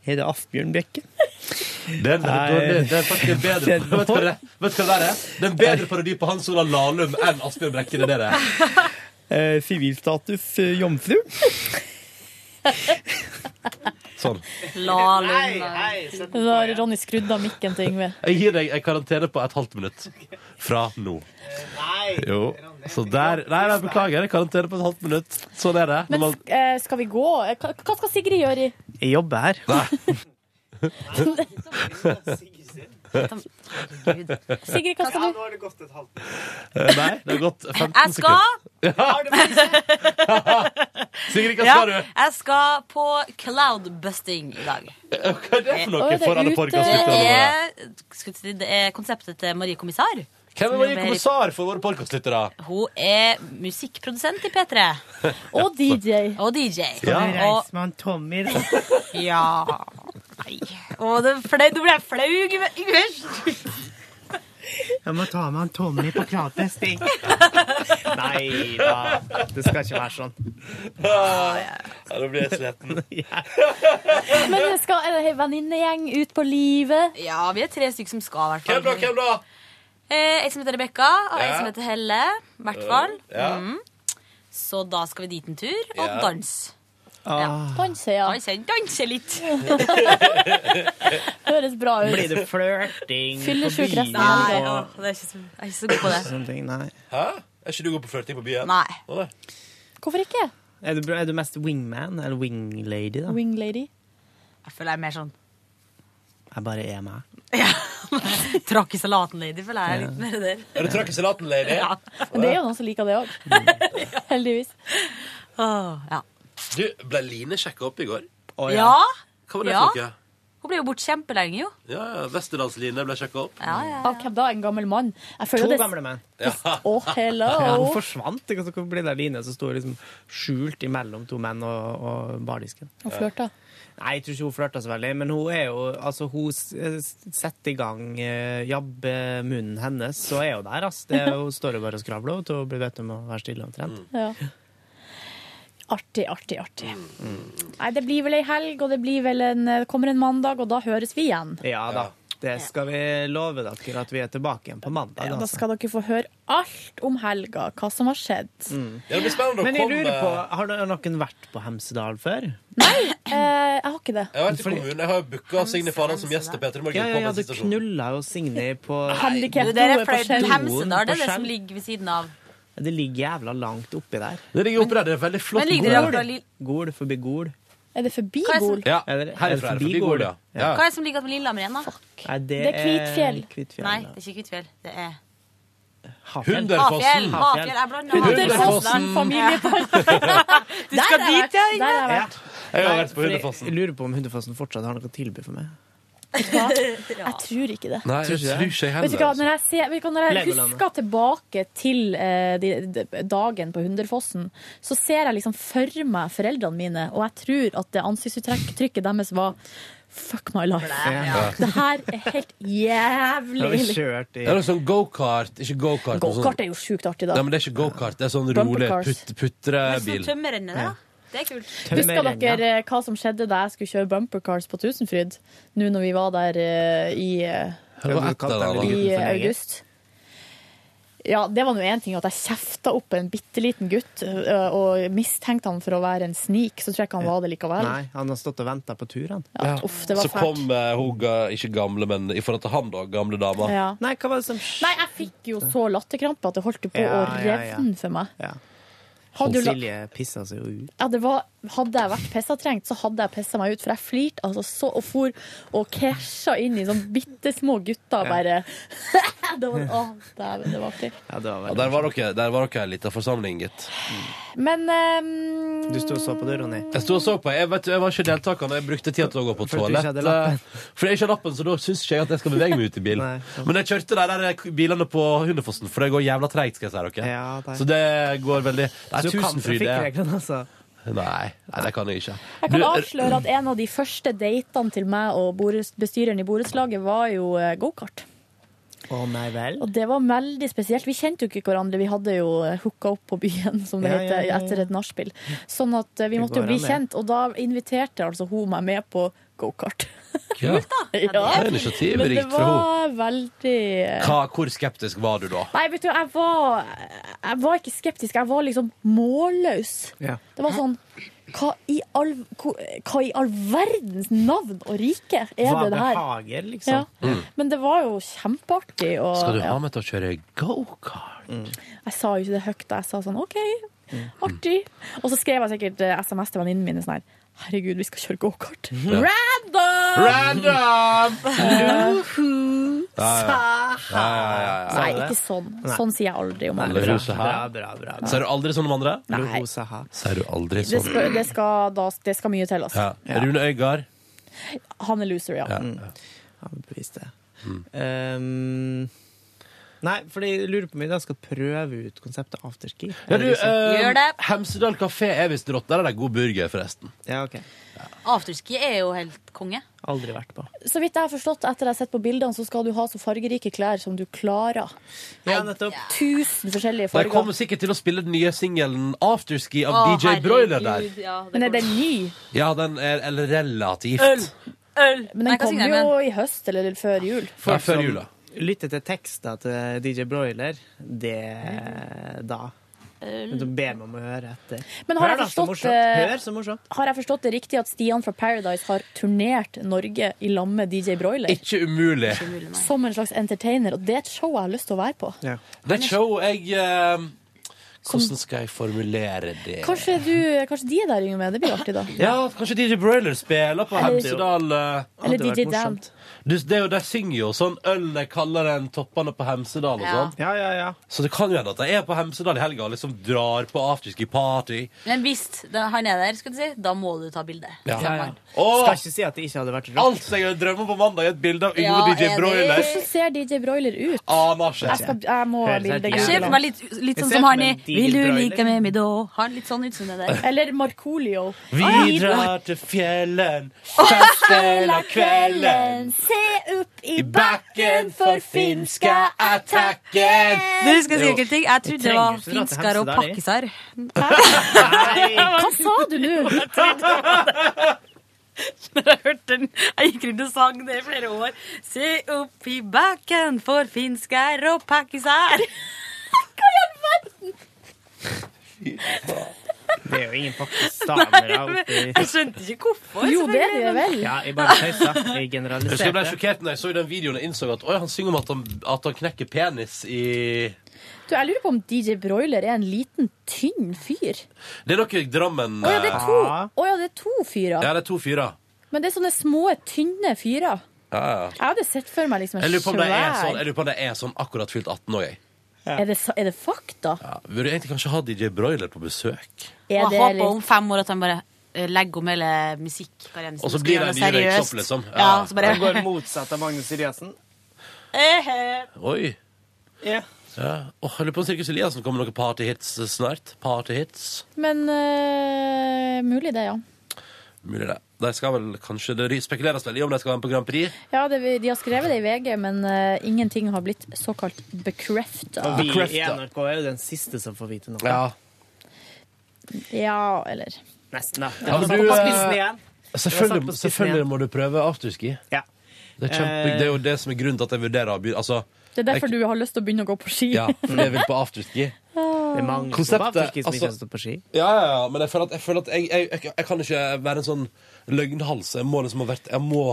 Er det Asbjørn Bekke?
Den er dårlig. Det er faktisk en bedre Vet du hva det er? Vet du hva det er? Det er en bedre parodi på Hans Olav Lahlum enn Asbjørn Brekke. Det er det det er.
Eh, Sivilstatus eh, jomfru.
Sånn.
La Da har Ronny skrudd av mikken til Yngve.
Jeg gir deg en karantene på et halvt minutt fra nå. Jo. Så der Nei, nei beklager. jeg Karantene på et halvt minutt. Sånn er det. Når
Men
man,
sk- eh, skal vi gå? Eh, Hva hva skal Sigrid gjøre i
Jeg jobber her.
Sigrid, hva skal du
har det gått et halvt
Eh, nei, det har gått 15
Jeg skal
sekunder. Sigrid, hva
Ja,
skal du?
Jeg skal på cloudbusting i dag.
Hva er det for noe?
Å,
For Anne Borg, hva skal du
Det
gjøre?
er, skal vi si, det er konseptet til Marie Kommissar.
Hvem er Marie Kommissar for våre podkastlyttere?
Hun er musikkprodusent i P3.
Og DJ.
Og DJ.
Ja.
Og,
med han Tommy, da.
ja. Nei. Å, det er flau. Nå ble jeg flau, Yngve. Yngve.
Jeg må ta med han Tommy på kravtesting. Nei da, det skal ikke være sånn.
Ja, nå blir jeg sliten.
Men skal er det ei venninnegjeng ut på livet?
Ja, vi er tre stykker som skal, i hvert fall.
Hvem da,
Hvem da?
Eh, jeg som heter Rebekka, og jeg
Ja.
som heter Helle. I hvert fall.
Ja.
Mm. Så da skal vi dit en tur, og
Ja.
danse.
Danse, ja.
Danse, danse litt.
Høres bra ut.
Blir det flørting?
Fyllesyk
på
resten
byen
av
Nei,
og-
åh, det er ikke så, jeg er ikke så god på det.
Sånne ting, nei.
Hæ? Er ikke du god på flørting på byen?
Nei.
Hvorfor ikke?
Er du, er du mest wingman eller winglady, da?
Winglady.
Jeg føler jeg er mer sånn
Jeg bare er meg.
trakk i salaten-lady, føler jeg er litt mer der.
Er du trøkk i salaten, lady?
Ja.
Men det er jo noen som liker det òg. Heldigvis.
Du, ble Line sjekka opp i går?
Ja.
Hva var det
Ja.
for noe?
Hun ble jo borte kjempelenge, jo.
Ja, ja, Westerdals-Line ble sjekka opp.
Av hvem da? En gammel mann? Jeg føler
To
det-
gamle menn.
Ja.
Å, hello.
Ja, hun forsvant. Ikke? Så ble det Line som sto liksom skjult imellom to menn og, og bardisken.
Og flørta.
Nei, jeg tror ikke hun flørta så veldig, men hun er jo Altså, hun s- s- setter i gang eh, jabbemunnen hennes, så er hun der, altså. Det, er- hun står jo bare og skravler til hun blir bedt om å være stille, omtrent.
Ja. Artig, artig, artig. Nei, det blir vel ei helg, og det blir vel en, kommer en mandag, og da høres vi igjen.
Ja da. Det skal vi love dere at vi er tilbake igjen på mandag.
Da
Altså.
skal dere få høre alt om helga, hva som har skjedd.
det blir spennende å
Men jeg lurer
komme-
på, har no- noen vært på Hemsedal før?
Eh, jeg har ikke det.
Jeg har vært i kommunen, jeg har jo booka Signe Farland som gjest til Peter Morgen.
Ja, ja, ja,
på
du
den siste
knulla jo Signe på
Du,
Handikap
dere
noe
er
på
flaut.
skjell.
Hemsedal, det er
På
det som
skjell.
ligger ved siden av.
Det ligger jævla langt oppi der.
Det ligger oppi der, det er veldig
flott Men ligger det Gol. akkurat
Gol,
li-
Gol forbi Gol.
Er det forbi
Hva er det som-
Gol?
Ja, herfra
er det forbi Gol, ja.
Hva er det som ligger ved Lillehammer igjen, da?
Nei, det,
Det er Kvitfjell.
er Kvitfjell,
Nei,
ja.
det er ikke Kvitfjell. Det er
Hafjell.
Hafjell. Hafjell. Jeg blander
Hunderfossen familiepark.
Du skal dit, ja, Inge?
Der har jeg vært.
Jeg har vært
Nei,
på
for jeg-
Hundefossen.
Jeg lurer på om Hundefossen fortsatt har noe tilbud for meg.
Jeg tror ikke det.
Nei, jeg
Tror ikke det.
tror ikke jeg
Vet
heller.
du hva, når jeg, ser, vet du hva, når jeg
Legoland,
husker tilbake til eh, de, de, dagen på Hunderfossen, så ser jeg liksom for meg foreldrene mine, og jeg tror at det ansiktsuttrykket deres var Fuck my life.
Ja.
Det her er helt jævlig.
Det er noe sånn gokart, ikke gokart. men sånn-
Gokart er jo sjukt artig, da.
Nei, men det er ikke gokart, det er sånn
Bumper
rolig
cars.
put,
Sånn
putrebil.
tømmerrenne, det. da. Det er kult.
Husker dere eh, hva som skjedde da jeg skulle kjøre bumper cars på Tusenfryd? Nå når vi var der eh, i, eh,
Det var etter det, da.
i eh, august. Ja, det var nå én ting at jeg kjefta opp en bitte liten gutt eh, og mistenkte han for å være en snik. Så tror jeg ikke han var det likevel.
Nei, han har stått og venta på tur, han.
Ja, uff, det var
så
fælt.
kom eh, hun, ga- ikke gamle, men i forhold til han, da, gamle dama.
Ja.
Nei, hva var det som
Nei, jeg fikk jo så latterkrampe at det holdt på å
Ja, ja, ja.
revne for meg.
Ja.
Hadde, du la
Silje pissa seg jo ut.
ja, det var, hadde jeg vært pissatrengt, så hadde jeg pissa meg ut, for jeg flirte altså, så og for og krasja inn i sånne bitte små gutter, bare det var, Å, dæven, det var artig.
Ja, det var
Ja, der var dere, der var dere en liten forsamling, gitt.
Men ehm,
Du sto og så på det, Ronny.
Jeg sto og så på. Jeg, vet, jeg var ikke deltaker når jeg brukte tida til å gå på
Fordi du ikke
toalett.
hadde lappen.
eh, Fordi jeg ikke har lappen, så da syns ikke jeg at jeg skal bevege meg ut i bil.
Nei, sant.
Men jeg kjørte de der eh, bilene på Hundefossen, for det går jævla treigt, skal jeg si dere.
Ja, det er-
så det går veldig Det
Så
er
du kan
tusenfryd, det.
trafikkreglene, altså.
Nei, nei, det kan jeg ikke.
Jeg
eh,
kan
Du,
avsløre at en av de første datene til meg og borets- bestyreren i borettslaget var jo eh, gokart.
Å nei vel.
Og det var veldig spesielt. Vi kjente jo ikke hverandre. Vi hadde jo eh, hooka opp på byen, som det
Ja, ja,
heter,
ja, ja.
etter et nachspiel. Sånn at eh, vi
Det
måtte
går
jo bli
an, det.
kjent, og da inviterte altså hun meg med på gokart.
Kult, da!
Ja,
Det er initiativrikt
men det
fra
var veldig eh,
Hva, hvor skeptisk var du da?
Nei, vet du, jeg var, jeg var ikke skeptisk. Jeg var liksom målløs.
Ja.
Det var sånn hva i, all, hva, hva i all verdens navn og rike er
Hva
det det her?
behager, liksom?
Ja. Men det var jo kjempeartig. Og,
Skal du
ja.
ha meg til å kjøre gokart?
Jeg sa jo ikke det høyt, da. Jeg sa sånn OK, artig. Og så skrev jeg sikkert eh, SMS til venninnene mine sånn her Herregud, vi skal kjøre gokart.
Ja.
Random!
Random!
Luhu! Sa!
Ja, ja, ja, ja.
Nei, ikke sånn.
Nei.
Sånn sier jeg aldri om
Alle
andre.
rosa her. Sier du aldri sånn om andre?
Nei.
Sier du aldri
Det
sånn?
skal, det skal, da, det skal mye til, altså.
Ja. Rune Øygard.
Han er loser, ja.
Mm. Han beviste det.
Mm.
Um, nei, fordi jeg lurer på om vi da skal prøve ut konseptet afterski. liksom-
Ja, du,
Um,
eh,
Gjør det.
Hemsedal kafé er visst rått. Der er det god burger, forresten.
Ja, ok.
Afterski er jo helt konge.
Aldri vært på.
Så vidt jeg har forstått etter jeg har sett på bildene, så skal du ha så fargerike klær som du klarer.
Ja, nettopp.
Tusen forskjellige
De kommer
farger.
sikkert til å spille den nye singelen Afterski av
Å,
DJ Broiler der.
herregud, Men er den ny?
Ja, den er eller relativt.
Men
Nei,
den
hva
kom
sier jeg,
jo i høst eller før jul.
Ja, før jula.
Lytte til tekster til DJ Broiler, det
Mm.
da.
Eh,
Da ber vi om å høre etter.
Men
Hør
har jeg,
da, så
forstått,
morsomt. Hør, så morsomt.
eh, har jeg forstått det riktig at Stian fra Paradise har turnert Norge i lag med DJ Broiler?
Ikke umulig.
Som en slags entertainer, og det er et show jeg har lyst til å være på.
Det er et show jeg eh, Hvordan skal jeg formulere det?
Kanskje, du, kanskje de er der, Yngve. Det blir artig, da.
Ja, kanskje DJ Broiler spiller på
Eller-
Hemsedal. eh.
Eller DJ Dan.
Du, det er jo, De synger jo sånn øl de kaller den toppene på Hemsedal og sånn.
Ja, ja, ja.
Så det kan jo hende at de er på Hemsedal i helga og liksom drar på afterski-party.
Men hvis det- han er der, skal du si, da må du ta bilde.
Ja.
Skal ikke si at det ikke hadde vært rått.
Alt jeg drømmer på mandag, er et bilde av Yngve
Ja,
DJ
enig.
Broiler.
Hvordan ser DJ Broiler ut?
Aner ikke.
Jeg, skal, jeg
Ah,
må ha
Høres helt
bilde.
jævlig
Ser for meg litt, litt
Jeg
sånn
ser
som
for
han
meg
i
en diger
Vil du
broiler.
like med meg da? Han litt sånn ut som det der.
Eller Ah, Markolio.
Vi drar til fjellen, fest hele kvelden.
se opp
I bakken for finska attacken.
Du skal si en ting. Jeg
Vi
trodde eh, det
trenger ikke dra
var
til
finskar og
Hemsedal, jeg.
pakkisar.
Hva sa du nå?
Når jeg hørte den Jeg gikk rundt og sang det i flere år. Se opp i bakken for finsk er og pakkisær. Hva i all verden?
Det er jo ingen pakistanere
Nei, men
oppi
Jeg skjønte ikke hvorfor.
Jo, det er det
selvfølgelig, men-
vel.
Ja, jeg bare tøysa. Jeg
Jeg husker jeg ble
generaliserte.
sjokkert når jeg så den videoen og innså at oi, han synger om at han, at han knekker penis i
Du, jeg lurer på om DJ Broiler er en liten, tynn fyr.
Det er nok i Drammen
Å ja, det er to,
Ja,
Å ja, det er to fyrer.
Ja, det er to fyrer.
Men det er sånne små, tynne fyrer.
Ja, ja.
Jeg hadde sett for meg liksom en
Jeg lurer på om det er
svær
sånn, jeg lurer på om det er sånn akkurat fylt 18 òg, jeg.
er, det, sa- er det fakta?
Burde egentlig kanskje ha DJ Broiler på besøk.
Er
Og
det
jeg håper
litt-
om fem år at han bare eh, legger om hele musikkarrieren. sin
Og så
skal
blir
gjøre
det en ny
seriøst.
røyksopp, liksom.
Ja,
Ja.
så bare
Han går
motsatt av Magnus Eliassen.
Oi. Ja. Åh, jeg lurer på om Sirkus Eliassen kommer med noen partyhits eh, snart. Partyhits.
Men eh, mulig det, ja.
Mulig det. De skal vel kanskje, Det spekuleres veldig om de skal være med på Grand Prix.
Ja, det, De har skrevet det i VG, men eh, ingenting har blitt såkalt bekrefta.
Og vi i NRK er jo den siste som får vite noe.
Ja.
Ja, eller
Nesten, da.
Ja, men
Det var
du,
satt
eh,
på spissen igjen. Det var satt på
Selvfølgelig,
spissen
selvfølgelig
igjen.
må du prøve afterski. Det, er kjempe,
Eh.
det er jo det som er grunnen til at jeg vurderer å begynne. Altså,
Det er derfor du har lyst til å begynne å gå på ski.
Ja, for jeg vil på afterski.
Det er mange som på afterski som ikke har stått på ski.
Ja, ja, ja, men jeg føler at jeg, føler at jeg, jeg, jeg, jeg kan ikke være en sånn løgnhals. Jeg må liksom ha vært Jeg må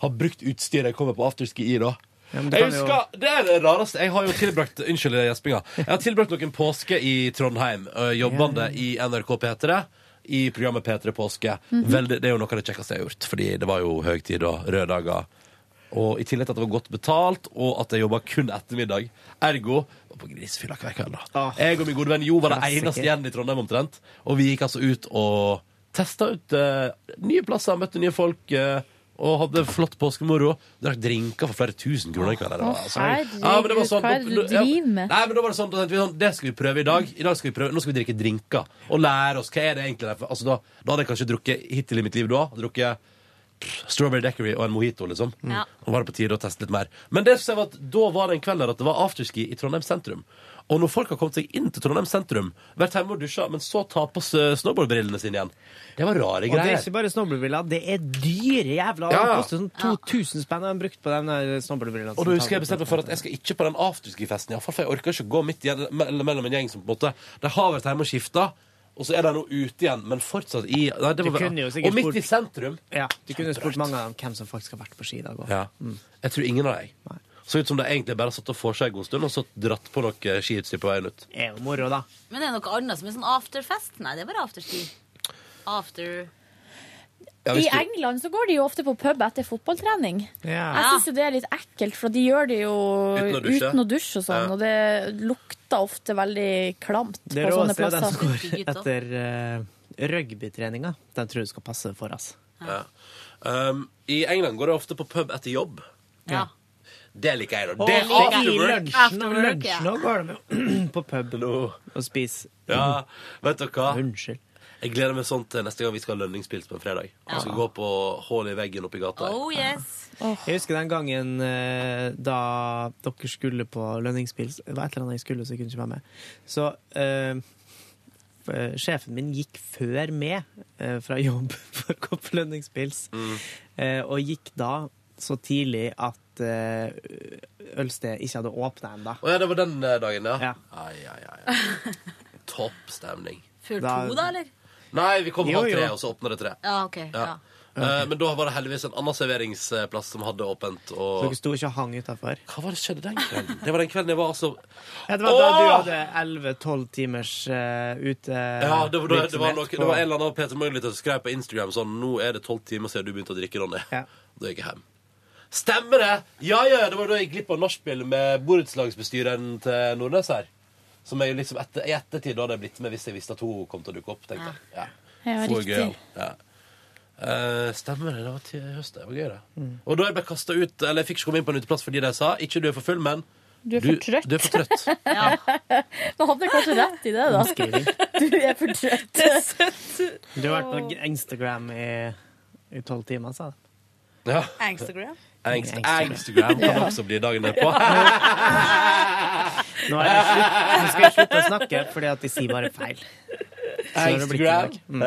ha brukt utstyret jeg kommer på afterski i, da.
men du
jeg
kan jo-
husker, Det er det rareste. Jeg har jo tilbrakt Unnskyld gjespinga. Jeg har tilbrakt noen påske i Trondheim, øh, jobbende i NRK P3. I programmet P3 Påske.
Mhm.
Veldig, det er jo noe av det kjekkeste jeg har gjort, fordi det var jo høytid og røde dager. Og i tillegg til at det var godt betalt, og at jeg jobba kun ettermiddag. Ergo var på grisefylla hver kveld.
Ah.
da. Jeg og min gode venn Jo var det
klassiker.
eneste igjen i Trondheim omtrent. Og vi gikk altså ut og testa ut eh, nye plasser, møtte nye folk. eh, og hadde flott påskemoro. Drakk drinker for flere tusen kroner. i kveld. Det var, altså,
Herregud,
ja, men det var sånn,
hva er det du
ja,
driver med?
Nei, men da var det sånn, da tenkte vi sånn, det skal vi prøve i dag. I dag skal vi prøve, Nå skal vi drikke drinker og lære oss hva er det egentlig er. for- Altså, da, da hadde jeg kanskje drukket hittil i mitt liv da. Drukket Strawberry Daiquiri og en mojito, liksom.
Ja.
Nå var det på tide å teste litt mer. Men det som jeg var at da var det en kveld der at det var afterski i Trondheim sentrum. Og når folk har kommet seg inn til Trondheim sentrum, vært hjemme og dusja, men så ta på s- snowboardbrillene sine igjen Det var rare
Og det er
greier.
ikke bare snowboardbriller, det er dyre
Ja,
jævla Det
ja.
koster sånn 2000 spenn har de brukt på den der snowboardbrillene.
Og da husker jeg bestemt meg for at jeg skal ikke på den afterski-festen, i hvert fall, for jeg orker ikke å gå midt igjen, mellom en gjeng som på en måte De har vært hjemme og skifta, og så er de nå ute igjen, men fortsatt i nei, det
Du
var,
kunne jo sikkert
Og midt i
spurt-
sentrum.
Ja, du kunne jo spurt mange av dem hvem som faktisk har vært på ski i dag også.
Ja. Mm. Jeg tror ingen av dem. Så ut som de egentlig bare satt og forsa en god stund, og så dratt på noe skiutstyr på veien ut.
Det er jo moro, da.
Men er det noe annet som er sånn afterfest? Nei, det er bare afterski. After
Ja,
I
hvis du-
England så går de jo ofte på pub etter fotballtrening. Jeg syns jo det er litt ekkelt, for de gjør det jo
Uten
uten
å
å
dusje.
dusje, og sånn,
Ja.
og det lukter ofte veldig klamt
Det
på sånne
råeste er jo den som
plasser.
går etter uh, rugbytreninga. Den tror jeg skal passe for oss.
Ja. Um, I England går det ofte på pub etter jobb.
Ja.
Det liker jeg. da.
Og
Det
i
er afterwork.
lunsjen, lunsjen nå går de jo på pub og spiser.
Ja, vet dere hva?
Unnskyld.
Jeg gleder meg sånn til neste gang vi skal ha lønningspils på en fredag. Og
Ja.
skal gå på hull i veggen oppi gata. her.
Oh yes.
Jeg husker den gangen eh, da dere skulle på lønningspils. Det var et eller annet jeg skulle, så jeg kunne ikke være med. Så eh, f- eh, sjefen min gikk før med eh, fra jobb for å gå på lønningspils.
Mm.
Eh, og gikk da så tidlig at eh, ølstedet ikke hadde åpna ennå.
Å ja, det var den eh, dagen, ja. Ai, ai, ai. Topp stemning.
Før
Da-
to, da, eller?
Nei, vi kom
Jo,
halv tre,
jo.
og så åpna det tre.
Ja, ok. Ja.
Ja. Eh, men da var det heldigvis en annen serveringsplass som hadde åpent.
Så
Og
dere sto ikke og hang utafor.
Hva var det skjedde den kvelden? Det var den kvelden jeg var altså
Ja, det var da du
Åh!
hadde 11-12 timers eh, ute
Ja, det var, det, det, var
virksomhet
noe,
på-
det var en eller annen Peter Møgli som skrev på Instagram sånn Nå er det tolv timer siden du begynte å drikke, Ronny. Da gikk jeg hjem. Stemmer det! Ja, ja, det var da jeg gikk glipp av nachspiel med borettslagsbestyreren til Nordnes her. Som jeg liksom etter, I ettertid hadde jeg blitt med hvis jeg visste at hun kom til å dukke opp. tenkte jeg. Ja.
Ja,
For
riktig.
gøyal. Ja. Eh, stemmer det. Det var til høst. Det var gøy, det. Og da jeg ble kastet ut Eller jeg fikk ikke komme inn på en uteplass fordi de sa ikke du er for full, men
Du er for trøtt.
Du er for trøtt.
Man hadde kanskje rett i det, da. Du er for trøtt.
Du har vært på Instagram i, i 12 timer, sa du.
Ja.
Angstagram?
Angst, angstgram kan
Ja.
også bli dagen derpå.
Nå er det slutt. Nå skal jeg slutte å snakke, fordi at de sier bare feil. Så nå er det blitt i dag.
Angstgram.
Mm.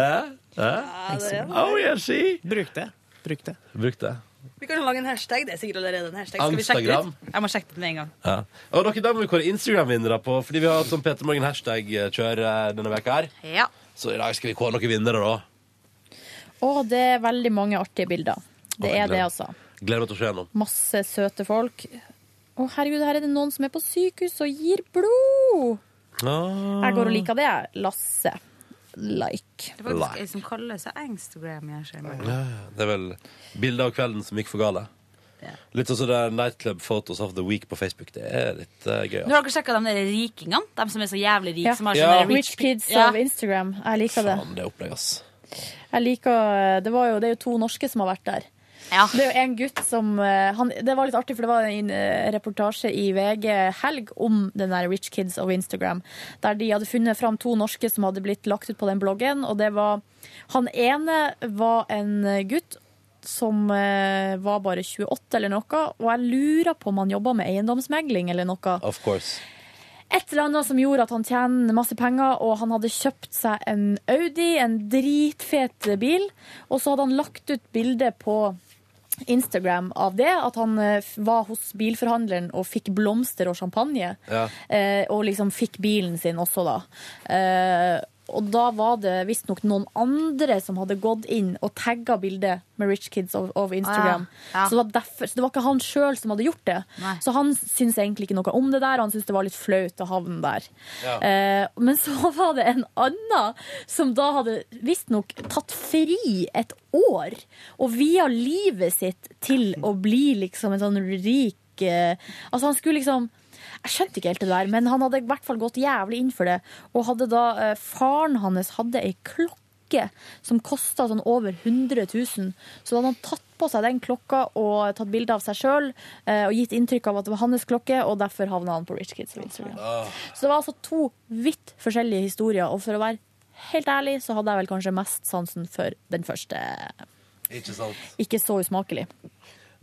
Hæ? Ja,
det er det.
Oh, yes, see.
Bruk det. Bruk det.
Bruk det.
Vi kan lage en hashtag. Det er sikkert allerede en hashtag. Skal vi sjekke det
Instagram.
ut? Jeg må sjekke det ut med en gang.
Ja. Og dere, der må vi kåre Instagram-vinnere på, fordi vi har hatt sånn Peter Morgen hashtag-kjør eh, denne veka her.
Ja.
Så i dag skal vi kåre noen vinnere, da.
Og det er veldig mange artige bilder. Det
Å,
er det,
gleder-
altså.
Gleder meg til å se gjennom.
Masse søte folk. Å, herregud, her er det noen som er på sykehus og gir blod! Jeg går og liker det, jeg. Lasse. Like.
Det er faktisk ei som kaller seg Angstagram. Jeg skjønner.
Ja, ja. det er vel bilder av kvelden som gikk for gale. Litt sånn som det er Nightclub Photos of the Week på Facebook. Det er litt eh, gøy.
Nå har dere sjekka de der rikingene? De som er så jævlig rike? Som har
Ja.
sånne der
Rich Kids
Ja.
of Instagram. Jeg liker det.
Faen, det er opplegg, ass.
Jeg liker, eh, det, var jo, det er jo to norske som har vært der. Det er jo en gutt som eh, han, Det var litt artig, for det var en eh, reportasje i VG helg om den der Rich Kids of Instagram. Der de hadde funnet fram to norske som hadde blitt lagt ut på den bloggen. Og det var Han ene var en gutt som eh, var bare 28 eller noe. Og jeg lurer på om han jobba med eiendomsmegling eller noe
Of course.
et eller annet som gjorde at han tjener masse penger, og han hadde kjøpt seg en Audi, en dritfet bil, og så hadde han lagt ut bilde på Instagram av det, at han eh, f- var hos bilforhandleren og fikk blomster og champagne.
Ja.
Eh, og liksom fikk bilen sin også, da. Eh, og da var det visstnok noen andre som hadde gått inn og tagga bildet med Rich Kids of, of Instagram.
Ah, ja.
Så, det var derfor, så det var ikke han sjøl som hadde gjort det.
Nei.
Så han syns egentlig ikke noe om det der, og han syns det var litt flaut å havne der.
Ja.
Eh, men så var det en annen som da hadde visstnok tatt fri et år, og via livet sitt til å bli liksom en sånn rik eh, Altså, han skulle liksom jeg skjønte ikke helt det der, men han hadde i hvert fall gått jævlig inn for det. Og hadde da eh, faren hans hadde ei klokke som kosta sånn over 100 000. Så da hadde han tatt på seg den klokka og tatt bilde av seg sjøl eh, og gitt inntrykk av at det var hans klokke, og derfor havna han på Rich Kids of Instagram. Så det var altså to vidt forskjellige historier, og for å være helt ærlig så hadde jeg vel kanskje mest sansen for den første.
Ikke sant?
Ikke så usmakelig.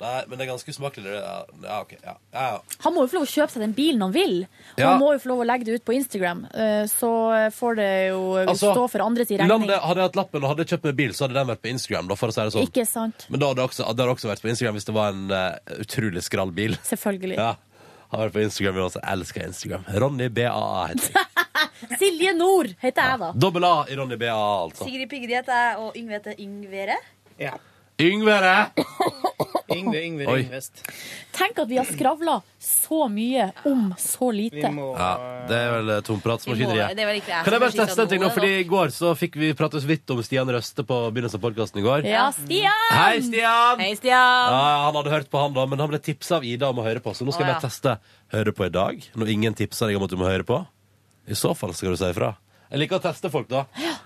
Nei, men det er ganske usmakelig. det der. Ja, ok. Ja, ja, ja.
Han må jo få lov å kjøpe seg den bilen han vil, og
Ja.
han må jo få lov å legge det ut på Instagram. eh, Så får det jo eh,
Altså,
stå for andre sin regning.
Landet, hadde jeg hatt lappen og hadde jeg kjøpt meg bil, så hadde den vært på Instagram. Da, for å si det sånn.
Ikke sant?
Men da hadde det også, det hadde også vært på Instagram hvis det var en eh, utrolig skrall bil.
Selvfølgelig.
Ja. Har vært på Instagram, jeg også elsker Instagram. Ronny BAA heter jeg.
Silje Nord heter jeg, da.
Dobbel A i Ronny BAA, altså.
Sigrid Pigrid heter jeg, og Yngve heter Yngvere.
Yngvere!
Yngve, Yngve
Oi.
Ringvest.
Tenk at vi har skravla så mye om så lite.
Ja, det er vel eh,
Vi må- det er vel
tompratmaskineriet.
ikke jeg
Kan jeg
som
bare
beskytter
teste en ting nå?
noe,
Fordi I går så fikk vi prate så vidt om Stian Røste på begynnelsen av podkasten i går.
Ja, Stian!
Hei, Stian!
Hei,
Ja,
Stian!
han hadde hørt på han da, men han ble tipsa av Ida om å høre på. Så nå skal
Å,
jeg bare teste høre på i dag, når ingen tipser deg om at du må høre på. I så fall skal du si ifra. Jeg liker å teste folk, da.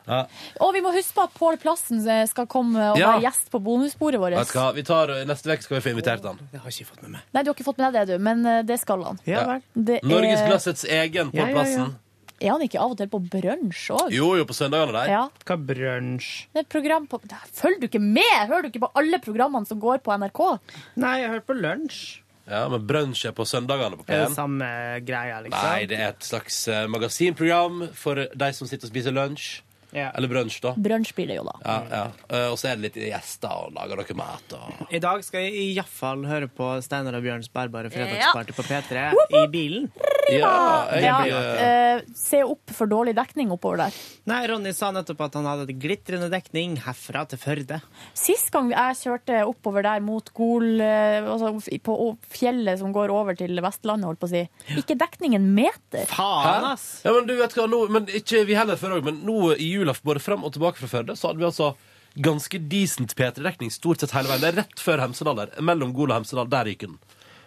Ja.
Og vi må huske på at Pål Plassen eh, skal komme og
Ja.
være gjest på bonusbordet vårt.
Vet du hva, vi tar, eh, neste uke skal vi få invitert
Eh,
han.
Nei, du har ikke fått med deg det, du, men eh, det skal han.
Ja vel.
Det er-
Norgesglassets egen på
Ja, ja, ja.
plassen.
Er han ikke av og til på brunsj òg?
Jo, jo, på søndagene der.
Ja.
Hva brunsj?
Det er et program på Følger du ikke med? Hører du ikke på alle programmene som går på NRK?
Nei, jeg hører på lunsj.
Ja, men brunsj er på søndagene på
Er det
P1.
samme greia, liksom?
Nei, det er et slags eh, magasinprogram for de som sitter og spiser lunsj.
Ja.
Eller brunsj, da.
Brunsj blir det jo, da.
Ja, ja. Eh, Og så er det litt gjester og lager noe mat og
I dag skal jeg iallfall høre på Steinar og Bjørns bærbare fredagsparty på P3 i bilen.
Ja,
Ja, eh, se opp for dårlig dekning oppover der.
Nei, Ronny sa nettopp at han hadde et glitrende dekning herfra til Førde.
Sist gang jeg kjørte oppover der mot Gol, eh, altså f- på o- fjellet som går over til Vestlandet, holdt på å si. Ikke dekning en meter.
Hæ? Ja, men du vet hva, nå, men ikke vi heller før òg, men nå i jula, både fram og tilbake fra Førde, så hadde vi altså ganske decent P3-dekning stort sett hele veien. Det er rett før Hemsedal der. Mellom Gol og Hemsedal, der ryker den.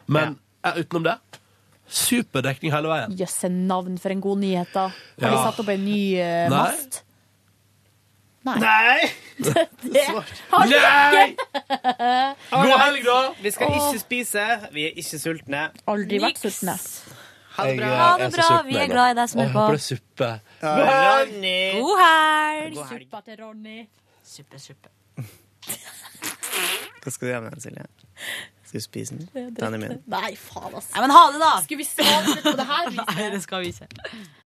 Men eh, utenom det, super dekning hele veien.
Jøsse navn for en god nyhet, da. Har de
Ja.
satt opp en ny eh,
Nei.
mast? Nei.
Nei!
det har de
Nei!
ikke!
Alright.
helg, da!
Vi skal
Åh.
ikke spise. Vi er ikke sultne.
Aldri vært sultne.
Ha det bra.
Jeg, eh,
Ha det
er så
bra.
sulten
Vi er
jeg nå.
glad i deg som
Åh,
hører
jeg
på.
håper det er suppe.
God helg!
God helg.
Suppa til Ronny.
Suppe, suppe.
Hva skal du gjøre med den, Silje? Skal du spise den? Den er min.
Nei, faen, altså.
Nei, men ha det, da!
Skal vi svare på det her?
Nei, det skal vi ikke.